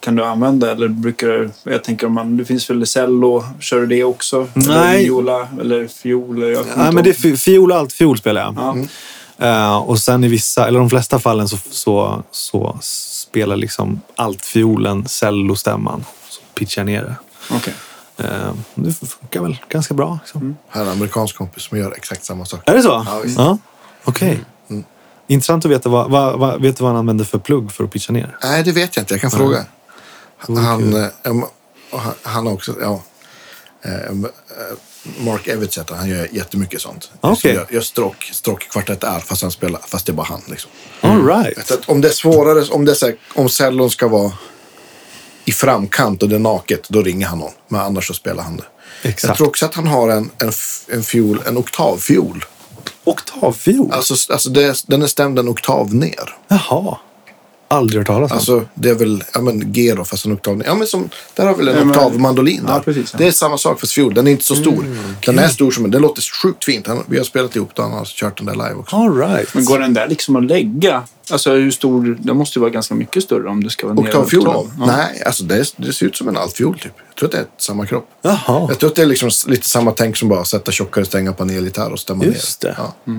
S3: kan du använda? Eller brukar du, jag tänker om man, det finns väl cello, kör du det också? Eller
S4: Nej.
S3: viola eller fiol? eller Jag kommer
S4: Nej,
S3: inte
S4: men det är
S3: ihåg.
S4: fi- fiol och allt fiol spelar jag.
S3: Ja.
S4: Eh, och sen i vissa, eller de flesta fallen så, så, så spelar liksom allt fiolen cellostämman. Så pitchar jag ner det.
S3: Okej.
S4: Eh, det funkar väl ganska bra. Liksom.
S2: Jag har en amerikansk kompis som gör exakt samma sak.
S4: Är det så?
S2: Mm. Ja, visst. Mm.
S4: Okej. Intressant att veta vad, vad, vad, vet du vad han använder för plugg för att pitcha ner.
S2: Nej, det vet jag inte. Jag kan fråga. Han, eh, em, och han, han har också... Ja, em, eh, Mark Evans heter han. Han gör jättemycket sånt.
S4: Okej.
S2: Så Jag, jag stråk, stråk kvartett är fast han spelar, fast det är bara han. Liksom.
S4: All right.
S2: Så att om det är svårare, om, det är så här, om cellon ska vara i framkant och det är naket, då ringer han någon. Men annars så spelar han det. Jag
S4: Exakt.
S2: tror också att han har en, en, f- en fiol, en oktavfiol.
S4: Oktavfiol?
S2: Alltså, alltså det, är- den är stämd en oktav ner.
S4: Jaha. Aldrig hört talas om.
S2: Alltså det är väl, ja men G då fast en oktav ner. Ja men som, där har väl en
S3: Ja, men-
S2: oktavmandolin där.
S3: Ja, precis, ja. Mm.
S2: Det är samma sak fast fiol, den är inte så stor. Den är stor som, den låter sjukt fint. Han, vi har spelat ihop den, han har kört den där live också.
S4: All right.
S3: Men går den där liksom att lägga? Alltså hur stor? Den måste ju vara ganska mycket större om det ska vara nere i
S2: Oktavfiol?
S3: oktav. Ja.
S2: Nej, alltså det, är- det ser ut som en altfiol typ. Jag tror att det är samma kropp.
S4: Jaha.
S2: Jag tror att det är liksom lite samma tänk som bara sätta tjockare strängar på en elgitarr och stämma
S4: Just
S2: ner.
S4: det.
S2: Ja.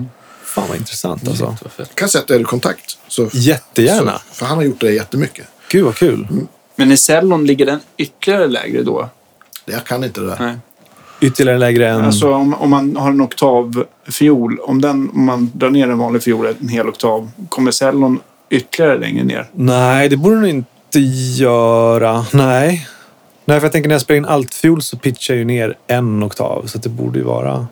S4: Fan vad intressant alltså.
S5: Vad fett.
S2: Kan sätta er i kontakt. Så,
S4: Jättegärna.
S2: Mm. Så, Mm. för han har gjort det jättemycket.
S4: Gud vad kul.
S3: Men i cellon ligger den ytterligare lägre då?
S2: Jag kan inte det där.
S3: Nej.
S4: Ytterligare lägre än...
S3: Alltså om, om man har en oktavfiol, om, den, om man drar ner en vanlig fiol en hel oktav, kommer cellon ytterligare längre ner?
S4: Nej, det borde du nog inte göra. Nej. Nej, för jag tänker när jag spelar in altfiol så pitchar jag ju ner en oktav. Så att det borde ju vara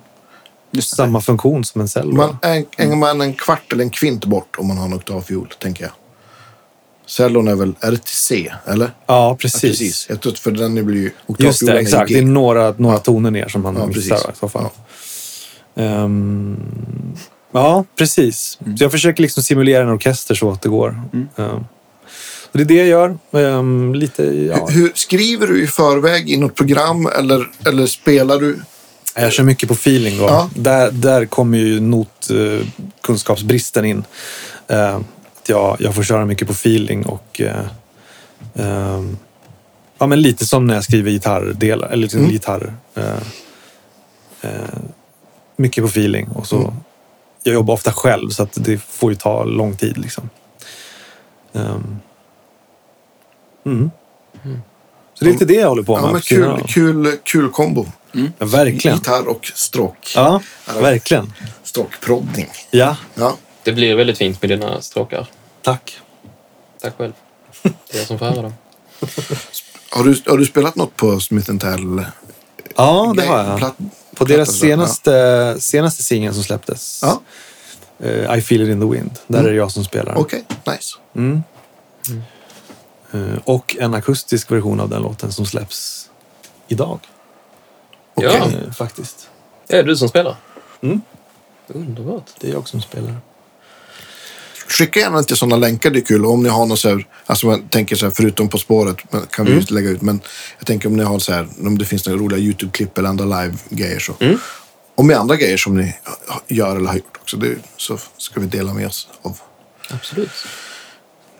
S3: Just
S4: samma funktion som en cello.
S2: Man är en, man är en kvart eller en kvint bort om man har en oktavfiol, tänker jag. Cellon är väl, är det till C, eller?
S4: Ja, precis.
S2: Jag tror, att- för den blir ju oktavfiolen
S4: Just det,
S2: är ju
S4: exakt.
S2: G.
S4: Det är några, några toner ner som man
S2: Ja,
S4: missar
S2: precis.
S4: i så fall. Ehm, ja, precis. Så jag försöker liksom simulera en orkester så att det går. Ehm, och det är det jag gör. Ehm, lite, ja.
S2: Hur, skriver du i förväg i något program eller, eller spelar du?
S4: Jag kör mycket på feeling då.
S2: Ja.
S4: Där, där kommer ju notkunskapsbristen in. Eh, att jag, jag får köra mycket på feeling och eh, ehm, ja, men lite som när jag skriver gitarrdelar, eller
S2: Mm.
S4: liksom gitarr. Eh, eh, mycket på feeling och så.
S2: Mm.
S4: Jag jobbar ofta själv så att det får ju ta lång tid liksom. Ehm. Mm. Så det är lite det jag håller på med.
S2: Ja, men
S4: på sidan
S2: kul,
S4: av.
S2: kul, kul kombo.
S4: Ja, verkligen.
S2: Gitarr och stråk.
S4: Ja, verkligen.
S2: Stråkproddning.
S4: Ja,
S2: Ja.
S5: Det blir väldigt fint med dina stråkar.
S4: tack.
S5: Tack själv. Det är jag som får höra dem.
S2: Har, du, har du spelat något på Smith Tell?
S4: Ja, det har jag.
S2: Platt,
S4: På deras
S2: platta, så. Ja.
S4: senaste, senaste singel som släpptes,
S2: Ja, Mm.
S4: eh, I feel it in the wind, där är det jag som spelar.
S2: okej. Nice.
S4: Eh, och en akustisk version av den låten som släpps idag.
S5: Ja,
S4: Eh, faktiskt.
S5: det är du som spelar.
S4: Mm.
S5: Underbart.
S4: Det är jag som spelar.
S2: Skicka gärna inte sådana länkar, det är kul. Och Om ni har något så här, alltså man tänker så här, förutom På spåret men kan vi
S4: Mm.
S2: just lägga ut, men jag tänker om ni har så här, om det finns några roliga YouTube-klipp eller andra live-grejer så.
S4: Mm.
S2: Om det är andra grejer som ni ha- gör eller har gjort också, det, så ska vi dela med oss av
S5: Absolut.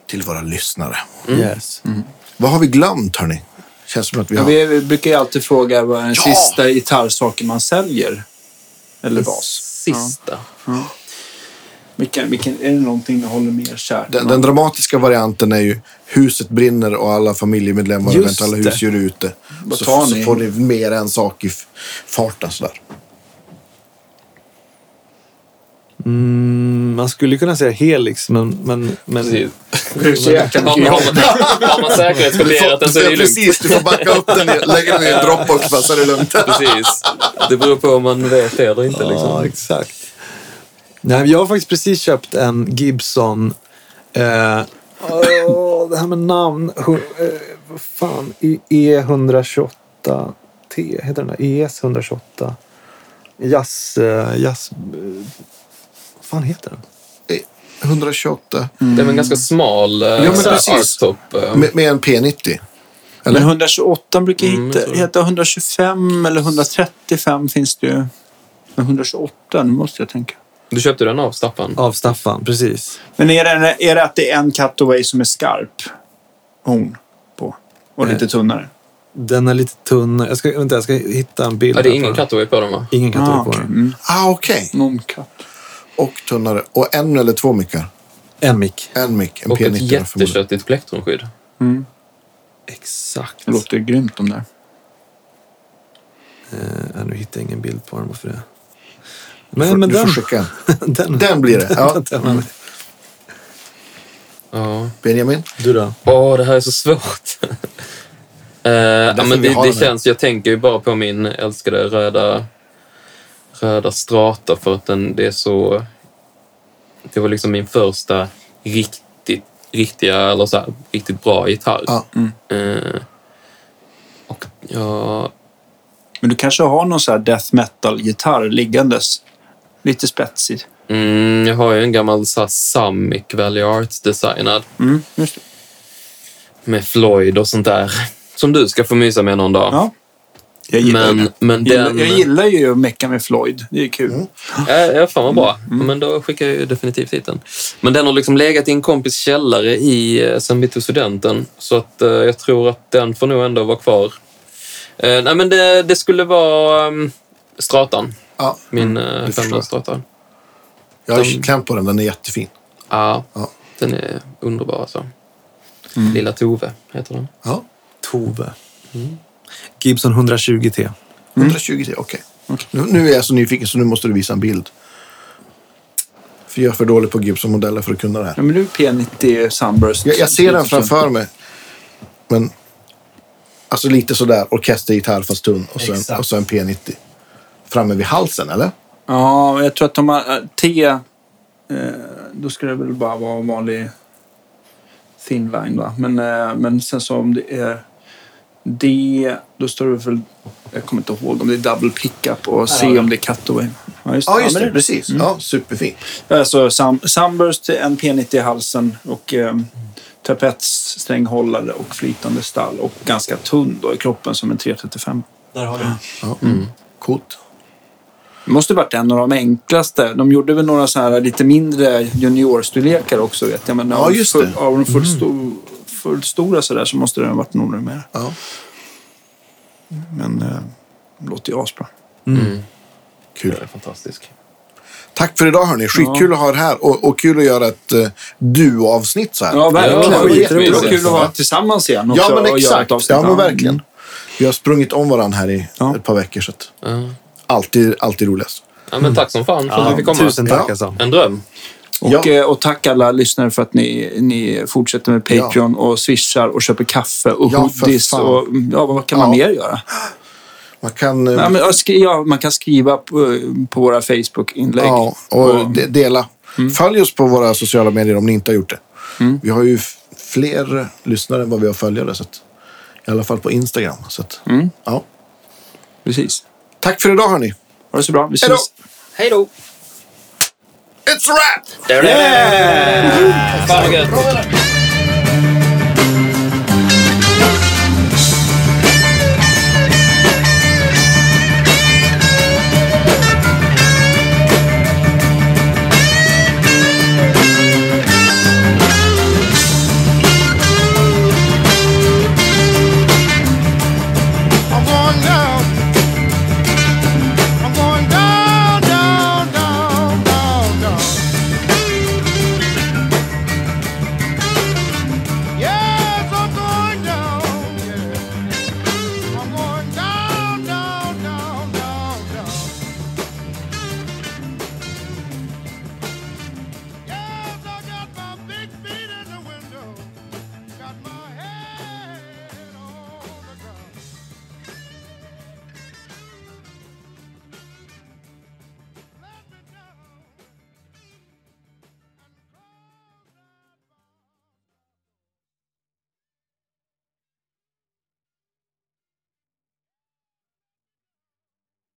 S2: till våra lyssnare.
S5: Mm.
S4: Yes.
S2: Mm. Vad har vi glömt, hörni? Känns som att vi
S3: Ja.
S2: har...
S3: Vi vi brukar ju alltid fråga vad den
S2: Ja!
S3: sista gitarrsaken man säljer. Eller bas.
S5: Sista.
S3: Vilken, vilken, är det någonting ni håller mer kärt?
S2: Den, den dramatiska varianten är ju huset brinner och alla familjemedlemmar och
S4: Just
S2: eventuella
S4: det.
S2: husdjur är ute.
S3: Vad
S2: Så,
S3: tar
S2: så
S3: ni?
S2: får ni mer en sak i f- farten sådär.
S4: Mm, man skulle kunna säga Helix, men... men, men
S5: Precis.
S4: men-
S5: Har man, har man, har man säkerhetsplanerat den så är det lugnt.
S2: precis, du får backa upp den, i- lägga den i en dropbox bara, så är det lugnt.
S5: Precis. Det beror på om man vet det eller inte. Liksom.
S4: Ja, exakt. Nej, men jag har faktiskt precis köpt en Gibson. Eh, åh, det här med namn. Hu- eh, vad fan, E- I- E128T heter den där. E ES128. Jazz... Eh, jazz eh, vad fan heter den?
S2: 128
S3: Mm.
S5: Det är en ganska smal eh,
S2: men
S5: så här
S2: precis.
S5: archtop. eh.
S2: med, med en P90.
S3: Men 128 brukar
S5: Mm, jag
S3: heta,
S5: tror det.
S3: heta 125 eller 135 finns det ju. Men 128, nu måste jag tänka.
S5: Du köpte den av Staffan?
S4: Av Staffan, precis.
S3: Men är det, är det att det är en cutaway som är skarp horn på? Och
S2: Eh,
S3: lite tunnare?
S4: Den är lite tunn. Jag ska, vänta, jag ska hitta en bild.
S5: Ja, det är
S4: här på
S5: ingen
S4: den.
S5: cutaway på den va?
S4: Ingen katt
S3: Ah,
S4: på
S3: okej.
S4: den.
S3: mm.
S2: Ah, okej.
S3: Någon katt.
S2: Och tunnare. Och en eller två mickar.
S4: En mick.
S2: En mick, en
S5: Och ett
S2: P90. då förmodligen.
S5: jätteköttigt plektrumskydd.
S4: Exakt.
S3: Det låter grymt om det.
S4: Eh, nu hittar jag ingen bild på den. Varför det?
S2: Du
S4: Men,
S2: får-
S4: men
S2: du
S4: den,
S2: får skicka en.
S4: den,
S2: Den blir det, ja.
S4: den- den-
S5: Ja.
S2: Benjamin?
S4: Du då?
S5: Åh, det här är så svårt. Eh, ja, men
S2: vi
S5: det,
S2: har
S5: det
S2: den här.
S5: känns, jag tänker ju bara på min älskade röda, röda strata för att den, det är så... Det var liksom min första riktigt, riktiga, eller så här, riktigt bra gitarr.
S2: Ja.
S4: Mm.
S5: Eh, och jag
S3: Men du kanske har någon så här death metal-gitarr liggandes? Lite spetsig.
S5: Mm, jag har ju en gammal så här, Samic Valley Arts designad
S3: Mm, just det.
S5: med Floyd och sånt där. Som du ska få mysa med någon dag.
S3: Ja. Jag gillar,
S5: men,
S3: det.
S5: men
S3: Gillar-
S5: den...
S3: jag gillar ju att mecka med Floyd. Det är kul.
S2: Mm.
S5: Ja, ja, fan vad bra. Men då skickar jag ju definitivt hit den. Men den har liksom legat i en kompis källare i, eh, sen vi tog studenten. Så att eh, jag tror att den får nog ändå vara kvar. Eh, nej, men det, det skulle vara um, Stratan.
S2: Ja,
S5: Min mm,
S2: förstår.
S5: femma Stratan.
S2: jag har
S5: Den-
S2: klämt på den, den är jättefin.
S5: Ja,
S2: Ja.
S5: den är underbar alltså. Lilla Tove heter den.
S2: Ja.
S4: Tove. Mm. Gibson 120T.
S2: 120 till, okej. Nu, nu är jag så nyfiken så nu måste du visa en bild. För jag är för dålig på Gibson-modeller för att kunna det här.
S3: Ja, men nu är P90 Sunburst.
S2: Jag, jag ser den framför mig. Men alltså lite sådär orkestergitarr fast tunn och så, en,
S4: Exakt.
S2: och så en P90. Framme vid halsen eller?
S3: Ja, men jag tror att de har äh, T. Eh, då ska det väl bara vara en vanlig thin line va. Men, eh, men sen så om det är D, då står det väl, jag kommer inte ihåg om det är double pickup och C om det är cutaway. Ja, just det.
S2: Ja just
S3: men
S2: det, precis. Ja, superfin.
S3: Alltså sam, Sunburst, en P90 i halsen och eh, trapetsstränghållare och flytande stall. Och ganska tunn då i kroppen som en 335.
S4: Där har vi
S2: Ja. Coolt.
S3: Det måste varit en av de enklaste. De gjorde väl några så här lite mindre juniorstorlekar också vet jag. Men
S2: Ja,
S3: av de
S2: just
S3: full-
S2: det. Mm.
S3: Av de fullt sto- fullt stora sådär så måste det ha varit några mer.
S2: Ja.
S3: Men eh, det låter ju asbra.
S5: Kul. är fantastisk.
S2: Tack för idag hörni. Skitkul att ha er här och, och kul att göra ett eh, duo-avsnitt så här.
S3: Ja, verkligen.
S5: Ja,
S3: Ja,
S5: skitroligt.
S3: Skitroligt. Kul att vara tillsammans igen också.
S2: Ja, men
S3: och göra ett
S2: exakt.
S3: avsnitt. Mm.
S2: Ja, men verkligen. Vi har sprungit om varandra här i
S3: Ja.
S2: ett par veckor. Så att
S5: Ja.
S2: alltid, alltid roligast.
S5: Ja, men tack som fan för att vi fick komma.
S4: Tusen tack
S2: Ja.
S4: alltså.
S5: En dröm.
S3: Och,
S2: Ja.
S3: eh, och tack alla lyssnare för att ni, ni fortsätter med Patreon och swishar och köper kaffe och
S2: Ja, för
S3: hoodies.
S2: fan.
S3: Och, ja, vad kan man
S2: Ja.
S3: mer göra?
S2: Man kan... eh,
S3: Ja, men, ja, skri, ja, man kan skriva på, på våra Facebook-inlägg.
S2: Ja, och de- dela.
S3: Mm.
S2: Följ oss på våra sociala medier om ni inte har gjort det. Vi har ju f- fler lyssnare än vad vi har följare. Så att, I alla fall på Instagram. Så att,
S3: Mm.
S2: ja.
S3: Precis.
S2: Tack för idag hörni.
S3: Ha det så bra. Vi
S2: Hej då!
S3: ses.
S5: Hej då!
S2: It's a wrap!
S5: Där är det! Fan vad gött!